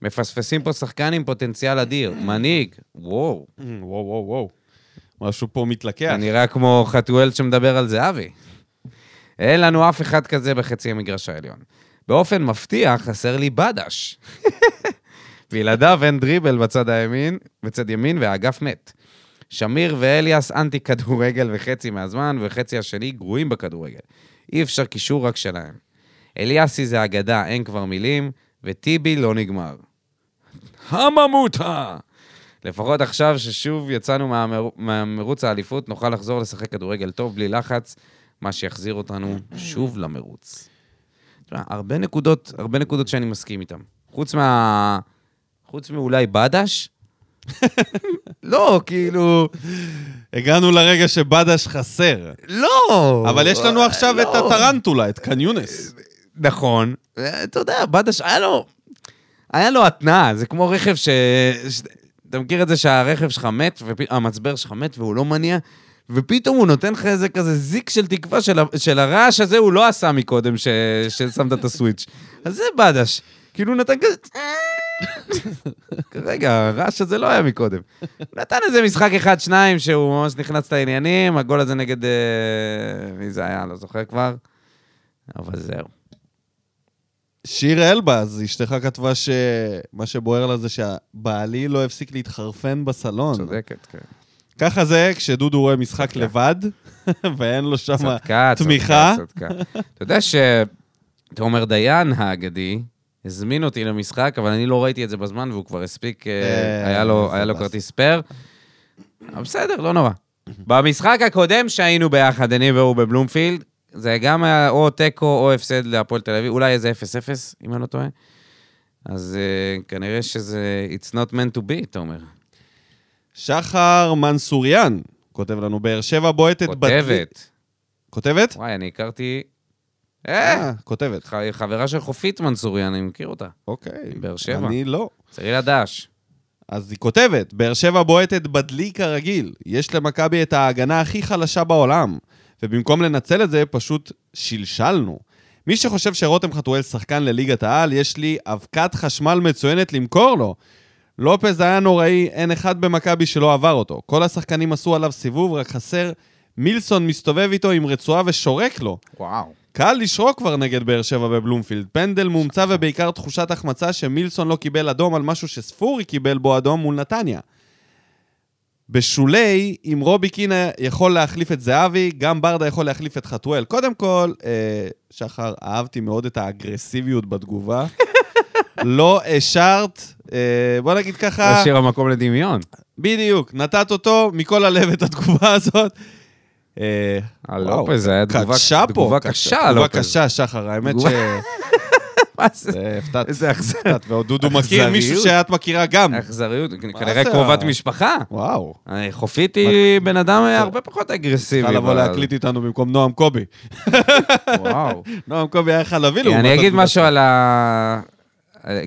Speaker 3: מפספסים פה שחקן עם פוטנציאל אדיר, מנהיג, Mm, וואו.
Speaker 1: וואו, וואו, וואו. משהו פה מתלקח.
Speaker 3: אתה נראה כמו חתואל שמדבר על זהבי. אין לנו אף אחד כזה בחצי המגרש העליון. באופן מפתיע, חסר לי בדש. בלעדיו אין דריבל בצד הימין, בצד ימין, והאגף מת. שמיר ואליאס אנטי כדורגל וחצי מהזמן, וחצי השני גרועים בכדורגל. אי אפשר קישור רק שלהם. אליאסי זה אגדה, אין כבר מילים, וטיבי לא נגמר. הממותה! לפחות עכשיו ששוב יצאנו מהמר... מהמרוץ האליפות, נוכל לחזור לשחק כדורגל טוב בלי לחץ, מה שיחזיר אותנו שוב למרוץ. תשמע, הרבה נקודות, הרבה נקודות שאני מסכים איתן. חוץ מה... חוץ מאולי בדש? לא, כאילו...
Speaker 1: הגענו לרגע שבדש חסר.
Speaker 3: לא!
Speaker 1: אבל יש לנו עכשיו את
Speaker 3: לא.
Speaker 1: הטרנטולה, את קניונס.
Speaker 3: נכון. אה, אתה יודע, בדש, היה לו... היה לו התנעה, זה כמו רכב ש... ש... אתה מכיר את זה שהרכב שלך מת, והמצבר שלך מת והוא לא מניע, ופתאום הוא נותן לך איזה כזה זיק של תקווה של, ה... של הרעש הזה הוא לא עשה מקודם ש... ששמת את הסוויץ'. אז זה בדש. כאילו הוא נתן כזה... רגע, הרעש הזה לא היה מקודם. הוא נתן איזה משחק אחד, שניים, שהוא ממש נכנס לעניינים, הגול הזה נגד... אה, מי זה היה? לא זוכר כבר. אבל זהו.
Speaker 1: שיר אלבז, אשתך כתבה שמה שבוער לה זה שבעלי לא הפסיק להתחרפן בסלון.
Speaker 3: צודקת, כן.
Speaker 1: ככה זה כשדודו רואה משחק
Speaker 3: צדקה.
Speaker 1: לבד, ואין לו שם...
Speaker 3: צדקה,
Speaker 1: תמיכה?
Speaker 3: צדקה, צדקה. אתה יודע שתומר דיין האגדי הזמין אותי למשחק, אבל אני לא ראיתי את זה בזמן, והוא כבר הספיק, אה,
Speaker 1: אה,
Speaker 3: היה לו
Speaker 1: זה
Speaker 3: היה לו
Speaker 1: באסה.
Speaker 3: כרטיס פר. אבל בסדר, לא נורא. במשחק הקודם שהיינו ביחד, אני והוא בבלומפילד, זה גם היה או תיקו או הפסד להפועל תל אביב, אולי איזה 0-0, אם אני לא טועה. אז אה, כנראה שזה It's not meant to be, תומר.
Speaker 1: שחר מנסוריאן כותב לנו, באר שבע בועטת... בת-
Speaker 3: כותבת.
Speaker 1: כותבת?
Speaker 3: וואי, אני הכרתי... אה,
Speaker 1: אה, כותבת.
Speaker 3: ח- חברה של חופית מנסורי, אני מכיר אותה.
Speaker 1: אוקיי.
Speaker 3: באר שבע.
Speaker 1: אני לא.
Speaker 3: צרילה דש.
Speaker 1: אז היא כותבת, באר שבע בועטת בדלי כרגיל. יש למכבי את ההגנה הכי חלשה בעולם, ובמקום לנצל את זה, פשוט שלשלנו. מי שחושב שרותם חתואל שחקן לליגת העל, יש לי אבקת חשמל מצוינת למכור לו. לופז היה נוראי, אין אחד במכבי שלא עבר אותו. כל השחקנים עשו עליו סיבוב, רק חסר מילסון מסתובב איתו עם רצועה ושורק לו.
Speaker 3: וואו.
Speaker 1: קל לשרוק כבר נגד באר שבע בבלומפילד. פנדל מומצא ובעיקר תחושת החמצה שמילסון לא קיבל אדום על משהו שספורי קיבל בו אדום מול נתניה. בשולי, אם רובי קינה יכול להחליף את זהבי, גם ברדה יכול להחליף את חתואל. קודם כל, אה, שחר, אהבתי מאוד את האגרסיביות בתגובה. לא השארת, אה, בוא נגיד ככה...
Speaker 3: לא השאיר המקום לדמיון.
Speaker 1: בדיוק, נתת אותו מכל הלב את התגובה הזאת. אה,
Speaker 3: על
Speaker 1: וואו,
Speaker 3: לופז, זה היה תגובה
Speaker 1: קשה פה.
Speaker 3: תגובה קשה על
Speaker 1: תגובה
Speaker 3: לופז.
Speaker 1: קשה, שחר, האמת ש...
Speaker 3: מה זה?
Speaker 1: אה, הפתעת.
Speaker 3: איזה אכזר-
Speaker 1: הפתעת, ועוד דודו מכיר מישהו
Speaker 3: אכזריות.
Speaker 1: שאת מכירה גם.
Speaker 3: אכזריות. כנראה
Speaker 1: זה?
Speaker 3: קרובת משפחה.
Speaker 1: וואו.
Speaker 3: אה, חופית היא בן אדם הרבה פחות אגרסיבי.
Speaker 1: צריכה לבוא
Speaker 3: אבל-
Speaker 1: להקליט איתנו במקום נועם קובי.
Speaker 3: וואו.
Speaker 1: נועם קובי היה חלבי לעומת...
Speaker 3: אני אגיד
Speaker 1: התגובה
Speaker 3: משהו על ה...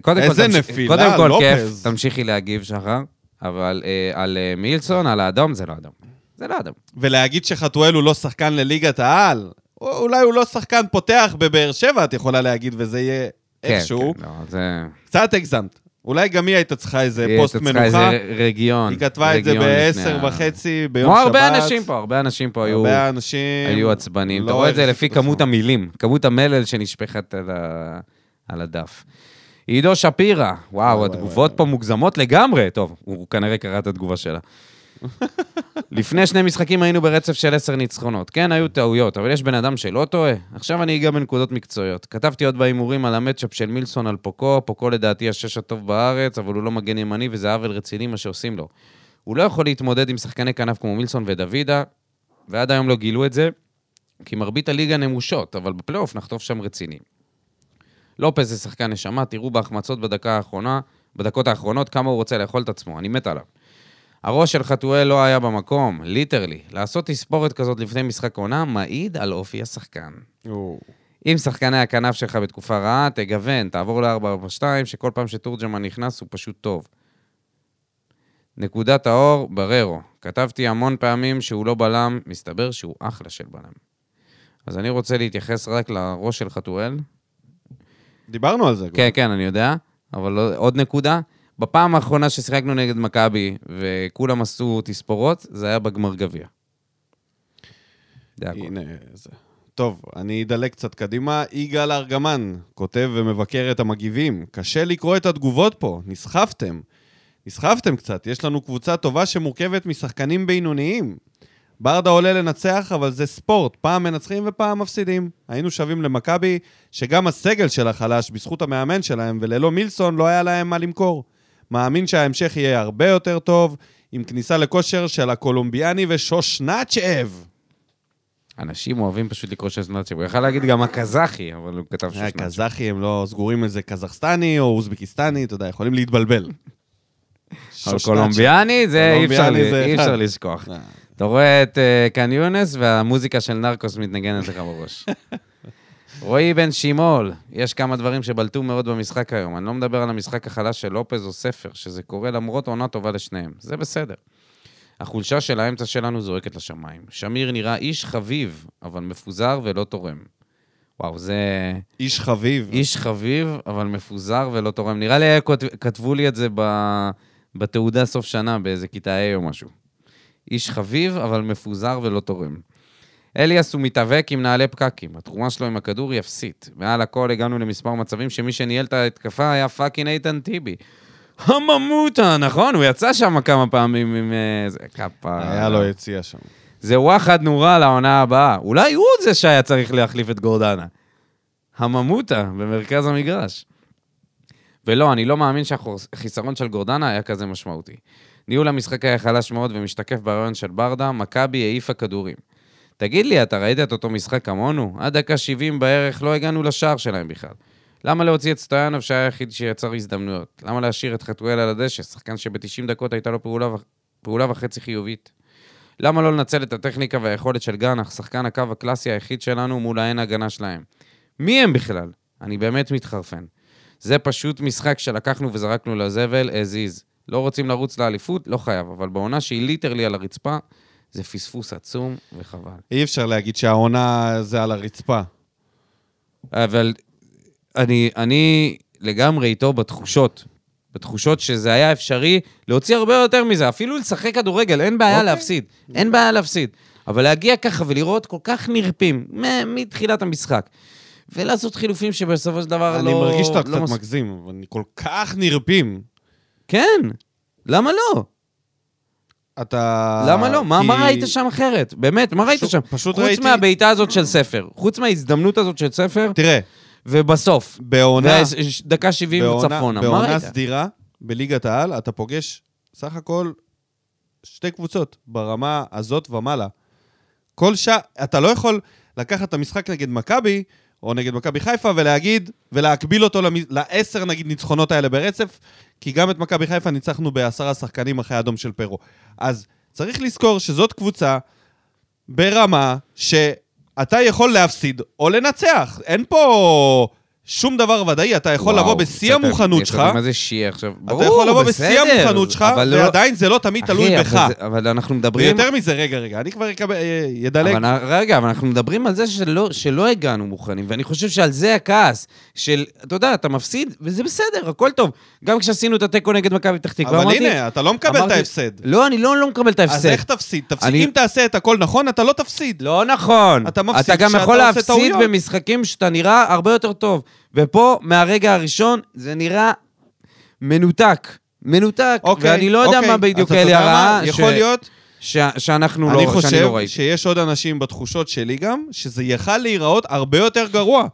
Speaker 3: קודם כל,
Speaker 1: איזה
Speaker 3: תמש-
Speaker 1: נפילה,
Speaker 3: קודם כל,
Speaker 1: לופז.
Speaker 3: כיף, תמשיכי להגיב, שחר, אבל אה, על אה, מילסון, על האדום, זה לא אדום. זה לא אדום.
Speaker 1: ולהגיד שחתואל הוא לא שחקן לליגת העל, או- אולי הוא לא שחקן פותח בבאר שבע, את יכולה להגיד, וזה יהיה
Speaker 3: כן,
Speaker 1: איכשהו.
Speaker 3: כן, לא, זה...
Speaker 1: קצת הגזמת. אולי גם היא הייתה צריכה איזה
Speaker 3: היא
Speaker 1: פוסט
Speaker 3: הייתה צריכה
Speaker 1: מנוחה.
Speaker 3: איזה רגיון.
Speaker 1: היא כתבה את זה
Speaker 3: רגיון לפני
Speaker 1: בעשר
Speaker 3: ה-
Speaker 1: וחצי ביום
Speaker 3: כמו
Speaker 1: שבת.
Speaker 3: הרבה אנשים פה, הרבה אנשים פה היו...
Speaker 1: הרבה אנשים...
Speaker 3: היו עצבניים. אתה
Speaker 1: לא
Speaker 3: רואה את זה
Speaker 1: הרחיקו
Speaker 3: לפי
Speaker 1: את עצמם.
Speaker 3: כמות המילים, כמות המלל שנשפכת על ה- על הדף. עידו שפירא, וואו,
Speaker 1: וואי,
Speaker 3: התגובות
Speaker 1: וואי.
Speaker 3: פה מוגזמות לגמרי. טוב, הוא כנראה קרא את התגובה שלה. לפני שני משחקים היינו ברצף של עשר ניצחונות. כן, היו טעויות, אבל יש בן אדם שלא טועה. עכשיו אני אגע בנקודות מקצועיות. כתבתי עוד בהימורים על המצ'אפ של מילסון על פוקו, פוקו לדעתי השש הטוב בארץ, אבל הוא לא מגן ימני וזה עוול רציני מה שעושים לו. הוא לא יכול להתמודד עם שחקני כנף כמו מילסון ודוידה, ועד היום לא גילו את זה, כי מרבית הליגה נמושות, אבל בפלייאוף נחטוף שם רציני. לופז זה שחקן נשמה, תראו בהחמצות בדקה האחרונה, בדקות האחרונות כמה הוא רוצה לאכול את עצמו, אני מת עליו. הראש של חתואל לא היה במקום, ליטרלי. לעשות תספורת כזאת לפני משחק עונה מעיד על אופי השחקן.
Speaker 1: או.
Speaker 3: אם שחקני הכנף שלך בתקופה רעה, תגוון, תעבור ל-442, שכל פעם שתורג'מן נכנס הוא פשוט טוב. נקודת האור, בררו. כתבתי המון פעמים שהוא לא בלם, מסתבר שהוא אחלה של בלם. אז אני רוצה להתייחס רק לראש של חתואל.
Speaker 1: דיברנו על זה. כבר.
Speaker 3: כן, כן, אני יודע, אבל לא- עוד נקודה. בפעם האחרונה ששיחקנו נגד מכבי וכולם עשו תספורות, זה היה בגמר גביע. זה הכול.
Speaker 1: הנה, זה. טוב, אני אדלג קצת קדימה. יגאל ארגמן כותב ומבקר את המגיבים. קשה לקרוא את התגובות פה, נסחפתם. נסחפתם קצת, יש לנו קבוצה טובה שמורכבת משחקנים בינוניים. ברדה עולה לנצח, אבל זה ספורט, פעם מנצחים ופעם מפסידים. היינו שווים למכבי, שגם הסגל שלה חלש בזכות המאמן שלהם, וללא מילסון לא היה להם מה למכור. מאמין שההמשך יהיה הרבה יותר טוב, עם כניסה לכושר של הקולומביאני ושושנצ'אב.
Speaker 3: אנשים אוהבים פשוט לקרוא ששנצ'ב. הוא יכל להגיד גם הקזחי, אבל הוא כתב
Speaker 1: אה,
Speaker 3: ששנצ'ב.
Speaker 1: קזחי, הם לא סגורים איזה קזחסטני או אוזבקיסטני, אתה יודע, יכולים להתבלבל.
Speaker 3: אבל
Speaker 1: שושנצ'ה.
Speaker 3: קולומביאני, זה אי אפשר
Speaker 1: קולומביאני
Speaker 3: לי-
Speaker 1: זה
Speaker 3: אי
Speaker 1: אחד.
Speaker 3: אפשר לשכוח.
Speaker 1: אה,
Speaker 3: אתה רואה את אה, קאן יונס והמוזיקה של נרקוס מתנגנת לך בראש. רועי בן שימול, יש כמה דברים שבלטו מאוד במשחק היום. אני לא מדבר על המשחק החלש של לופז או ספר, שזה קורה למרות עונה טובה לשניהם. זה בסדר. החולשה של האמצע שלנו זועקת לשמיים. שמיר נראה איש חביב, אבל מפוזר ולא תורם. וואו, זה...
Speaker 1: איש חביב.
Speaker 3: איש חביב, אבל מפוזר ולא תורם. נראה לי היה כות- כתבו לי את זה ב... בתעודה סוף שנה, באיזה כיתה A או משהו. איש חביב, אבל מפוזר ולא תורם. אליאס הוא מתאבק עם נעלי פקקים, התרומה שלו עם הכדור היא אפסית. מעל הכל הגענו למספר מצבים שמי שניהל את ההתקפה היה פאקינג איתן טיבי. הממותה, נכון? הוא יצא שם כמה פעמים עם איזה כפרה.
Speaker 1: היה לו יציע שם.
Speaker 3: זה וואחד נורא לעונה הבאה. אולי הוא זה שהיה צריך להחליף את גורדנה. הממותה במרכז המגרש. ולא, אני לא מאמין שהחיסרון של גורדנה היה כזה משמעותי. ניהול המשחק היה חלש מאוד ומשתקף ברעיון של ברדה, מכבי העיפה כדורים. תגיד לי, אתה ראית את אותו משחק כמונו? עד דקה 70 בערך לא הגענו לשער שלהם בכלל. למה להוציא את סטויאנוב שהיה היחיד שיצר הזדמנויות? למה להשאיר את חתואל על הדשא, שחקן שב-90 דקות הייתה לו פעולה, ו... פעולה וחצי חיובית? למה לא לנצל את הטכניקה והיכולת של גנח, שחקן הקו הקלאסי היחיד שלנו מול האין הגנה שלהם? מי הם בכלל? אני באמת מתחרפן. זה פשוט משחק שלקחנו וזרקנו לזבל as is. לא רוצים לרוץ לאליפות? לא חייב, אבל בעונה שהיא ליטרלי על הרצפה, זה פספוס עצום וחבל.
Speaker 1: אי אפשר להגיד שהעונה זה על הרצפה.
Speaker 3: אבל אני, אני לגמרי איתו בתחושות. בתחושות שזה היה אפשרי להוציא הרבה יותר מזה, אפילו לשחק כדורגל, אין בעיה
Speaker 1: אוקיי.
Speaker 3: להפסיד. אין בעיה להפסיד. אבל להגיע ככה ולראות כל כך נרפים מ- מתחילת המשחק, ולעשות חילופים שבסופו של דבר
Speaker 1: אני
Speaker 3: לא...
Speaker 1: מרגיש שאתה
Speaker 3: לא
Speaker 1: קצת
Speaker 3: מס-
Speaker 1: מגזים, אבל אני כל כך נרפים.
Speaker 3: כן, למה לא?
Speaker 1: אתה...
Speaker 3: למה לא? מה,
Speaker 1: אה, כי-
Speaker 3: מה ראית שם אחרת? באמת, מה ראית
Speaker 1: פשוט-
Speaker 3: שם?
Speaker 1: פשוט
Speaker 3: חוץ
Speaker 1: ראיתי-
Speaker 3: מהבעיטה הזאת של ספר, חוץ מההזדמנות הזאת של ספר,
Speaker 1: תראה,
Speaker 3: ובסוף,
Speaker 1: בעונה...
Speaker 3: וה- דקה 70
Speaker 1: בעונה-
Speaker 3: צפונה, מה
Speaker 1: בעונה
Speaker 3: ראית?
Speaker 1: סדירה, בליגת העל, אתה פוגש סך הכל שתי קבוצות ברמה הזאת ומעלה. כל שעה, אתה לא יכול לקחת את המשחק נגד מכבי, או נגד מכבי חיפה, ולהגיד, ולהקביל אותו למ- לעשר, נגיד, ניצחונות האלה ברצף, כי גם את מכבי חיפה ניצחנו בעשרה שחקנים אחרי האדום של פרו. אז צריך לזכור שזאת קבוצה ברמה שאתה יכול להפסיד או לנצח. אין פה שום דבר ודאי, אתה יכול
Speaker 3: וואו,
Speaker 1: לבוא בשיא
Speaker 3: אתה-
Speaker 1: המוכנות שלך.
Speaker 3: אתה יודע מה זה שיהיה עכשיו?
Speaker 1: אתה יכול לבוא בשיא
Speaker 3: בסדר,
Speaker 1: המוכנות שלך,
Speaker 3: אבל לא-
Speaker 1: ועדיין זה לא תמיד
Speaker 3: אחי,
Speaker 1: תלוי
Speaker 3: אבל
Speaker 1: בך.
Speaker 3: זה- אבל אנחנו מדברים...
Speaker 1: ויותר מזה, רגע, רגע, אני כבר אקבל- אה, ידלג.
Speaker 3: אבל רגע, אבל אנחנו מדברים על זה שלא, שלא הגענו מוכנים, ואני חושב שעל זה הכעס של, אתה יודע, אתה מפסיד, וזה בסדר, הכל טוב. גם כשעשינו את התיקו נגד מכבי פתח תקווה,
Speaker 1: אבל
Speaker 3: אמרתי...
Speaker 1: הנה, אתה לא מקבל את
Speaker 3: אמרתי-
Speaker 1: ההפסד.
Speaker 3: לא, אני לא, לא מקבל את ההפסד.
Speaker 1: אז איך תפסיד? תפסיד.
Speaker 3: אני-
Speaker 1: אם תעשה את הכל נכון, אתה לא תפסיד.
Speaker 3: לא נכון.
Speaker 1: אתה מפסיד
Speaker 3: אתה גם
Speaker 1: כשאתה
Speaker 3: יכול
Speaker 1: עושה
Speaker 3: להפסיד
Speaker 1: טעויות.
Speaker 3: במשחקים שאתה נראה הרבה יותר טוב. ופה, מהרגע הראשון, זה נראה מנותק. מנותק.
Speaker 1: אוקיי,
Speaker 3: ואני לא יודע
Speaker 1: אוקיי.
Speaker 3: מה בדיוק
Speaker 1: אז אתה
Speaker 3: אלי
Speaker 1: יודע מה?
Speaker 3: הרעה.
Speaker 1: יכול להיות,
Speaker 3: ש... שאנחנו
Speaker 1: אני
Speaker 3: לא, שאני
Speaker 1: חושב
Speaker 3: לא ראיתי.
Speaker 1: שיש עוד אנשים בתחושות שלי גם, שזה יכל להיראות הרבה יותר גרוע.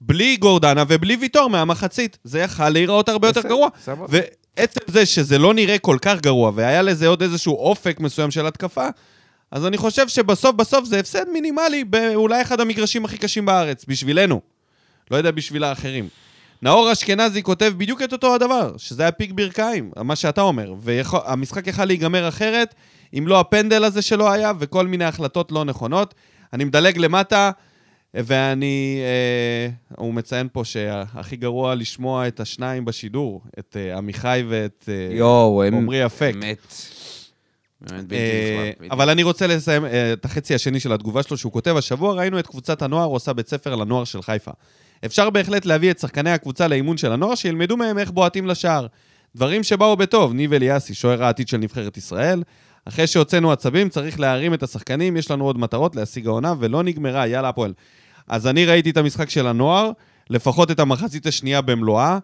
Speaker 1: בלי גורדנה ובלי ויטור מהמחצית. זה יכל להיראות הרבה יותר
Speaker 3: בסדר,
Speaker 1: גרוע.
Speaker 3: סבבה.
Speaker 1: ועצם זה שזה לא נראה כל כך גרוע, והיה לזה עוד איזשהו אופק מסוים של התקפה, אז אני חושב שבסוף בסוף זה הפסד מינימלי באולי אחד המגרשים הכי קשים בארץ, בשבילנו. לא יודע בשביל האחרים. נאור אשכנזי כותב בדיוק את אותו הדבר, שזה היה פיק ברכיים, מה שאתה אומר. והמשחק יכל להיגמר אחרת, אם לא הפנדל הזה שלא היה, וכל מיני החלטות לא נכונות. אני מדלג למטה, ואני... אה, הוא מציין פה שהכי גרוע לשמוע את השניים בשידור, את אה, עמיחי ואת אה,
Speaker 3: יואו, הם...
Speaker 1: עמרי אפק.
Speaker 3: באמת. באמת בלתי
Speaker 1: אה,
Speaker 3: נסבל.
Speaker 1: אבל אני רוצה לסיים אה, את החצי השני של התגובה שלו, שהוא כותב, השבוע ראינו את קבוצת הנוער עושה בית ספר לנוער של חיפה. אפשר בהחלט להביא את שחקני הקבוצה לאימון של הנוער, שילמדו מהם איך בועטים לשער. דברים שבאו בטוב, ניב אליאסי, שוער העתיד של נבחרת ישראל. אחרי שהוצאנו עצבים, צריך להרים את השחקנים, יש לנו עוד מטרות להשיג העונה, ולא נגמרה, יאללה הפועל. אז אני ראיתי את המשחק של הנוער, לפחות את המחצית השנייה במלואה.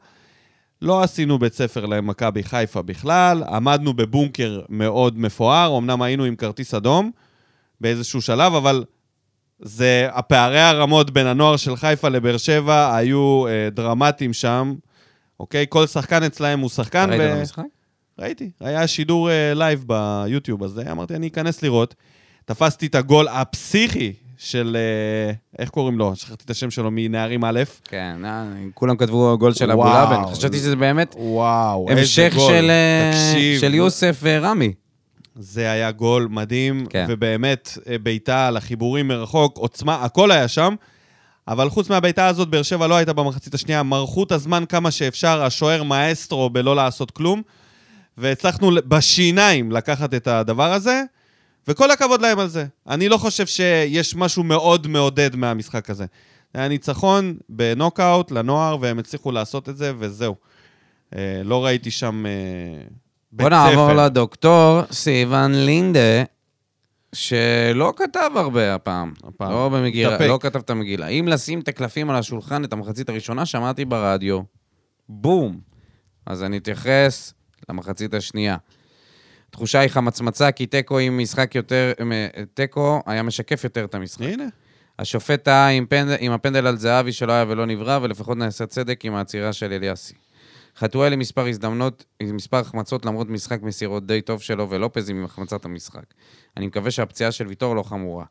Speaker 1: לא עשינו בית ספר למכבי חיפה בכלל, עמדנו בבונקר מאוד מפואר, אמנם היינו עם כרטיס אדום באיזשהו שלב, אבל זה, הפערי הרמות בין הנוער של חיפה לבאר שבע היו אה, דרמטיים שם, אוקיי? כל שחקן אצלהם הוא שחקן.
Speaker 3: אתה ראית את המשחק?
Speaker 1: ראיתי, היה שידור אה, לייב ביוטיוב הזה, אמרתי, אני אכנס לראות. תפסתי את הגול הפסיכי של, אה, איך קוראים לו? שכחתי את השם שלו מנערים א'.
Speaker 3: כן, אה, כולם כתבו גול של אבו
Speaker 1: וואו.
Speaker 3: לאבן. חשבתי שזה באמת
Speaker 1: וואו,
Speaker 3: המשך של, אה,
Speaker 1: תקשיב,
Speaker 3: של יוסף אה, רמי.
Speaker 1: זה היה גול מדהים,
Speaker 3: כן.
Speaker 1: כן. ובאמת אה, בעיטה על החיבורים מרחוק, עוצמה, הכל היה שם. אבל חוץ מהבעיטה הזאת, באר שבע לא הייתה במחצית השנייה, מרחו את הזמן כמה שאפשר, השוער מאסטרו בלא לעשות כלום, והצלחנו ל- בשיניים לקחת את הדבר הזה, וכל הכבוד להם על זה. אני לא חושב שיש משהו מאוד מעודד מהמשחק הזה. היה ניצחון בנוקאוט לנוער, והם הצליחו לעשות את זה, וזהו. אה, לא ראיתי שם אה, בית
Speaker 3: בוא
Speaker 1: ספר.
Speaker 3: נעבור לדוקטור סילבן לינדה, שלא כתב הרבה הפעם.
Speaker 1: הפעם.
Speaker 3: לא במגילה,
Speaker 1: התאפק.
Speaker 3: לא כתב את המגילה. אם לשים את הקלפים על השולחן, את המחצית הראשונה שמעתי ברדיו. בום. אז אני אתייחס למחצית השנייה. התחושה היא חמצמצה, כי תיקו עם משחק יותר... מ- תיקו היה משקף יותר את המשחק.
Speaker 1: הנה.
Speaker 3: השופט טעה עם, פנד... עם הפנדל על זהבי שלא היה ולא נברא, ולפחות נעשה צדק עם העצירה של אליאסי. חתואל עם מספר הזדמנות, עם מספר החמצות למרות משחק מסירות די טוב שלו, ולופז עם החמצת המשחק. אני מקווה שהפציעה של ויטור לא חמורה.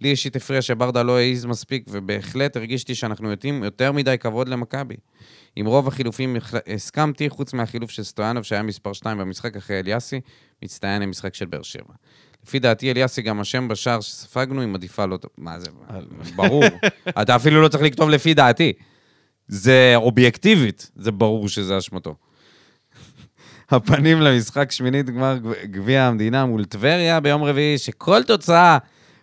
Speaker 3: לי אישית הפריע שברדה לא העז מספיק, ובהחלט הרגישתי שאנחנו נותנים יותר מדי כבוד למכבי. עם רוב החילופים החל- הסכמתי, חוץ מהחילוף של סטויאנוב, שהיה מספר 2 במשחק אחרי אליאסי, מצטיין למשחק של באר שבע. לפי דעתי, אליאסי גם אשם בשער שספגנו, היא מעדיפה לא... טוב. מה זה? ברור. אתה אפילו לא צריך לכתוב לפי דעתי. זה אובייקטיבית, זה ברור שזה אשמתו. הפנים למשחק שמינית גמר גביע המדינה מול טבריה ביום רביעי, שכל תוצאה,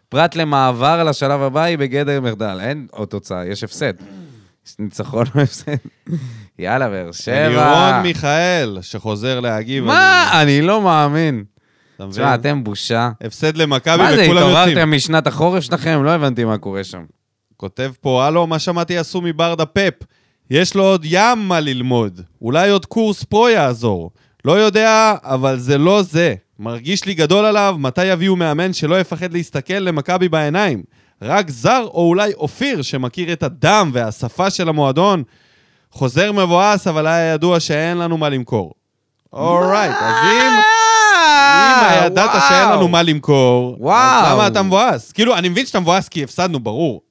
Speaker 3: פרט למעבר לשלב הבא, היא בגדר מחדל. אין עוד תוצאה, יש הפסד. יש ניצחון או הפסד. יאללה, באר שבע.
Speaker 1: לירון מיכאל, שחוזר להגיב.
Speaker 3: מה? אני לא מאמין.
Speaker 1: אני- אתה
Speaker 3: תשמע,
Speaker 1: מבין?
Speaker 3: אתם בושה.
Speaker 1: הפסד למכבי
Speaker 3: מה זה,
Speaker 1: וכולם יוצאים.
Speaker 3: התעוררתם משנת החורף שלכם? לא הבנתי מה קורה שם.
Speaker 1: כותב פה, הלו, מה שמעתי עשו מברדה פפ? יש לו עוד ים מה ללמוד. אולי עוד קורס פה יעזור. לא יודע, אבל זה לא זה. מרגיש לי גדול עליו, מתי יביאו מאמן שלא יפחד להסתכל למכבי בעיניים? רק זר או אולי אופיר, שמכיר את הדם והשפה של המועדון? חוזר מבואס, אבל היה ידוע שאין לנו מה למכור. אורייט, אז אם... אם
Speaker 3: אה,
Speaker 1: הידעת
Speaker 3: וואו.
Speaker 1: שאין לנו מה למכור, אז
Speaker 3: וואו.
Speaker 1: למה אתה מבואס? כאילו, אני מבין שאתה מבואס כי הפסדנו, ברור.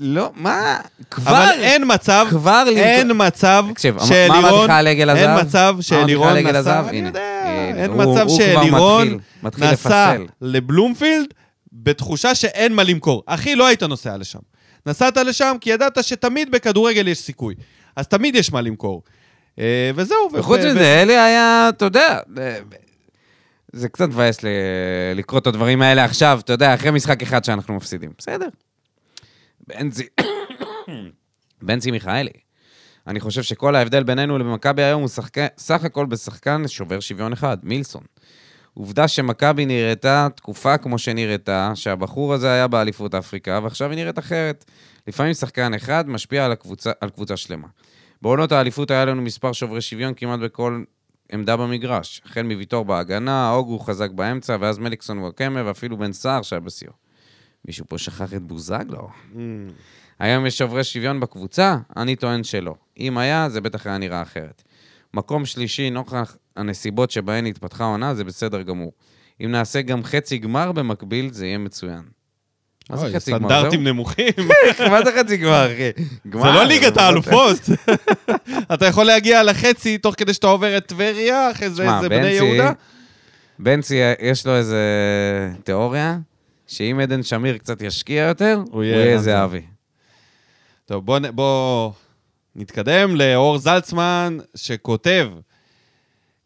Speaker 3: לא, מה? כבר...
Speaker 1: אבל אין מצב,
Speaker 3: כבר למכור-
Speaker 1: אין מצב
Speaker 3: תקשיב, מה- מה
Speaker 1: שאלירון...
Speaker 3: אמרתי לך על עגל הזהב?
Speaker 1: אין מצב
Speaker 3: מה אמרתי לך על
Speaker 1: שאלירון
Speaker 3: עגל
Speaker 1: נסע...
Speaker 3: הזהב?
Speaker 1: אני
Speaker 3: הנה,
Speaker 1: יודע,
Speaker 3: הנה,
Speaker 1: אין
Speaker 3: הוא-
Speaker 1: מצב
Speaker 3: הוא כבר
Speaker 1: שאלירון
Speaker 3: מתחיל- מתחיל
Speaker 1: נסע
Speaker 3: לפסל.
Speaker 1: לבלומפילד בתחושה שאין מה למכור. אחי, לא היית נוסע לשם. נסעת לשם כי ידעת שתמיד בכדורגל יש סיכוי. אז תמיד יש מה למכור. אה, וזהו. ו-
Speaker 3: וחוץ
Speaker 1: ו-
Speaker 3: מזה, אלי היה, אתה יודע, אה, זה קצת מבאס ל- לקרוא את הדברים האלה עכשיו, אתה יודע, אחרי משחק אחד שאנחנו מפסידים. בסדר. בנזי... בנזי מיכאלי. אני חושב שכל ההבדל בינינו למכבי היום הוא שחק... סך הכל בשחקן שובר שוויון אחד, מילסון. עובדה שמכבי נראתה תקופה כמו שנראתה, שהבחור הזה היה באליפות אפריקה, ועכשיו היא נראית אחרת. לפעמים שחקן אחד משפיע על, הקבוצה, על קבוצה שלמה. בעונות האליפות היה לנו מספר שוברי שוויון כמעט בכל עמדה במגרש. החל מוויטור בהגנה, אוגו חזק באמצע, ואז מליקסון וואקמה, ואפילו בן סער שהיה בשיאו. מישהו פה שכח את בוזגלו?
Speaker 1: אמ,
Speaker 3: היום יש שוברי שוויון בקבוצה? אני טוען שלא. אם היה, זה בטח היה נראה אחרת. מקום שלישי, נוכח הנסיבות שבהן התפתחה העונה, זה בסדר גמור. אם נעשה גם חצי גמר במקביל, זה יהיה מצוין. מה זה
Speaker 1: אוי,
Speaker 3: חצי גמר?
Speaker 1: סטנדרטים נמוכים.
Speaker 3: זהו? מה זה חצי גמר, אחי?
Speaker 1: זה לא ליגת האלופות. אתה יכול להגיע לחצי תוך כדי שאתה עובר את טבריה, אחרי זה
Speaker 3: תשמע,
Speaker 1: זה בני
Speaker 3: בנצי-
Speaker 1: יהודה.
Speaker 3: בנצי, יש לו איזה תיאוריה, שאם עדן שמיר קצת ישקיע יותר, הוא יהיה
Speaker 1: רנטה.
Speaker 3: איזה אבי.
Speaker 1: טוב, בוא, נ- בוא נתקדם לאור זלצמן, שכותב,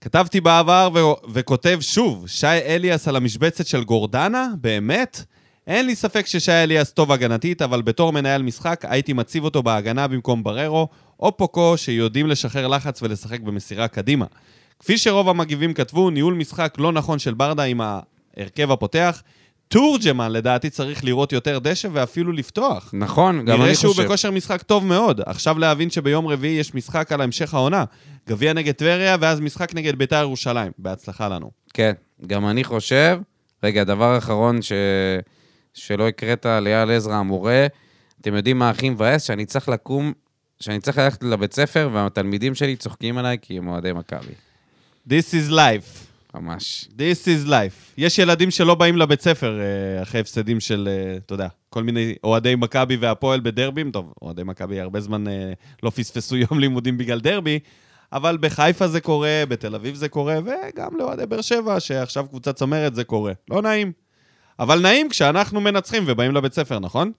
Speaker 1: כתבתי בעבר ו- וכותב שוב, שי אליאס על המשבצת של גורדנה? באמת? אין לי ספק ששי אליאס טוב הגנתית, אבל בתור מנהל משחק הייתי מציב אותו בהגנה במקום בררו, או פוקו שיודעים לשחרר לחץ ולשחק במסירה קדימה. כפי שרוב המגיבים כתבו, ניהול משחק לא נכון של ברדה עם ההרכב הפותח. תורג'מן לדעתי צריך לראות יותר דשא ואפילו לפתוח.
Speaker 3: נכון, גם
Speaker 1: נראה
Speaker 3: אני
Speaker 1: שהוא
Speaker 3: חושב.
Speaker 1: בכושר משחק טוב מאוד. עכשיו להבין שביום רביעי יש משחק על המשך העונה. גביע נגד טבריה, ואז משחק נגד בית"ר ירושלים. בהצלחה לנו.
Speaker 3: כן, גם אני חושב. רגע, הדבר האחרון ש... שלא הקראת ליעל עזרא המורה, אתם יודעים מה הכי מבאס? שאני צריך לקום, שאני צריך ללכת לבית ספר והתלמידים שלי צוחקים עליי כי הם אוהדי מכבי.
Speaker 1: This is life.
Speaker 3: ממש.
Speaker 1: This is life. יש ילדים שלא באים לבית ספר אה, אחרי הפסדים של, אה, אתה יודע, כל מיני אוהדי מכבי והפועל בדרבים. טוב, אוהדי מכבי הרבה זמן אה, לא פספסו יום לימודים בגלל דרבי, אבל בחיפה זה קורה, בתל אביב זה קורה, וגם לאוהדי באר שבע, שעכשיו קבוצה צמרת, זה קורה. לא נעים. אבל נעים כשאנחנו מנצחים ובאים לבית ספר, נכון?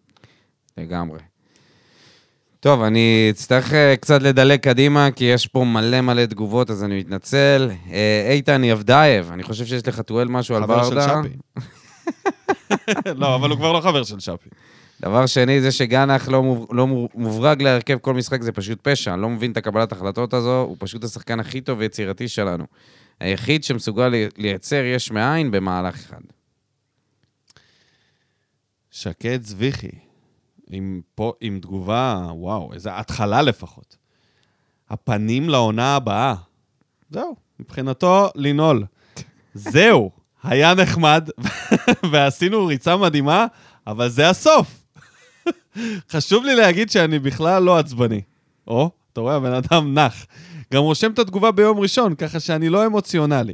Speaker 3: לגמרי. טוב, אני אצטרך אה, קצת לדלג קדימה, כי יש פה מלא מלא תגובות, אז אני מתנצל. אה, איתן יבדייב, אני חושב שיש לחתואל משהו על ברדה.
Speaker 1: חבר של שפי. לא, אבל הוא כבר לא חבר של שפי.
Speaker 3: דבר שני, זה שגנח לא, מוב... לא מוב- מוברג להרכב כל משחק זה פשוט פשע. אני לא מבין את הקבלת ההחלטות הזו, הוא פשוט השחקן הכי טוב ויצירתי שלנו. היחיד שמסוגל לי- לייצר יש מאין במהלך אחד.
Speaker 1: שקד זביחי, עם, פה, עם תגובה, וואו, איזו התחלה לפחות. הפנים לעונה הבאה. זהו, מבחינתו, לנעול. זהו, היה נחמד, ועשינו ריצה מדהימה, אבל זה הסוף. חשוב לי להגיד שאני בכלל לא עצבני. או, אתה רואה, הבן אדם נח. גם רושם את התגובה ביום ראשון, ככה שאני לא אמוציונלי.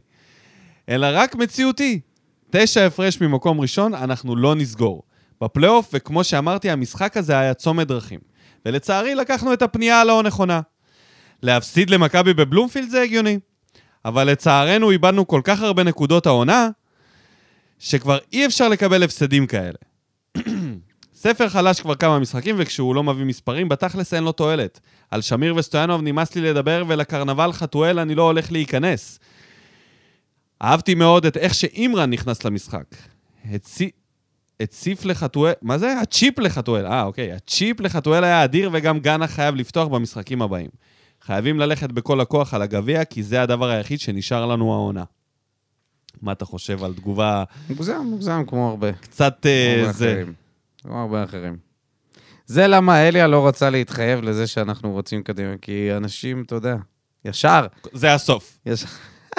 Speaker 1: אלא רק מציאותי. תשע הפרש ממקום ראשון, אנחנו לא נסגור. בפלייאוף, וכמו שאמרתי, המשחק הזה היה צומת דרכים. ולצערי, לקחנו את הפנייה הלא נכונה. להפסיד למכבי בבלומפילד זה הגיוני. אבל לצערנו, איבדנו כל כך הרבה נקודות העונה, שכבר אי אפשר לקבל הפסדים כאלה. ספר חלש כבר כמה משחקים, וכשהוא לא מביא מספרים, בתכלס אין לו תועלת. על שמיר וסטויאנוב נמאס לי לדבר, ולקרנבל חתואל אני לא הולך להיכנס. אהבתי מאוד את איך שאימרן נכנס למשחק. הצי... הציף לחתואל, מה זה? הצ'יפ לחתואל, אה, אוקיי. הצ'יפ לחתואל היה אדיר, וגם גאנה חייב לפתוח במשחקים הבאים. חייבים ללכת בכל הכוח על הגביע, כי זה הדבר היחיד שנשאר לנו העונה. מה אתה חושב על תגובה
Speaker 3: מוגזם, מוגזם, כמו הרבה.
Speaker 1: קצת אה,
Speaker 3: כמו
Speaker 1: זה?
Speaker 3: אחרים. כמו הרבה אחרים. זה למה אליה לא רצה להתחייב לזה שאנחנו רוצים קדימה, כי אנשים, אתה יודע, ישר,
Speaker 1: זה הסוף.
Speaker 3: ישר.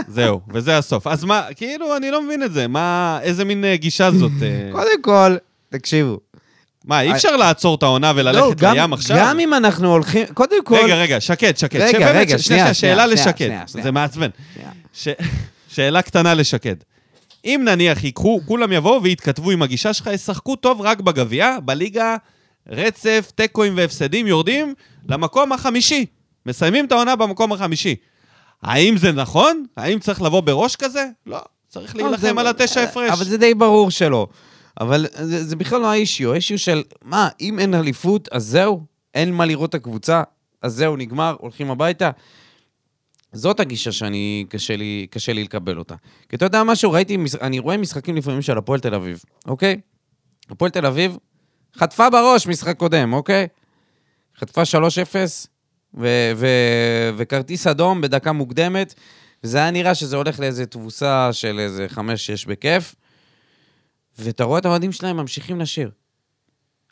Speaker 1: זהו, וזה הסוף. אז מה, כאילו, אני לא מבין את זה. מה, איזה מין אה, גישה זאת? אה?
Speaker 3: קודם כל, תקשיבו.
Speaker 1: מה, אי אפשר לעצור את העונה
Speaker 3: לא,
Speaker 1: וללכת
Speaker 3: גם-
Speaker 1: לים עכשיו?
Speaker 3: גם אם אנחנו הולכים, קודם כל...
Speaker 1: רגע, רגע, שקד, שקד.
Speaker 3: רגע,
Speaker 1: שבאמת,
Speaker 3: רגע,
Speaker 1: ש- שאלה
Speaker 3: שנייה, שנייה,
Speaker 1: לשקד.
Speaker 3: שנייה, שנייה.
Speaker 1: זה מעצבן.
Speaker 3: שנייה.
Speaker 1: ש- שאלה קטנה לשקד. אם נניח יקחו, כולם יבואו ויתכתבו עם הגישה שלך, ישחקו טוב רק בגביע, בליגה, רצף, תיקואים והפסדים, יורדים למקום החמישי. מסיימים את העונה במקום החמישי. האם זה נכון? האם צריך לבוא בראש כזה? לא. צריך
Speaker 3: לא,
Speaker 1: להילחם
Speaker 3: זה-
Speaker 1: על התשע הפרש.
Speaker 3: אבל זה די ברור שלא. אבל זה, זה בכלל לא האישיו, האישיו של, מה, אם אין אליפות, אז זהו, אין מה לראות את הקבוצה, אז זהו, נגמר, הולכים הביתה. זאת הגישה שאני, קשה לי, קשה לי לקבל אותה. כי אתה יודע משהו, ראיתי, מש- אני רואה משחקים לפעמים של הפועל תל אביב, אוקיי? הפועל תל אביב חטפה בראש משחק קודם, אוקיי? חטפה 3-0, ו- ו- וכרטיס אדום בדקה מוקדמת, וזה היה נראה שזה הולך לאיזה תבוסה של איזה 5-6 בכיף, ואתה רואה את האוהדים שלהם ממשיכים לשיר.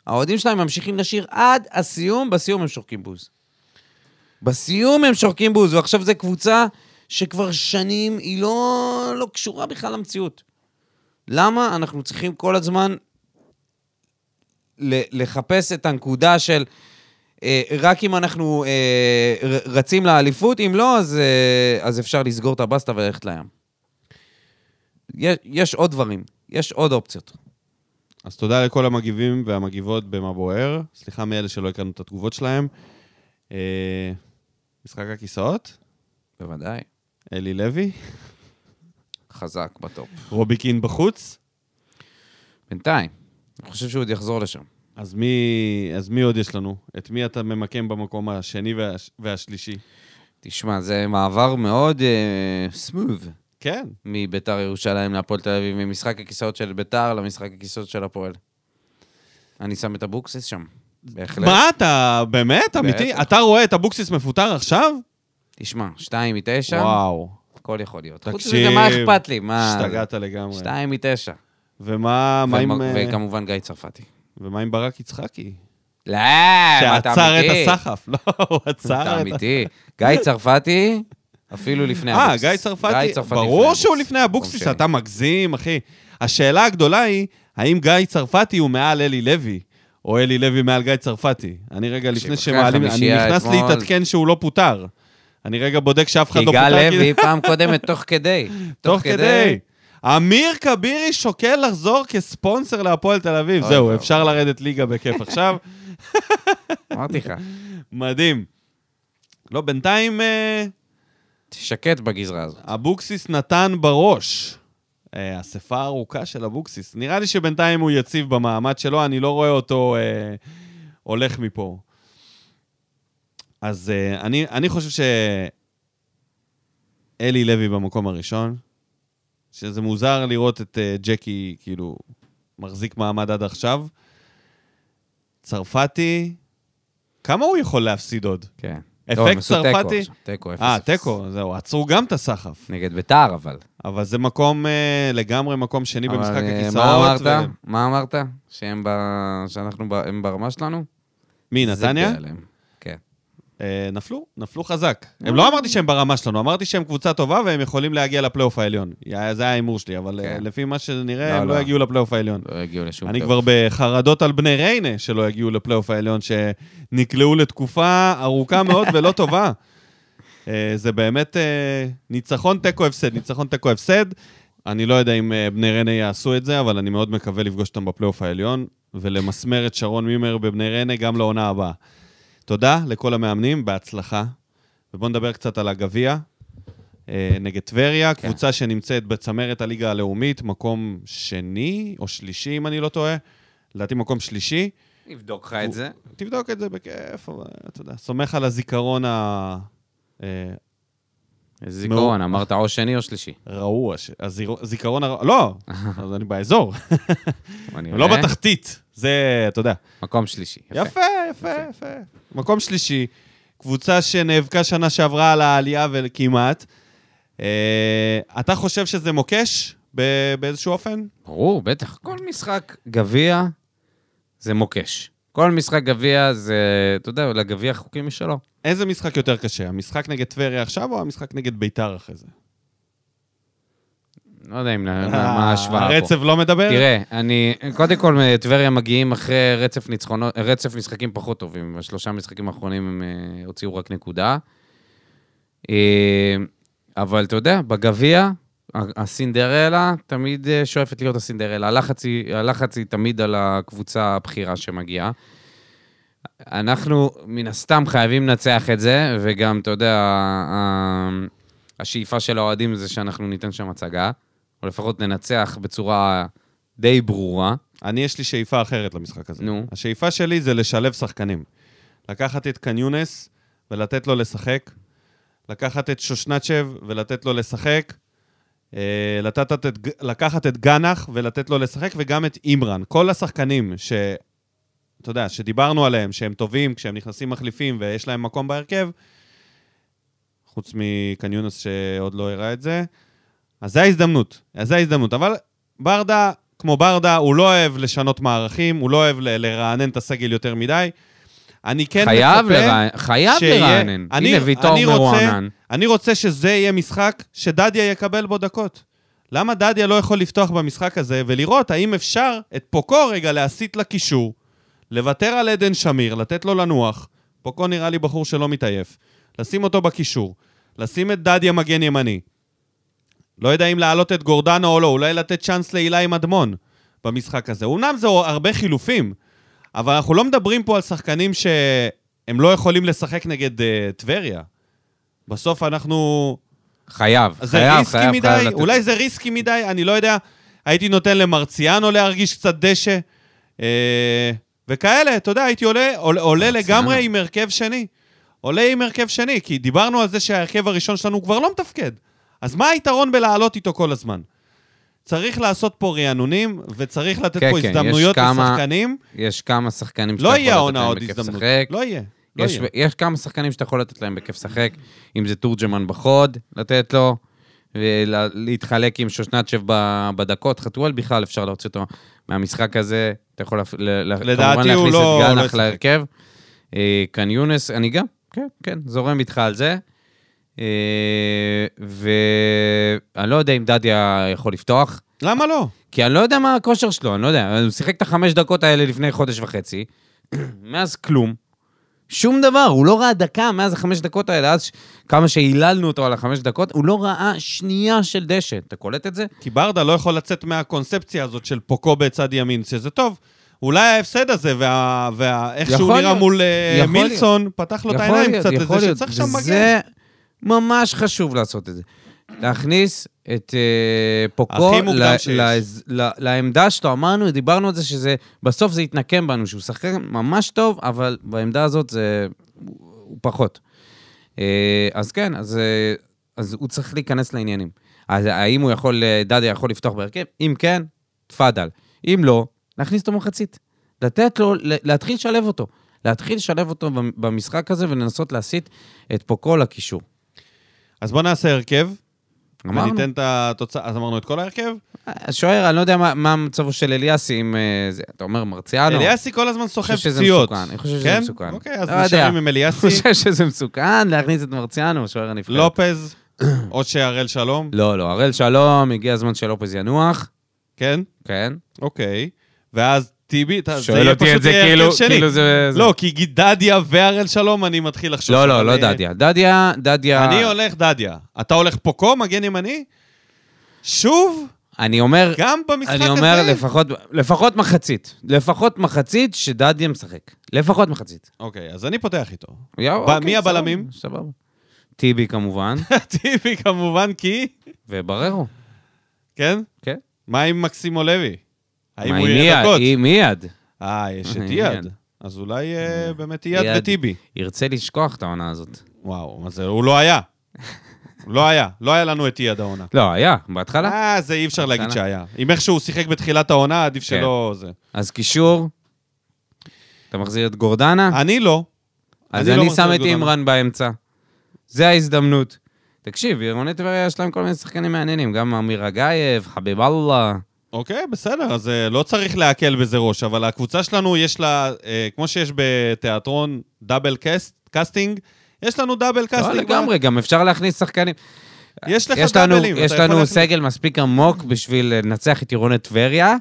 Speaker 3: האוהדים שלהם ממשיכים לשיר עד הסיום, בסיום הם שורקים בוז. בסיום הם שורקים בוז, ועכשיו זו קבוצה שכבר שנים היא לא, לא קשורה בכלל למציאות. למה אנחנו צריכים כל הזמן ל- לחפש את הנקודה של אה, רק אם אנחנו אה, ר- רצים לאליפות, אם לא, אז, אה, אז אפשר לסגור את הבסטה וללכת לים. יש, יש עוד דברים, יש עוד אופציות.
Speaker 1: אז תודה לכל המגיבים והמגיבות במה בוער. סליחה מאלה שלא הקראנו את התגובות שלהם. אה, משחק הכיסאות,
Speaker 3: בוודאי.
Speaker 1: אלי לוי,
Speaker 3: חזק בטופ.
Speaker 1: רובי קין בחוץ.
Speaker 3: בינתיים. אני חושב שהוא עוד יחזור לשם.
Speaker 1: אז מי, אז מי עוד יש לנו? את מי אתה ממקם במקום השני וה, והשלישי?
Speaker 3: תשמע, זה מעבר מאוד סמוב uh,
Speaker 1: כן,
Speaker 3: מביתר ירושלים להפועל תל אביב, ממשחק הכיסאות של ביתר למשחק הכיסאות של הפועל. אני שם את אבוקסיס שם, בהחלט.
Speaker 1: מה אתה, באמת, אמיתי?
Speaker 3: בטח.
Speaker 1: אתה רואה את אבוקסיס מפוטר עכשיו?
Speaker 3: תשמע, שתיים מתשע,
Speaker 1: וואו,
Speaker 3: הכל יכול להיות. חוץ
Speaker 1: תקשיב,
Speaker 3: מזה, מה אכפת לי? מה...
Speaker 1: השתגעת לגמרי.
Speaker 3: שתיים מתשע.
Speaker 1: ומה מה עם,
Speaker 3: ומ-
Speaker 1: אה,
Speaker 3: וכמובן גיא צרפתי.
Speaker 1: ומה עם ברק יצחקי?
Speaker 3: לא, מה, אתה
Speaker 1: שעצר את
Speaker 3: אמיתי?
Speaker 1: הסחף, לא, הוא עצר את
Speaker 3: אתה אמיתי. גיא צרפתי, אפילו לפני
Speaker 1: אה,
Speaker 3: אבוקסיס.
Speaker 1: גיא צרפתי?
Speaker 3: לפני אוקיי.
Speaker 1: ברור שהוא לפני אבוקסיס,
Speaker 3: ברור
Speaker 1: אתה מגזים, אחי. השאלה הגדולה היא, האם גיא צרפתי הוא מעל אלי לוי, או אלי לוי מעל גיא צרפתי? אני רגע,
Speaker 3: תקשיב,
Speaker 1: לפני
Speaker 3: אחרי
Speaker 1: שמעלים, אני
Speaker 3: החמישייה
Speaker 1: נכנס
Speaker 3: אתמול-
Speaker 1: להתעדכן שהוא לא פוטר. אני רגע בודק שאף אחד
Speaker 3: כי
Speaker 1: לא
Speaker 3: גל
Speaker 1: פוטר.
Speaker 3: לוי פעם קודמת, תוך כדי.
Speaker 1: תוך כדי. אמיר כבירי שוקל לחזור כספונסר להפועל תל אביב.
Speaker 3: אוי
Speaker 1: זהו,
Speaker 3: ואבוי.
Speaker 1: אפשר לרדת ליגה בכיף עכשיו.
Speaker 3: אמרתי לך,
Speaker 1: מדהים. לא, בינתיים... אה,
Speaker 3: שקט בגזרה הזאת.
Speaker 1: אבוקסיס נתן בראש. אה, אספה ארוכה של אבוקסיס. נראה לי שבינתיים הוא יציב במעמד שלו, אני לא רואה אותו אה, הולך מפה. אז אה, אני, אני חושב ש... אלי לוי במקום הראשון, שזה מוזר לראות את אה, ג'קי, כאילו, מחזיק מעמד עד עכשיו. צרפתי, כמה הוא יכול להפסיד עוד?
Speaker 3: כן.
Speaker 1: אפקט
Speaker 3: טוב, הם עשו תיקו
Speaker 1: צרפתי?
Speaker 3: עכשיו, תיקו, אפס.
Speaker 1: אה,
Speaker 3: אפס.
Speaker 1: תיקו, זהו, עצרו גם את הסחף.
Speaker 3: נגד ביתר, אבל.
Speaker 1: אבל זה מקום, אה, לגמרי מקום שני
Speaker 3: אבל,
Speaker 1: במשחק
Speaker 3: אה,
Speaker 1: הכיסאות.
Speaker 3: מה אמרת?
Speaker 1: ו-
Speaker 3: מה אמרת? שהם ב... שאנחנו ב... הם ברמה שלנו?
Speaker 1: מי,
Speaker 3: זה
Speaker 1: נתניה?
Speaker 3: בהלם. כן.
Speaker 1: אה, נפלו, נפלו חזק.
Speaker 3: אה.
Speaker 1: הם לא אמרתי שהם ברמה שלנו, אמרתי שהם קבוצה טובה והם יכולים להגיע לפלייאוף העליון. יא, זה היה ההימור שלי, אבל אה,
Speaker 3: כן.
Speaker 1: לפי מה שנראה,
Speaker 3: לא,
Speaker 1: הם לא
Speaker 3: לא.
Speaker 1: יגיעו לפלייאוף העליון.
Speaker 3: לא הגיעו לשום...
Speaker 1: אני
Speaker 3: טוב.
Speaker 1: כבר בחרדות על בני ריינה שלא יגיעו לפלייאוף העליון, שנקלעו לתקופה ארוכה מאוד ולא טובה. אה, זה באמת אה, ניצחון תיקו הפסד, ניצחון תיקו הפסד. אני לא יודע אם אה, בני ריינה יעשו את זה, אבל אני מאוד מקווה לפגוש אותם בפלייאוף העליון, ולמסמר את שרון מימר בבני ריינה גם לעונה הבאה. תודה לכל המאמנים, בהצלחה. ובואו נדבר קצת על הגביע. אה, נגד טבריה, קבוצה שנמצאת בצמרת הליגה הלאומית, מקום שני או שלישי, אם אני לא טועה. לדעתי מקום שלישי.
Speaker 3: נבדוק לך את זה.
Speaker 1: תבדוק את זה בכיף, אבל אתה יודע, סומך על הזיכרון אה, הרעוע,
Speaker 3: איזה זיכרון, אמרת או שני או שלישי.
Speaker 1: הזיכרון הרעוע, לא, אז אני באזור,
Speaker 3: אני
Speaker 1: לא
Speaker 3: רואה.
Speaker 1: בתחתית. זה, אתה יודע.
Speaker 3: מקום שלישי.
Speaker 1: יפה, יפה, יפה. מקום שלישי, קבוצה שנאבקה שנה שעברה על העלייה וכמעט. אה, אתה חושב שזה מוקש ב- באיזשהו אופן?
Speaker 3: ברור, בטח. כל משחק גביע זה מוקש. כל משחק גביע זה, אתה יודע, לגביע חוקים משלו.
Speaker 1: איזה משחק יותר קשה? המשחק נגד טבריה עכשיו או המשחק נגד ביתר אחרי זה?
Speaker 3: לא יודע אם, מה מה ההשוואה פה.
Speaker 1: הרצב לא מדבר?
Speaker 3: תראה, אני, קודם כל, טבריה מגיעים אחרי רצף ניצחונות, רצף משחקים פחות טובים. השלושה משחקים האחרונים הם אה, הוציאו רק נקודה. אה, אבל אתה יודע, בגביע, ה- הסינדרלה תמיד אה, שואפת להיות הסינדרלה. הלחץ היא, הלחץ היא תמיד על הקבוצה הבכירה שמגיעה. אנחנו מן הסתם חייבים לנצח את זה, וגם, אתה יודע, ה- ה- השאיפה של האוהדים זה שאנחנו ניתן שם הצגה, או לפחות ננצח בצורה די ברורה.
Speaker 1: אני, יש לי שאיפה אחרת למשחק הזה.
Speaker 3: נו.
Speaker 1: השאיפה שלי זה לשלב שחקנים. לקחת את קניונס ולתת לו לשחק. לקחת את שושנצ'ב ולתת לו לשחק. אה, לתת את, ג- לקחת את גנח ולתת לו לשחק, וגם את אימרן. כל השחקנים ש... אתה יודע, שדיברנו עליהם, שהם טובים, כשהם נכנסים מחליפים ויש להם מקום בהרכב, חוץ מקניונס שעוד לא הראה את זה. אז זו ההזדמנות, אז זו ההזדמנות. אבל ברדה, כמו ברדה, הוא לא אוהב לשנות מערכים, הוא לא אוהב ל- לרענן את הסגל יותר מדי. אני כן
Speaker 3: חייב
Speaker 1: מצפה...
Speaker 3: לרענן, חייב
Speaker 1: שיהיה-
Speaker 3: לרענן.
Speaker 1: אני-
Speaker 3: הנה, ויטור
Speaker 1: אני רוצה-
Speaker 3: מרוענן.
Speaker 1: אני רוצה שזה יהיה משחק שדדיה יקבל בו דקות. למה דדיה לא יכול לפתוח במשחק הזה ולראות האם אפשר את פוקו רגע להסיט לקישור, לוותר על עדן שמיר, לתת לו לנוח, פוקו נראה לי בחור שלא מתעייף, לשים אותו בקישור, לשים את דדיה מגן ימני. לא יודע אם להעלות את גורדנה או לא, אולי לתת צ'אנס להילה עם אדמון במשחק הזה. אמנם זה הרבה חילופים, אבל אנחנו לא מדברים פה על שחקנים שהם לא יכולים לשחק נגד אה, טבריה. בסוף אנחנו...
Speaker 3: חייב,
Speaker 1: זה
Speaker 3: חייב,
Speaker 1: ריסקי
Speaker 3: חייב,
Speaker 1: מדי,
Speaker 3: חייב לתת.
Speaker 1: אולי זה ריסקי מדי, אני לא יודע. הייתי נותן למרציאנו להרגיש קצת דשא, אה, וכאלה, אתה יודע, הייתי עולה, עולה, עולה
Speaker 3: מרציאנו.
Speaker 1: לגמרי עם הרכב שני. עולה עם הרכב שני, כי דיברנו על זה שההרכב הראשון שלנו הוא כבר לא מתפקד. אז מה היתרון בלעלות איתו כל הזמן? צריך לעשות פה רענונים, וצריך לתת
Speaker 3: כן,
Speaker 1: פה
Speaker 3: כן, יש
Speaker 1: הזדמנויות
Speaker 3: כמה-
Speaker 1: לשחקנים.
Speaker 3: יש כמה שחקנים שאתה
Speaker 1: לא
Speaker 3: יכול
Speaker 1: יהיה
Speaker 3: לתת
Speaker 1: העונה
Speaker 3: להם
Speaker 1: עוד
Speaker 3: בכיף
Speaker 1: הזדמנות.
Speaker 3: לשחק.
Speaker 1: לא יהיה. לא
Speaker 3: יש,
Speaker 1: יהיה.
Speaker 3: יש כמה שחקנים שאתה יכול לתת להם בכיף לשחק, אם זה תורג'מן בחוד, לתת לו, ולהתחלק עם שושנצ'ב ב- בדקות, חתואל בכלל, אפשר להוציא אותו מהמשחק הזה, אתה יכול להפ- ל- ל-
Speaker 1: לדעתי
Speaker 3: כמובן
Speaker 1: הוא
Speaker 3: להכניס
Speaker 1: לא-
Speaker 3: את
Speaker 1: לא
Speaker 3: גנח
Speaker 1: ישחק.
Speaker 3: להרכב. אה, כאן יונס, אני גם, כן, כן, זורם איתך על זה. ואני לא יודע אם דדיה יכול לפתוח,
Speaker 1: למה לא?
Speaker 3: כי אני לא יודע מה הכושר שלו, אני לא יודע. הוא שיחק את החמש דקות האלה לפני חודש וחצי, מאז כלום. שום דבר, הוא לא ראה דקה מאז החמש דקות האלה, אז ש- כמה שהיללנו אותו על החמש דקות, הוא לא ראה שנייה של דשא. אתה קולט את זה?
Speaker 1: כי ברדה לא יכול לצאת מהקונספציה הזאת של פוקו בצד ימין, שזה טוב. אולי ההפסד הזה, וה... וה... איך שהוא
Speaker 3: יכול
Speaker 1: נראה
Speaker 3: להיות,
Speaker 1: מול אה,
Speaker 3: יכול להיות.
Speaker 1: מילסון, פתח לו את העיניים קצת לזה שצריך שם מגן.
Speaker 3: זה ממש חשוב לעשות את זה. להכניס את uh, פוקו
Speaker 1: הכי מוקדם
Speaker 3: ל-
Speaker 1: שיש.
Speaker 3: לעז- ל- לעמדה שלו, אמרנו, דיברנו על זה שזה, בסוף זה יתנקם בנו, שהוא שחקן ממש טוב, אבל בעמדה הזאת זה, הוא, הוא פחות. אה, אז כן, אז, אה, אז הוא צריך להיכנס לעניינים. אז האם הוא יכול, אה, דדיה יכול לפתוח בהרכב? אם כן, תפאדל. אם לא, להכניס אותו מחצית. לתת לו, ל- להתחיל לשלב אותו. להתחיל לשלב אותו במ- במשחק הזה ולנסות להסיט את פוקו לקישור.
Speaker 1: אז בוא נעשה הרכב,
Speaker 3: אמרנו.
Speaker 1: וניתן את התוצאה. אז אמרנו את כל ההרכב?
Speaker 3: השוער, אני לא יודע מה, מה מצבו של אליאסי עם... אה, זה, אתה אומר מרציאנו?
Speaker 1: אליאסי כל הזמן
Speaker 3: אני
Speaker 1: סוחב
Speaker 3: חושב שזה
Speaker 1: פציעות.
Speaker 3: מסוכן, אני חושב שזה
Speaker 1: כן?
Speaker 3: מסוכן.
Speaker 1: אוקיי, אז
Speaker 3: לא יודע.
Speaker 1: נשארים עם
Speaker 3: אני
Speaker 1: אליאסי,
Speaker 3: חושב שזה מסוכן להכניס את מרציאנו, השוער הנבחרת.
Speaker 1: לופז, או שהראל שלום,
Speaker 3: לא, לא, הראל שלום, הגיע הזמן שלופז ינוח,
Speaker 1: כן?
Speaker 3: כן.
Speaker 1: אוקיי. ואז טיבי, אתה- זה
Speaker 3: שואל
Speaker 1: יהיה
Speaker 3: אותי
Speaker 1: פשוט
Speaker 3: את זה
Speaker 1: יהיה הרכב
Speaker 3: כאילו,
Speaker 1: שני.
Speaker 3: כאילו זה... זה-
Speaker 1: לא, כי גיד- דדיה והראל שלום, אני מתחיל לחשוב.
Speaker 3: לא, לא,
Speaker 1: שאני-
Speaker 3: לא דדיה. דדיה, דדיה...
Speaker 1: אני הולך דדיה. אתה הולך פוקו, מגן ימני? שוב?
Speaker 3: אני אומר,
Speaker 1: גם במשחק הזה?
Speaker 3: אני אומר לפחות, לפחות מחצית. לפחות מחצית שדדיה משחק. לפחות מחצית.
Speaker 1: אוקיי, אז אני פותח איתו.
Speaker 3: יא,
Speaker 1: ב-
Speaker 3: אוקיי,
Speaker 1: מי
Speaker 3: סבבה,
Speaker 1: הבלמים?
Speaker 3: סבבה. טיבי כמובן,
Speaker 1: טיבי כמובן, כי...
Speaker 3: ובררו.
Speaker 1: כן?
Speaker 3: כן.
Speaker 1: מה עם מקסימו לוי? האם
Speaker 3: מה,
Speaker 1: הוא
Speaker 3: עם
Speaker 1: ירד
Speaker 3: אייד?
Speaker 1: דקות?
Speaker 3: עם אייד.
Speaker 1: אה, יש את
Speaker 3: אה,
Speaker 1: אייד.
Speaker 3: אייד.
Speaker 1: אז אולי אה, באמת אייד
Speaker 3: אייד.
Speaker 1: וטיבי.
Speaker 3: ירצה לשכוח את העונה הזאת.
Speaker 1: וואו, מה זה, הוא לא היה. הוא לא היה. לא היה לנו את אייד העונה.
Speaker 3: לא, היה, בהתחלה.
Speaker 1: אה, זה אי אפשר להגיד
Speaker 3: שנה.
Speaker 1: שהיה. עם איך שהוא שיחק בתחילת העונה, עדיף
Speaker 3: כן.
Speaker 1: שלא זה.
Speaker 3: אז קישור, אתה מחזיר את גורדנה,
Speaker 1: אני לא.
Speaker 3: אז
Speaker 1: אני לא
Speaker 3: אני
Speaker 1: מחזיר
Speaker 3: שם
Speaker 1: את
Speaker 3: את
Speaker 1: גורדנה.
Speaker 3: אימרן באמצע. זה ההזדמנות. תקשיב, עירוני טבריה יש להם כל מיני שחקנים מעניינים, גם אמיר אגייב, חביב אללה.
Speaker 1: אוקיי, בסדר, אז אה, לא צריך להקל בזה ראש, אבל הקבוצה שלנו יש לה, אה, כמו שיש בתיאטרון דאבל קאסט, קאסטינג, יש לנו דאבל
Speaker 3: לא,
Speaker 1: קאסטינג.
Speaker 3: לגמרי, גם אפשר להכניס שחקנים.
Speaker 1: יש לך
Speaker 3: יש לנו,
Speaker 1: דאבלים.
Speaker 3: יש
Speaker 1: אתה יכול
Speaker 3: לנו
Speaker 1: להכניס-
Speaker 3: סגל מספיק עמוק בשביל אה, לנצח את עירוני טבריה,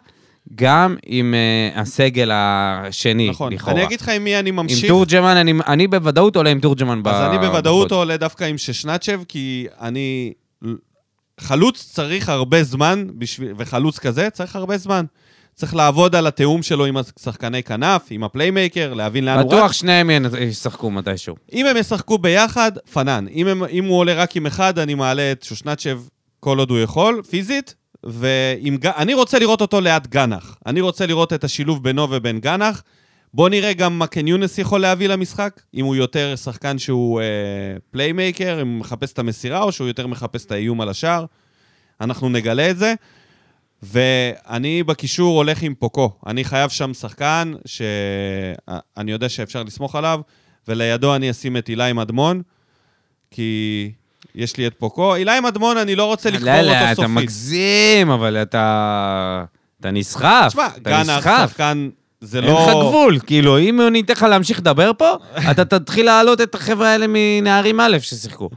Speaker 3: גם עם אה, הסגל השני,
Speaker 1: נכון.
Speaker 3: לכאורה.
Speaker 1: אני אגיד לך עם מי אני
Speaker 3: עם
Speaker 1: ממשיך.
Speaker 3: תורג'מן, אני, אני בוודאות עולה עם תורג'מן. ב-
Speaker 1: אז אני בוודאות
Speaker 3: בחוץ.
Speaker 1: עולה דווקא עם ששנצ'ב, כי אני... חלוץ צריך הרבה זמן, בשביל... וחלוץ כזה צריך הרבה זמן. צריך לעבוד על התיאום שלו עם השחקני כנף, עם הפליימייקר, להבין לאן הוא רץ.
Speaker 3: בטוח שניהם ינ- ישחקו מתישהו.
Speaker 1: אם הם ישחקו ביחד, פנן. אם, הם, אם הוא עולה רק עם אחד, אני מעלה את שושנצ'ב כל עוד הוא יכול, פיזית. ואני רוצה לראות אותו ליד גנח. אני רוצה לראות את השילוב בינו ובין גנח. בואו נראה גם מה קן יונס יכול להביא למשחק, אם הוא יותר שחקן שהוא אה, פליימייקר, אם הוא מחפש את המסירה, או שהוא יותר מחפש את האיום על השער. אנחנו נגלה את זה. ואני בקישור הולך עם פוקו. אני חייב שם שחקן שאני יודע שאפשר לסמוך עליו, ולידו אני אשים את אילי מדמון, כי יש לי את פוקו. אילי מדמון, אני לא רוצה לקבור
Speaker 3: לא, לא,
Speaker 1: אותו
Speaker 3: אתה
Speaker 1: סופית.
Speaker 3: מגזים, אבל אתה... אתה נסחף.
Speaker 1: תשמע,
Speaker 3: אתה
Speaker 1: גנח,
Speaker 3: נסחף.
Speaker 1: שחקן, זה
Speaker 3: אין לך
Speaker 1: לא...
Speaker 3: גבול, כאילו, אם אני אתן לך להמשיך לדבר פה, אתה תתחיל להעלות את החבר'ה האלה מנערים א' ששיחקו.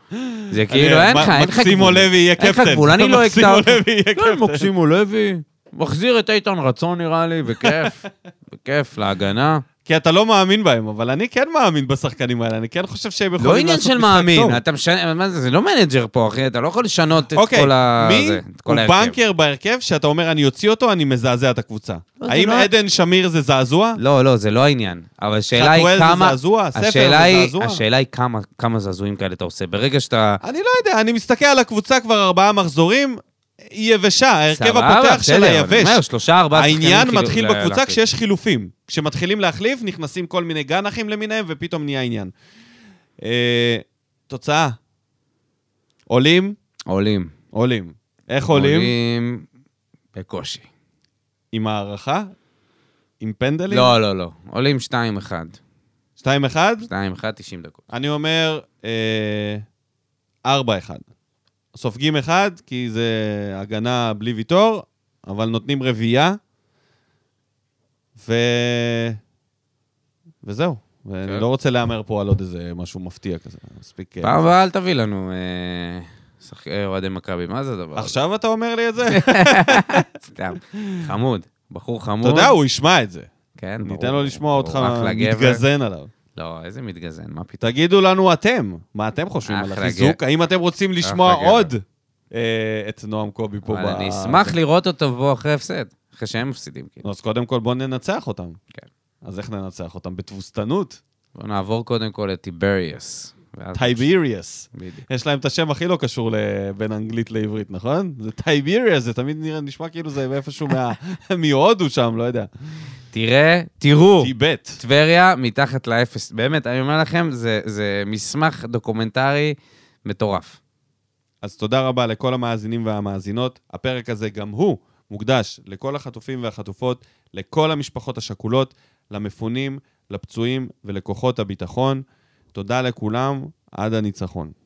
Speaker 3: זה כאילו, אין לך,
Speaker 1: מ-
Speaker 3: אין לך גבול.
Speaker 1: מקסימו לוי יהיה
Speaker 3: אין לך
Speaker 1: קפטן.
Speaker 3: גבול, אני לא אקטע אותך.
Speaker 1: מקסימו לוי יהיה
Speaker 3: כן,
Speaker 1: קפטן.
Speaker 3: מקסימו לוי, מחזיר את איתן רצון נראה לי, בכיף, בכיף, להגנה.
Speaker 1: כי אתה לא מאמין בהם, אבל אני כן מאמין בשחקנים האלה, אני כן חושב שהם
Speaker 3: לא
Speaker 1: יכולים
Speaker 3: עניין
Speaker 1: לעשות
Speaker 3: של
Speaker 1: משחק טוב.
Speaker 3: מאמין, אתה משנה, מה זה, זה לא מנג'ר פה, אחי, אתה לא יכול לשנות את
Speaker 1: אוקיי,
Speaker 3: כל ה...
Speaker 1: מי
Speaker 3: זה, את
Speaker 1: הוא
Speaker 3: כל ההרכב.
Speaker 1: בנקר בהרכב שאתה אומר, אני אוציא אותו, אני מזעזע את הקבוצה?
Speaker 3: לא, זה
Speaker 1: האם
Speaker 3: לא-
Speaker 1: עדן שמיר זה זעזוע?
Speaker 3: לא, לא, זה לא העניין. אבל השאלה היא
Speaker 1: חתואל זה
Speaker 3: כמה...
Speaker 1: זעזוע? ספר זה
Speaker 3: השאלה היא-
Speaker 1: זעזוע?
Speaker 3: השאלה היא כמה- כמה זעזועים כאלה אתה עושה. ברגע שאתה...
Speaker 1: אני לא יודע, אני מסתכל על הקבוצה כבר ארבעה מחזורים, היא יבשה, ההרכב
Speaker 3: סבבה,
Speaker 1: הפותח שלה
Speaker 3: בסדר, אבל אני אומר,
Speaker 1: יבש.
Speaker 3: שלושה, ארבעה שחקנים
Speaker 1: העניין
Speaker 3: כאילו
Speaker 1: מתחיל
Speaker 3: לה-
Speaker 1: בקבוצה
Speaker 3: להחליף.
Speaker 1: כשיש חילופים. כשמתחילים להחליף, נכנסים כל מיני גנחים למיניהם, ופתאום נהיה עניין. אה, תוצאה. עולים,
Speaker 3: עולים.
Speaker 1: עולים. איך עולים?
Speaker 3: עולים בקושי.
Speaker 1: עם הערכה? עם פנדלים?
Speaker 3: לא, לא, לא. עולים 2-1.
Speaker 1: 2-1?
Speaker 3: 2-1, 90 דקות.
Speaker 1: אני אומר, אה, 4-1. סופגים אחד, כי זה הגנה בלי ויטור, אבל נותנים רביעייה, ו... וזהו. ואני
Speaker 3: כן.
Speaker 1: לא רוצה להמר פה על עוד איזה משהו מפתיע כזה, מספיק... אה,
Speaker 3: פעם הבאה אל תביא לנו אה, שחק- אה, אוהדי מכבי, מה זה הדבר הזה?
Speaker 1: עכשיו אתה אומר לי את זה?
Speaker 3: סתם. חמוד. בחור חמוד.
Speaker 1: אתה יודע, הוא ישמע את זה.
Speaker 3: כן, ברור.
Speaker 1: ניתן לו לשמוע אותך
Speaker 3: הוא אחלה גבר.
Speaker 1: מתגזן עליו.
Speaker 3: לא, איזה מתגזן, מה פתאום.
Speaker 1: תגידו לנו אתם, מה אתם חושבים על
Speaker 3: אחלה
Speaker 1: החיזוק? האם אתם רוצים לשמוע
Speaker 3: אחלה גבר.
Speaker 1: עוד אה, את נועם קובי פה
Speaker 3: אבל
Speaker 1: ב...
Speaker 3: אני אשמח לראות אותו פה אחרי הפסד. אחרי שהם מפסידים, כאילו.
Speaker 1: נו, אז קודם כל בואו ננצח אותם.
Speaker 3: כן.
Speaker 1: אז איך ננצח אותם? בתבוסתנות?
Speaker 3: בוא נעבור קודם כל לטיבריוס. ואז-
Speaker 1: טייביריוס.
Speaker 3: בדיוק.
Speaker 1: יש להם את השם הכי לא קשור ל- בין אנגלית לעברית, נכון? זה טייביריוס, זה תמיד נראה, נשמע כאילו זה מאיפשהו מה... מהודו שם, לא יודע.
Speaker 3: תראה, תראו,
Speaker 1: טיבט.
Speaker 3: טבריה מתחת לאפס. באמת, אני אומר לכם, זה- זה מסמך דוקומנטרי מטורף.
Speaker 1: אז תודה רבה לכל המאזינים והמאזינות. הפרק הזה גם הוא מוקדש לכל החטופים והחטופות, לכל המשפחות השכולות, למפונים, לפצועים ולכוחות הביטחון. תודה לכולם, עד הניצחון.